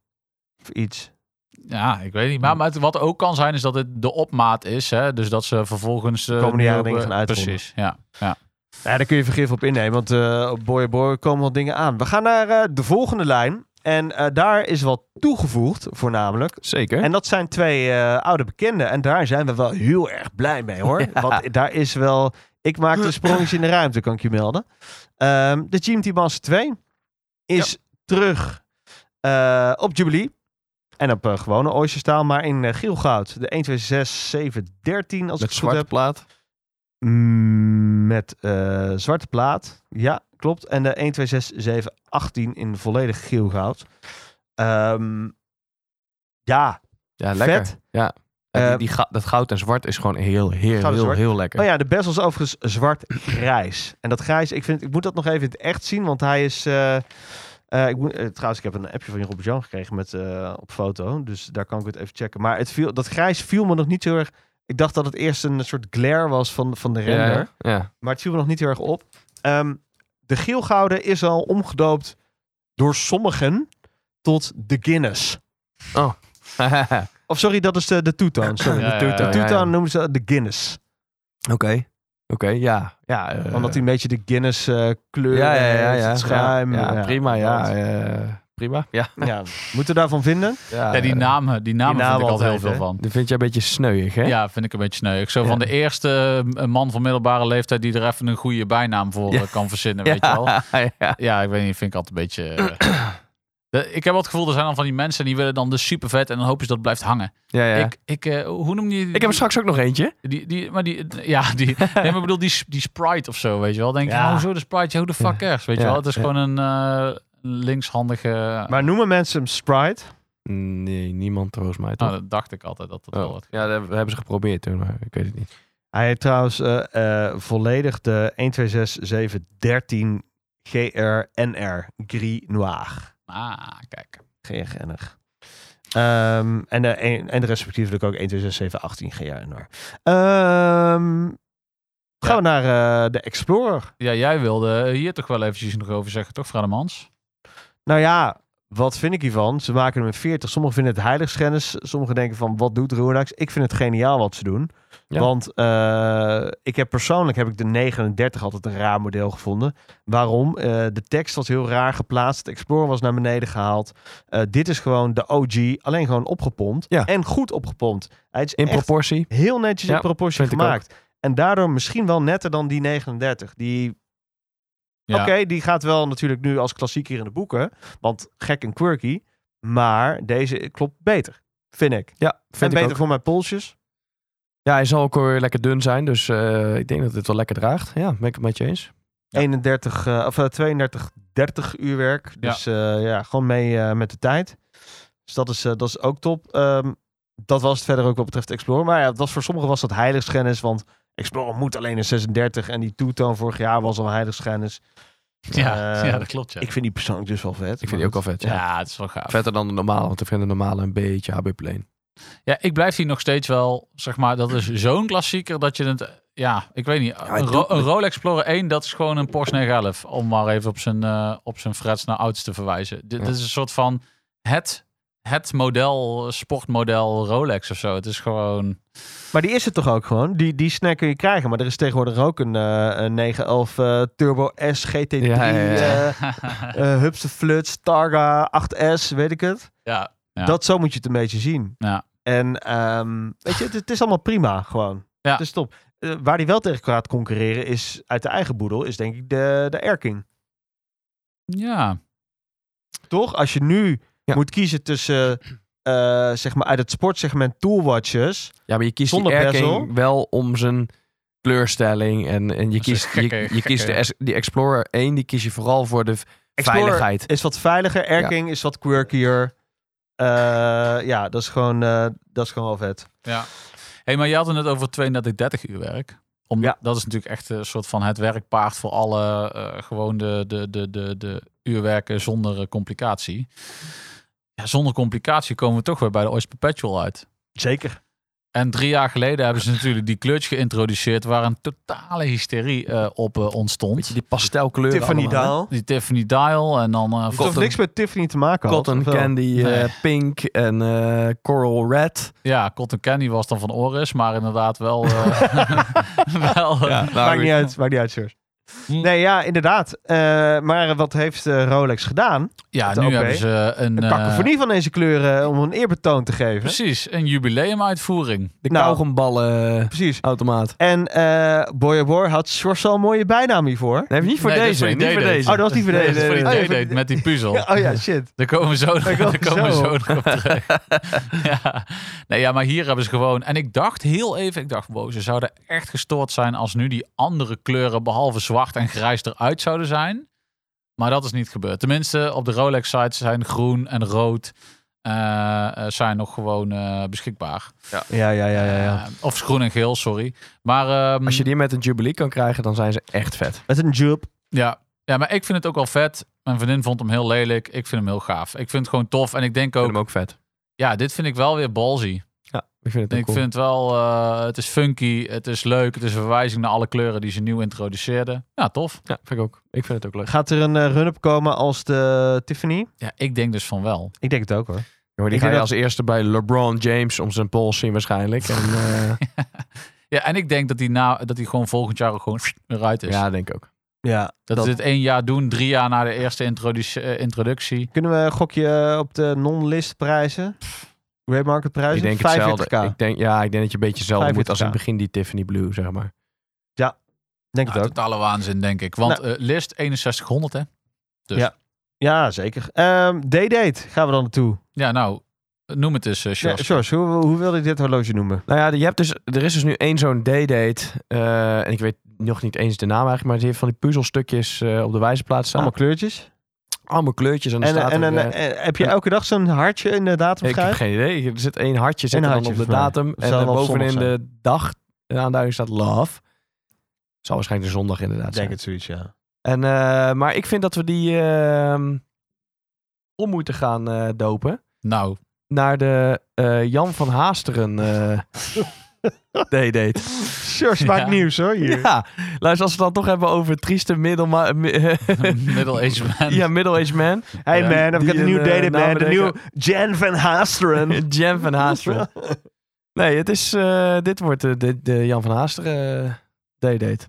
Speaker 2: Of iets?
Speaker 6: Ja, ik weet niet. Maar, maar het- wat ook kan zijn, is dat het de opmaat is. Hè? Dus dat ze vervolgens... eh,
Speaker 2: komende
Speaker 6: nu
Speaker 2: jaren
Speaker 6: ook,
Speaker 2: dingen
Speaker 6: eh,
Speaker 2: gaan uitronden.
Speaker 6: Precies, ja.
Speaker 2: Ja, daar kun je vergif op innemen, want eh, op Boy Boy komen wat dingen aan. We gaan naar eh, de volgende lijn. En eh, daar is wat toegevoegd, voornamelijk.
Speaker 5: Zeker.
Speaker 2: En dat zijn twee eh, oude bekenden. En daar zijn we wel heel erg blij mee hoor. Want daar is wel. Ik maak de sprongjes in de ruimte, kan ik je melden. Ehm, de GMT Master 2 is terug eh, op Jubilee. En op eh, gewone Oysterstaal, maar in eh, geel goud. De 126713, als ik
Speaker 5: Met
Speaker 2: het goed eh,
Speaker 5: zwarte
Speaker 2: heb.
Speaker 5: plaat.
Speaker 2: Mm, Met eh, zwarte plaat. Ja, klopt. En de 126718 in volledig geel goud. Ehm, ja,
Speaker 5: Ja, lekker.
Speaker 2: Vet.
Speaker 5: Ja. Ja,
Speaker 2: Eh,
Speaker 5: die, die ga- dat goud en zwart is gewoon heel, heel,
Speaker 2: Goud en
Speaker 5: heel, heel,
Speaker 2: zwart.
Speaker 5: lekker.
Speaker 2: Oh ja, de bezel is overigens zwart-grijs. En dat grijs, ik, vind, ik moet dat nog even in het echt zien, want hij is... eh, eh, ik moet, eh, trouwens, ik heb een appje van Robert Jan gekregen met, eh, op foto, dus daar kan ik het even checken. Maar het viel, dat grijs viel me nog niet zo erg... Ik dacht dat het eerst een soort glare was van, van de
Speaker 5: Ja,
Speaker 2: render,
Speaker 5: Ja, ja.
Speaker 2: maar het viel me nog niet heel erg op. Ehm, de geelgouden is al omgedoopt door sommigen tot de Guinness.
Speaker 5: Hahaha.
Speaker 2: Of sorry, dat is de, de toetoon. Sorry.
Speaker 6: Ja, ja, ja.
Speaker 2: De toetoon
Speaker 5: Ja, ja.
Speaker 2: noemen ze de Guinness.
Speaker 5: Oké. Oké, ja. ja eh,
Speaker 2: Omdat hij een beetje de Guinness eh, kleur
Speaker 5: ja, ja, ja,
Speaker 2: heeft,
Speaker 5: ja,
Speaker 2: het schuim.
Speaker 5: Ja, prima, ja.
Speaker 2: dat.
Speaker 5: eh, prima. Ja,
Speaker 2: Ja, moeten we daarvan vinden?
Speaker 6: ja die namen, die namen
Speaker 2: namen
Speaker 6: vind ik altijd heel
Speaker 2: altijd,
Speaker 6: veel
Speaker 2: hè?
Speaker 6: van.
Speaker 5: Dat vind jij een beetje sneuig, hè?
Speaker 6: Ja, vind ik een beetje sneu. Zo
Speaker 5: Ja.
Speaker 6: van de eerste eh, man van middelbare leeftijd die er even een goede bijnaam voor
Speaker 5: Ja.
Speaker 6: eh, kan verzinnen,
Speaker 5: Ja,
Speaker 6: weet je wel.
Speaker 5: ja.
Speaker 6: Ja, ik weet niet, vind ik altijd een beetje... eh, de- ik heb wel het gevoel, er zijn dan van die mensen en die willen dan de super vet en dan hopen ze dat het blijft hangen.
Speaker 5: ja, ja. Ik,
Speaker 6: Ik, ik, eh, hoe noem je die?
Speaker 5: heb er straks ook nog eentje.
Speaker 6: Die, die, maar die, ja, die, nee, maar ik bedoel, die, die Sprite of zo, weet je wel. Denk je,
Speaker 2: Ja.
Speaker 6: nou, zo de Sprite, ja, who the fuck cares, weet je
Speaker 5: Ja,
Speaker 6: wel. Het is
Speaker 5: ja.
Speaker 6: gewoon een eh, linkshandige...
Speaker 2: Maar noemen mensen hem Sprite?
Speaker 5: Nee, niemand volgens mij, toch?
Speaker 6: nou, dat dacht ik altijd dat dat wel
Speaker 5: Oh.
Speaker 6: wat...
Speaker 5: Ja, dat hebben we hebben ze geprobeerd toen, maar ik weet het niet.
Speaker 2: Hij heeft trouwens eh, eh, volledig de 126713 GRNR Gris Noir.
Speaker 6: Ah, kijk.
Speaker 2: GRNR. Ehm, en, de, een- en de respectievelijk ook 126718 GRNR. Ehm,
Speaker 6: Ja.
Speaker 2: gaan we naar eh, de Explorer.
Speaker 6: Ja, jij wilde hier toch wel eventjes nog over zeggen, toch, Frademans?
Speaker 2: Nou ja, wat vind ik hiervan? Ze maken hem een 40. Sommigen vinden het heiligschennis. Sommigen denken van, wat doet Roerdax? Ik vind het geniaal wat ze doen.
Speaker 5: Ja.
Speaker 2: Want eh, ik heb persoonlijk heb ik de 39 altijd een raar model gevonden. Waarom? Eh, de tekst was heel raar geplaatst. De Explorer was naar beneden gehaald. Eh, dit is gewoon de OG, alleen gewoon opgepompt.
Speaker 5: Ja.
Speaker 2: En goed opgepompt. Hij is
Speaker 5: In
Speaker 2: echt
Speaker 5: proportie.
Speaker 2: heel netjes
Speaker 5: Ja,
Speaker 2: in proportie
Speaker 5: vind ik ook.
Speaker 2: gemaakt. En daardoor misschien wel netter dan die 39. Die
Speaker 6: Ja.
Speaker 2: Oké, die gaat wel natuurlijk nu als klassieker in de boeken. Want gek en quirky. Maar deze klopt beter, vind ik.
Speaker 5: Ja,
Speaker 2: en
Speaker 5: vind ik
Speaker 2: beter
Speaker 5: ook.
Speaker 2: voor mijn polsjes.
Speaker 5: Ja, hij zal ook weer lekker dun zijn. Dus eh, ik denk dat het wel lekker draagt. Ja, ben ik het met je eens.
Speaker 2: 31, eh, of eh, 32, 30 uur werk. Dus ja, ja gewoon mee eh, met de tijd. Dus dat is, eh, dat is ook top. Ehm, dat was het verder ook wat betreft Explorer. Maar ja, dat was, voor sommigen was dat heiligschennis. Want Explorer moet alleen een 36. En die toetoon vorig jaar was al heiligschennis.
Speaker 6: Ja,
Speaker 2: Eh,
Speaker 6: ja, dat klopt, ja.
Speaker 2: Ik vind die persoonlijk dus wel vet.
Speaker 5: Ik vind die ook wel vet. Ja.
Speaker 6: ja, het is wel gaaf.
Speaker 5: Vetter dan de normale, want ik vind de normale een beetje HB-plane.
Speaker 6: Ja, ik blijf hier nog steeds wel, zeg maar, dat is zo'n klassieker dat je het, ja, ik weet niet,
Speaker 5: hij
Speaker 6: een, Ro-
Speaker 5: doet
Speaker 6: een Rolex Explorer 1, dat is gewoon een Porsche 911, om maar even op zijn, eh, op zijn frets naar ouds te verwijzen. Dit,
Speaker 5: Ja.
Speaker 6: dit is een soort van het, het model, sportmodel Rolex of zo. Het is gewoon,
Speaker 2: Maar die is het toch ook gewoon? Die, die snack kun je krijgen. Maar er is tegenwoordig ook een, eh, een 911 eh, Turbo S, GT3, eh
Speaker 5: Ja, ja, ja.
Speaker 2: eh, Hupse Fluts, Targa, 8S, weet ik het.
Speaker 6: ja, ja.
Speaker 2: Dat zo moet je het een beetje zien.
Speaker 6: Ja.
Speaker 2: En ehm, weet je, het, het is allemaal prima gewoon.
Speaker 6: Ja.
Speaker 2: Het is top. Eh, waar die wel tegen gaat concurreren is uit de eigen boedel, is denk ik de, de Erking.
Speaker 6: ja,
Speaker 2: Toch? Als je nu
Speaker 5: Ja.
Speaker 2: moet kiezen tussen, eh, zeg maar uit het sportsegment toolwatches.
Speaker 5: Ja, maar je kiest
Speaker 2: Zonder
Speaker 5: die Air
Speaker 2: bezel.
Speaker 5: King wel om zijn kleurstelling. En, en je
Speaker 6: Dat is
Speaker 5: kiest,
Speaker 6: gekke,
Speaker 5: je, je
Speaker 6: gekke-
Speaker 5: kiest de S- die Explorer 1, die kies je vooral voor de v-
Speaker 2: Explorer-
Speaker 5: veiligheid.
Speaker 2: is wat veiliger. Erking is wat quirkier. Eh, ja, dat is gewoon, eh, dat is gewoon wel vet.
Speaker 6: ja. hey, maar je had het net over 32, 30 uur werk. Om,
Speaker 2: Ja.
Speaker 6: Dat is natuurlijk echt eh, een soort van het werkpaard voor alle eh, gewoon de, de, de, de, de uurwerken zonder eh, complicatie. Ja, zonder complicatie komen we toch weer bij de Oyster Perpetual uit.
Speaker 2: Zeker.
Speaker 6: En drie jaar geleden hebben ze natuurlijk die kleurtje geïntroduceerd waar een totale hysterie eh, op eh,
Speaker 5: Weet je,
Speaker 6: ontstond.
Speaker 5: die pastelkleuren
Speaker 2: Tiffany
Speaker 5: allemaal, hè?
Speaker 2: Daal.
Speaker 6: Die Tiffany Dial en dan... eh
Speaker 2: Het heeft niks met Tiffany te maken. had,
Speaker 5: Cotton
Speaker 2: of wel?
Speaker 5: Candy eh,
Speaker 6: Nee.
Speaker 5: Pink en eh, Coral Red.
Speaker 6: Ja, Cotton Candy was dan van Oris, maar inderdaad wel... eh, wel eh,
Speaker 5: Nou,
Speaker 2: maakt niet uit, maakt niet uit, Sjors.
Speaker 6: Hm.
Speaker 2: Nee, ja, inderdaad. Eh, maar wat heeft eh, Rolex gedaan?
Speaker 6: Ja,
Speaker 2: Het
Speaker 6: nu
Speaker 2: OP.
Speaker 6: hebben ze een...
Speaker 2: Een
Speaker 6: eh,
Speaker 2: kakofonie van deze kleuren om een eerbetoon te geven.
Speaker 6: precies, een jubileumuitvoering.
Speaker 5: De
Speaker 2: Nou.
Speaker 5: kauwgomballen eh,
Speaker 2: Precies.
Speaker 5: automaat.
Speaker 2: En eh Boy Boy had Sjors al een mooie bijnaam hiervoor.
Speaker 5: Nee, niet voor
Speaker 6: Nee, dat is
Speaker 5: deze.
Speaker 6: voor die
Speaker 5: Niet voor
Speaker 6: day-date.
Speaker 5: deze.
Speaker 2: Oh, dat was niet voor
Speaker 6: Nee,
Speaker 2: deze.
Speaker 6: dat is voor die
Speaker 2: Oh ja,
Speaker 6: day-date met die puzzel.
Speaker 2: Oh ja, shit.
Speaker 6: Daar komen we zo,
Speaker 2: Daar
Speaker 6: daar
Speaker 2: komen we
Speaker 6: komen we
Speaker 2: zo
Speaker 6: zo nog op terug. ja. Nee, ja, maar hier hebben ze gewoon... En ik dacht heel even, ik dacht, wow, ze zouden echt gestoord zijn... als nu die andere kleuren, behalve zwart en grijs, eruit zouden zijn. Maar dat is niet gebeurd. Tenminste, op de Rolex-site zijn groen en rood... eh, eh, zijn nog gewoon eh, beschikbaar.
Speaker 2: Ja, ja, ja, ja. ja.
Speaker 6: Eh, of groen en geel, sorry. Maar ehm,
Speaker 5: Als je die met een jubilee kan krijgen, dan zijn ze echt vet.
Speaker 2: Met een jupe.
Speaker 6: Ja. ja, maar ik vind het ook wel vet. Mijn vriendin vond hem heel lelijk. Ik vind hem heel gaaf. Ik vind het gewoon tof. En ik denk
Speaker 5: Ik vind
Speaker 6: ook,
Speaker 5: hem ook vet.
Speaker 6: ja, dit vind ik wel weer ballsy.
Speaker 5: Ja, ik vind het ook
Speaker 6: ik
Speaker 5: cool.
Speaker 6: vind het wel, eh, het is funky, het is leuk. Het is een verwijzing naar alle kleuren die ze nieuw introduceerden. Ja, tof.
Speaker 5: Ja, vind ik ook. Ik vind het ook leuk.
Speaker 2: Gaat er een eh, run-up komen als de Tiffany?
Speaker 6: Ja, ik denk dus van wel.
Speaker 2: Ik denk het ook hoor.
Speaker 5: Jongen, die
Speaker 2: Ik
Speaker 5: ga je
Speaker 2: denk
Speaker 5: als eerste bij LeBron James om zijn pols zien waarschijnlijk. En, eh,
Speaker 6: Ja, en ik denk dat die, na, dat die gewoon volgend jaar ook gewoon eruit is.
Speaker 5: ja, denk ik ook.
Speaker 2: Ja,
Speaker 6: dat, ze dit één jaar doen, drie jaar na de eerste introduce- eh, introductie.
Speaker 2: Kunnen we een gokje eh, op de non-list prijzen? Grey market prijzen?
Speaker 5: ik denk
Speaker 2: 45k.
Speaker 5: hetzelfde. Ik denk, ja, ik denk dat je een beetje hetzelfde moet als in het
Speaker 2: 45K.
Speaker 5: begin die Tiffany Blue, zeg maar.
Speaker 2: Denk
Speaker 5: Ah,
Speaker 6: Ja,
Speaker 2: het ook.
Speaker 6: totale waanzin, denk ik. Want
Speaker 5: Nou.
Speaker 6: eh, list 6100, hè? Dus.
Speaker 2: Ja. Ja, zeker. Ehm, D-Date gaan we dan naartoe.
Speaker 6: Ja, nou, noem het eens, eh
Speaker 2: Ja,
Speaker 6: Sjors.
Speaker 2: Sjors, hoe, hoe wil je dit horloge noemen?
Speaker 5: Nou ja, je hebt dus, er is dus nu één zo'n day-date. eh, en ik weet nog niet eens de naam eigenlijk, maar die heeft van die puzzelstukjes eh, op de wijzerplaat staan.
Speaker 2: Allemaal
Speaker 5: Allemaal,
Speaker 2: kleurtjes.
Speaker 5: kleurtjes. En, dan
Speaker 2: Ah. En,
Speaker 5: staat
Speaker 2: en,
Speaker 5: er,
Speaker 2: en,
Speaker 5: eh,
Speaker 2: eh, heb je elke dag zo'n hartje in de datum
Speaker 5: ik heb
Speaker 2: schrijven?
Speaker 5: geen idee. Er zit één hartje zit
Speaker 2: Eén
Speaker 5: er dan
Speaker 2: hartje
Speaker 5: op de
Speaker 2: voor mij.
Speaker 5: datum. En
Speaker 2: zal
Speaker 5: dan
Speaker 2: wel zondag
Speaker 5: bovenin de dag de aanduiding staat love. Zal waarschijnlijk de zondag inderdaad
Speaker 2: Ik denk
Speaker 5: zijn.
Speaker 2: het zoiets, ja.
Speaker 5: En, eh, maar ik vind dat we die ehm, om moeten gaan eh, dopen.
Speaker 6: Nou,
Speaker 5: Naar de eh, Jan van Haasteren eh day-date.
Speaker 2: Sure, smaakt
Speaker 6: Ja.
Speaker 2: nieuws hoor hier.
Speaker 5: Ja, luister, als we het dan toch hebben over trieste middelma- mi-
Speaker 6: middle-aged man.
Speaker 5: ja, middle-aged man.
Speaker 2: Hey
Speaker 6: Ja,
Speaker 2: man, I've
Speaker 5: die
Speaker 2: got a
Speaker 5: een,
Speaker 2: new
Speaker 5: eh,
Speaker 2: dating
Speaker 5: naam
Speaker 2: man. De nieuwe
Speaker 5: bedenken.
Speaker 2: Jan van Haasteren.
Speaker 5: Jam van Haasteren. Nee, het is, eh, dit wordt eh, de, de Jan van Haasteren eh, day-date.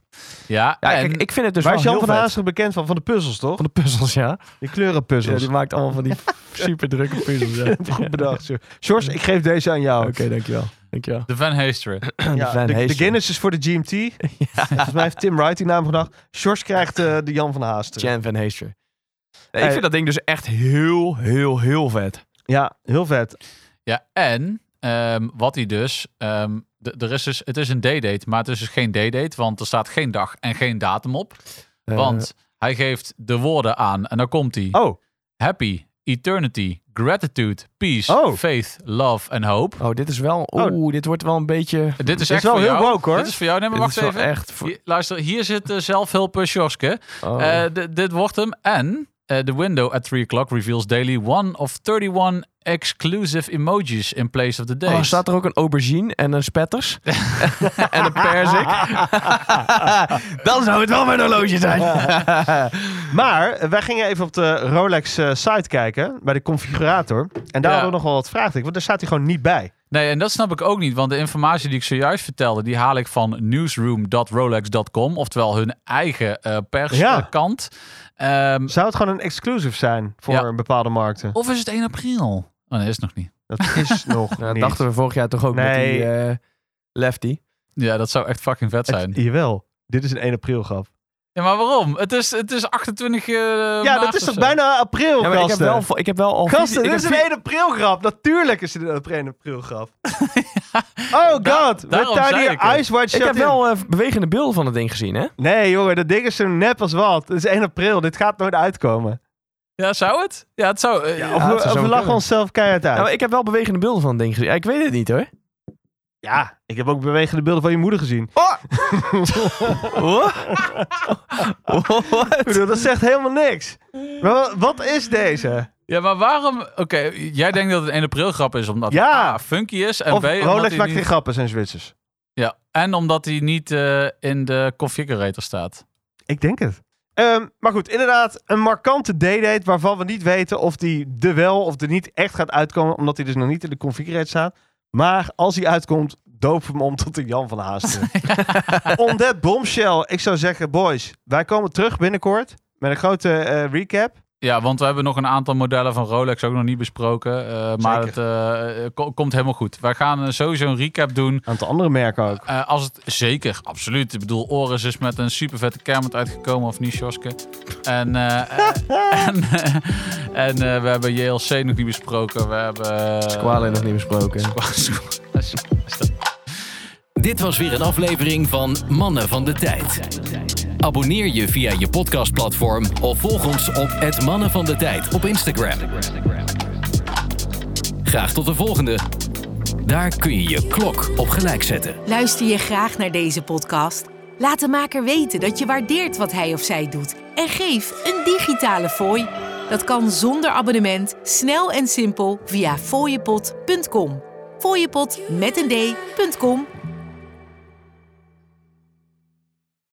Speaker 6: Ja,
Speaker 5: Ja,
Speaker 6: en
Speaker 5: kijk, ik vind het dus
Speaker 2: Waar
Speaker 5: wel
Speaker 2: is Jan
Speaker 5: heel
Speaker 2: van
Speaker 5: vet.
Speaker 2: Haasteren bekend van? Van de puzzels, toch?
Speaker 5: Van de puzzels, ja. ja.
Speaker 2: Die kleurenpuzzels.
Speaker 5: Die maakt allemaal van die super drukke puzzels. Ja.
Speaker 2: Goed bedacht. Sjors, ik geef deze aan jou.
Speaker 5: Oké, dankjewel. Dankjewel.
Speaker 6: de Van Heesteren.
Speaker 5: de
Speaker 2: Ja,
Speaker 5: Van
Speaker 2: de, de
Speaker 5: Heesen.
Speaker 2: Guinness is voor de GMT. En Volgens mij heeft Tim Wright die naam gedacht. Sjors krijgt eh, de Jan van Haasteren.
Speaker 5: Jan van Haasteren. Nee, ik
Speaker 2: Hey.
Speaker 5: vind dat ding dus echt heel, heel, heel vet.
Speaker 2: Ja, heel vet.
Speaker 6: Ja, en ehm, wat hij dus... ehm, d- er is dus, het is een day-date, maar het is dus geen day-date, want er staat geen dag en geen datum op.
Speaker 5: Eh,
Speaker 6: Want hij geeft de woorden aan en dan komt hij.
Speaker 2: Oh,
Speaker 6: Happy, eternity, gratitude, peace,
Speaker 2: Oh.
Speaker 6: faith, love en hope.
Speaker 5: oh, dit is wel...
Speaker 2: Oh.
Speaker 5: Oeh, dit wordt wel een beetje...
Speaker 6: Dit
Speaker 2: is
Speaker 6: is echt
Speaker 2: wel
Speaker 6: voor
Speaker 2: heel
Speaker 6: jou.
Speaker 2: woke, hoor.
Speaker 6: Dit is voor jou. Nee, maar
Speaker 5: dit
Speaker 6: wacht
Speaker 5: is wel
Speaker 6: even.
Speaker 5: echt... voor-
Speaker 6: Hier- luister, hier zit eh, zelfhulp eh, Sjorske.
Speaker 5: oh.
Speaker 6: Eh, d- dit wordt hem. En eh, the window at 3 o'clock reveals daily one of 31 exclusive emojis in place of the days.
Speaker 5: Oh, staat er ook een aubergine en een spetters? en een perzik? Dan zou het wel mijn horloge zijn.
Speaker 2: maar eh, wij gingen even op de Rolex eh, site kijken. Bij de configurator. En daar
Speaker 6: Ja.
Speaker 2: hadden we nog wel wat vragen. Want daar staat hij gewoon niet bij.
Speaker 6: Nee, en dat snap ik ook niet, want de informatie die ik zojuist vertelde, die haal ik van newsroom.rolex.com, oftewel hun eigen eh,
Speaker 2: Ja.
Speaker 6: perskant. Ehm,
Speaker 2: Zou het gewoon een exclusive zijn voor
Speaker 6: Ja.
Speaker 2: een bepaalde markten?
Speaker 6: of is het 1 april? Oh nee, is het nog niet.
Speaker 2: Dat is nog
Speaker 5: Nou, dat
Speaker 2: niet.
Speaker 5: dachten we vorig jaar toch ook met die
Speaker 2: Nee.
Speaker 5: eh, lefty.
Speaker 6: Ja, dat zou echt fucking vet zijn.
Speaker 2: Het- jawel. Dit is een 1 april grap.
Speaker 6: Ja, maar waarom? Het is, het is 28 eh,
Speaker 2: ja,
Speaker 6: maart
Speaker 2: dat is
Speaker 6: of
Speaker 2: toch
Speaker 6: zo?
Speaker 2: bijna april,
Speaker 5: Ja, maar ik, heb
Speaker 2: gasten?
Speaker 5: wel, vo- ik heb wel al...
Speaker 2: Gasten,
Speaker 5: ik
Speaker 2: dit is
Speaker 5: heb
Speaker 2: een
Speaker 5: vi-
Speaker 2: 1 april grap. Natuurlijk is het een 1 april grap. oh god, we
Speaker 6: daarom
Speaker 2: staan
Speaker 6: zei
Speaker 2: hier
Speaker 6: ik het.
Speaker 2: Ice White
Speaker 5: Ik
Speaker 2: Shut
Speaker 5: heb
Speaker 2: in.
Speaker 5: wel eh, bewegende beelden van het ding gezien, hè?
Speaker 2: Nee jongen, dat ding is zo nep als wat. Het is 1 april, dit gaat nooit uitkomen.
Speaker 6: Ja, zou het? Ja, het zou... eh,
Speaker 2: of
Speaker 5: het zou
Speaker 2: we, of we
Speaker 5: zomaar
Speaker 2: lachen
Speaker 5: kunnen.
Speaker 2: onszelf keihard uit.
Speaker 5: Nou, ik heb wel bewegende beelden van het ding gezien. Ja, ik weet het niet, hoor.
Speaker 2: ja, ik heb ook bewegende beelden van je moeder gezien.
Speaker 5: Oh.
Speaker 2: Ik bedoel, dat zegt helemaal niks. Maar wa- wat is deze?
Speaker 6: Ja, maar waarom... Oké, jij denkt dat het 1 april grap is omdat
Speaker 2: Ja.
Speaker 6: A, funky is en
Speaker 2: Of
Speaker 6: B, omdat
Speaker 2: Rolex
Speaker 6: hij
Speaker 2: maakt
Speaker 6: niet-
Speaker 2: geen grappen, zijn Zwitsers.
Speaker 6: Ja, en omdat hij niet eh, in de configurator staat.
Speaker 2: Ik denk het. Ehm, maar goed, inderdaad, een markante day-date waarvan we niet weten of die er wel of er niet echt gaat uitkomen, omdat hij dus nog niet in de configurator staat. Maar als hij uitkomt, doop hem om tot een Jan van Haasten. On that bombshell, ik zou zeggen, boys, wij komen terug binnenkort met een grote eh, recap.
Speaker 6: Ja, want we hebben nog een aantal modellen van Rolex ook nog niet besproken. eh, maar het eh, ko- komt helemaal goed. Wij gaan eh, sowieso een recap doen.
Speaker 2: Een aantal andere merken ook.
Speaker 6: Eh, als het zeker, absoluut. Ik bedoel, Oris is met een super vette kermit uitgekomen, of niet, Joske? En, eh, eh, en, eh, en eh, we hebben JLC nog niet besproken. We hebben. eh,
Speaker 5: Kwalen nog niet besproken.
Speaker 6: Squale- Squale-
Speaker 4: Dit was weer een aflevering van Mannen van de Tijd. Abonneer je via je podcastplatform of volg ons op het Mannen van de Tijd op Instagram. Graag tot de volgende. Daar kun je je klok op gelijk zetten.
Speaker 1: Luister je graag naar deze podcast? Laat de maker weten dat je waardeert wat hij of zij doet en geef een digitale fooi. Dat kan zonder abonnement, snel en simpel via fooiepot.com. Fooiepot met een d.com.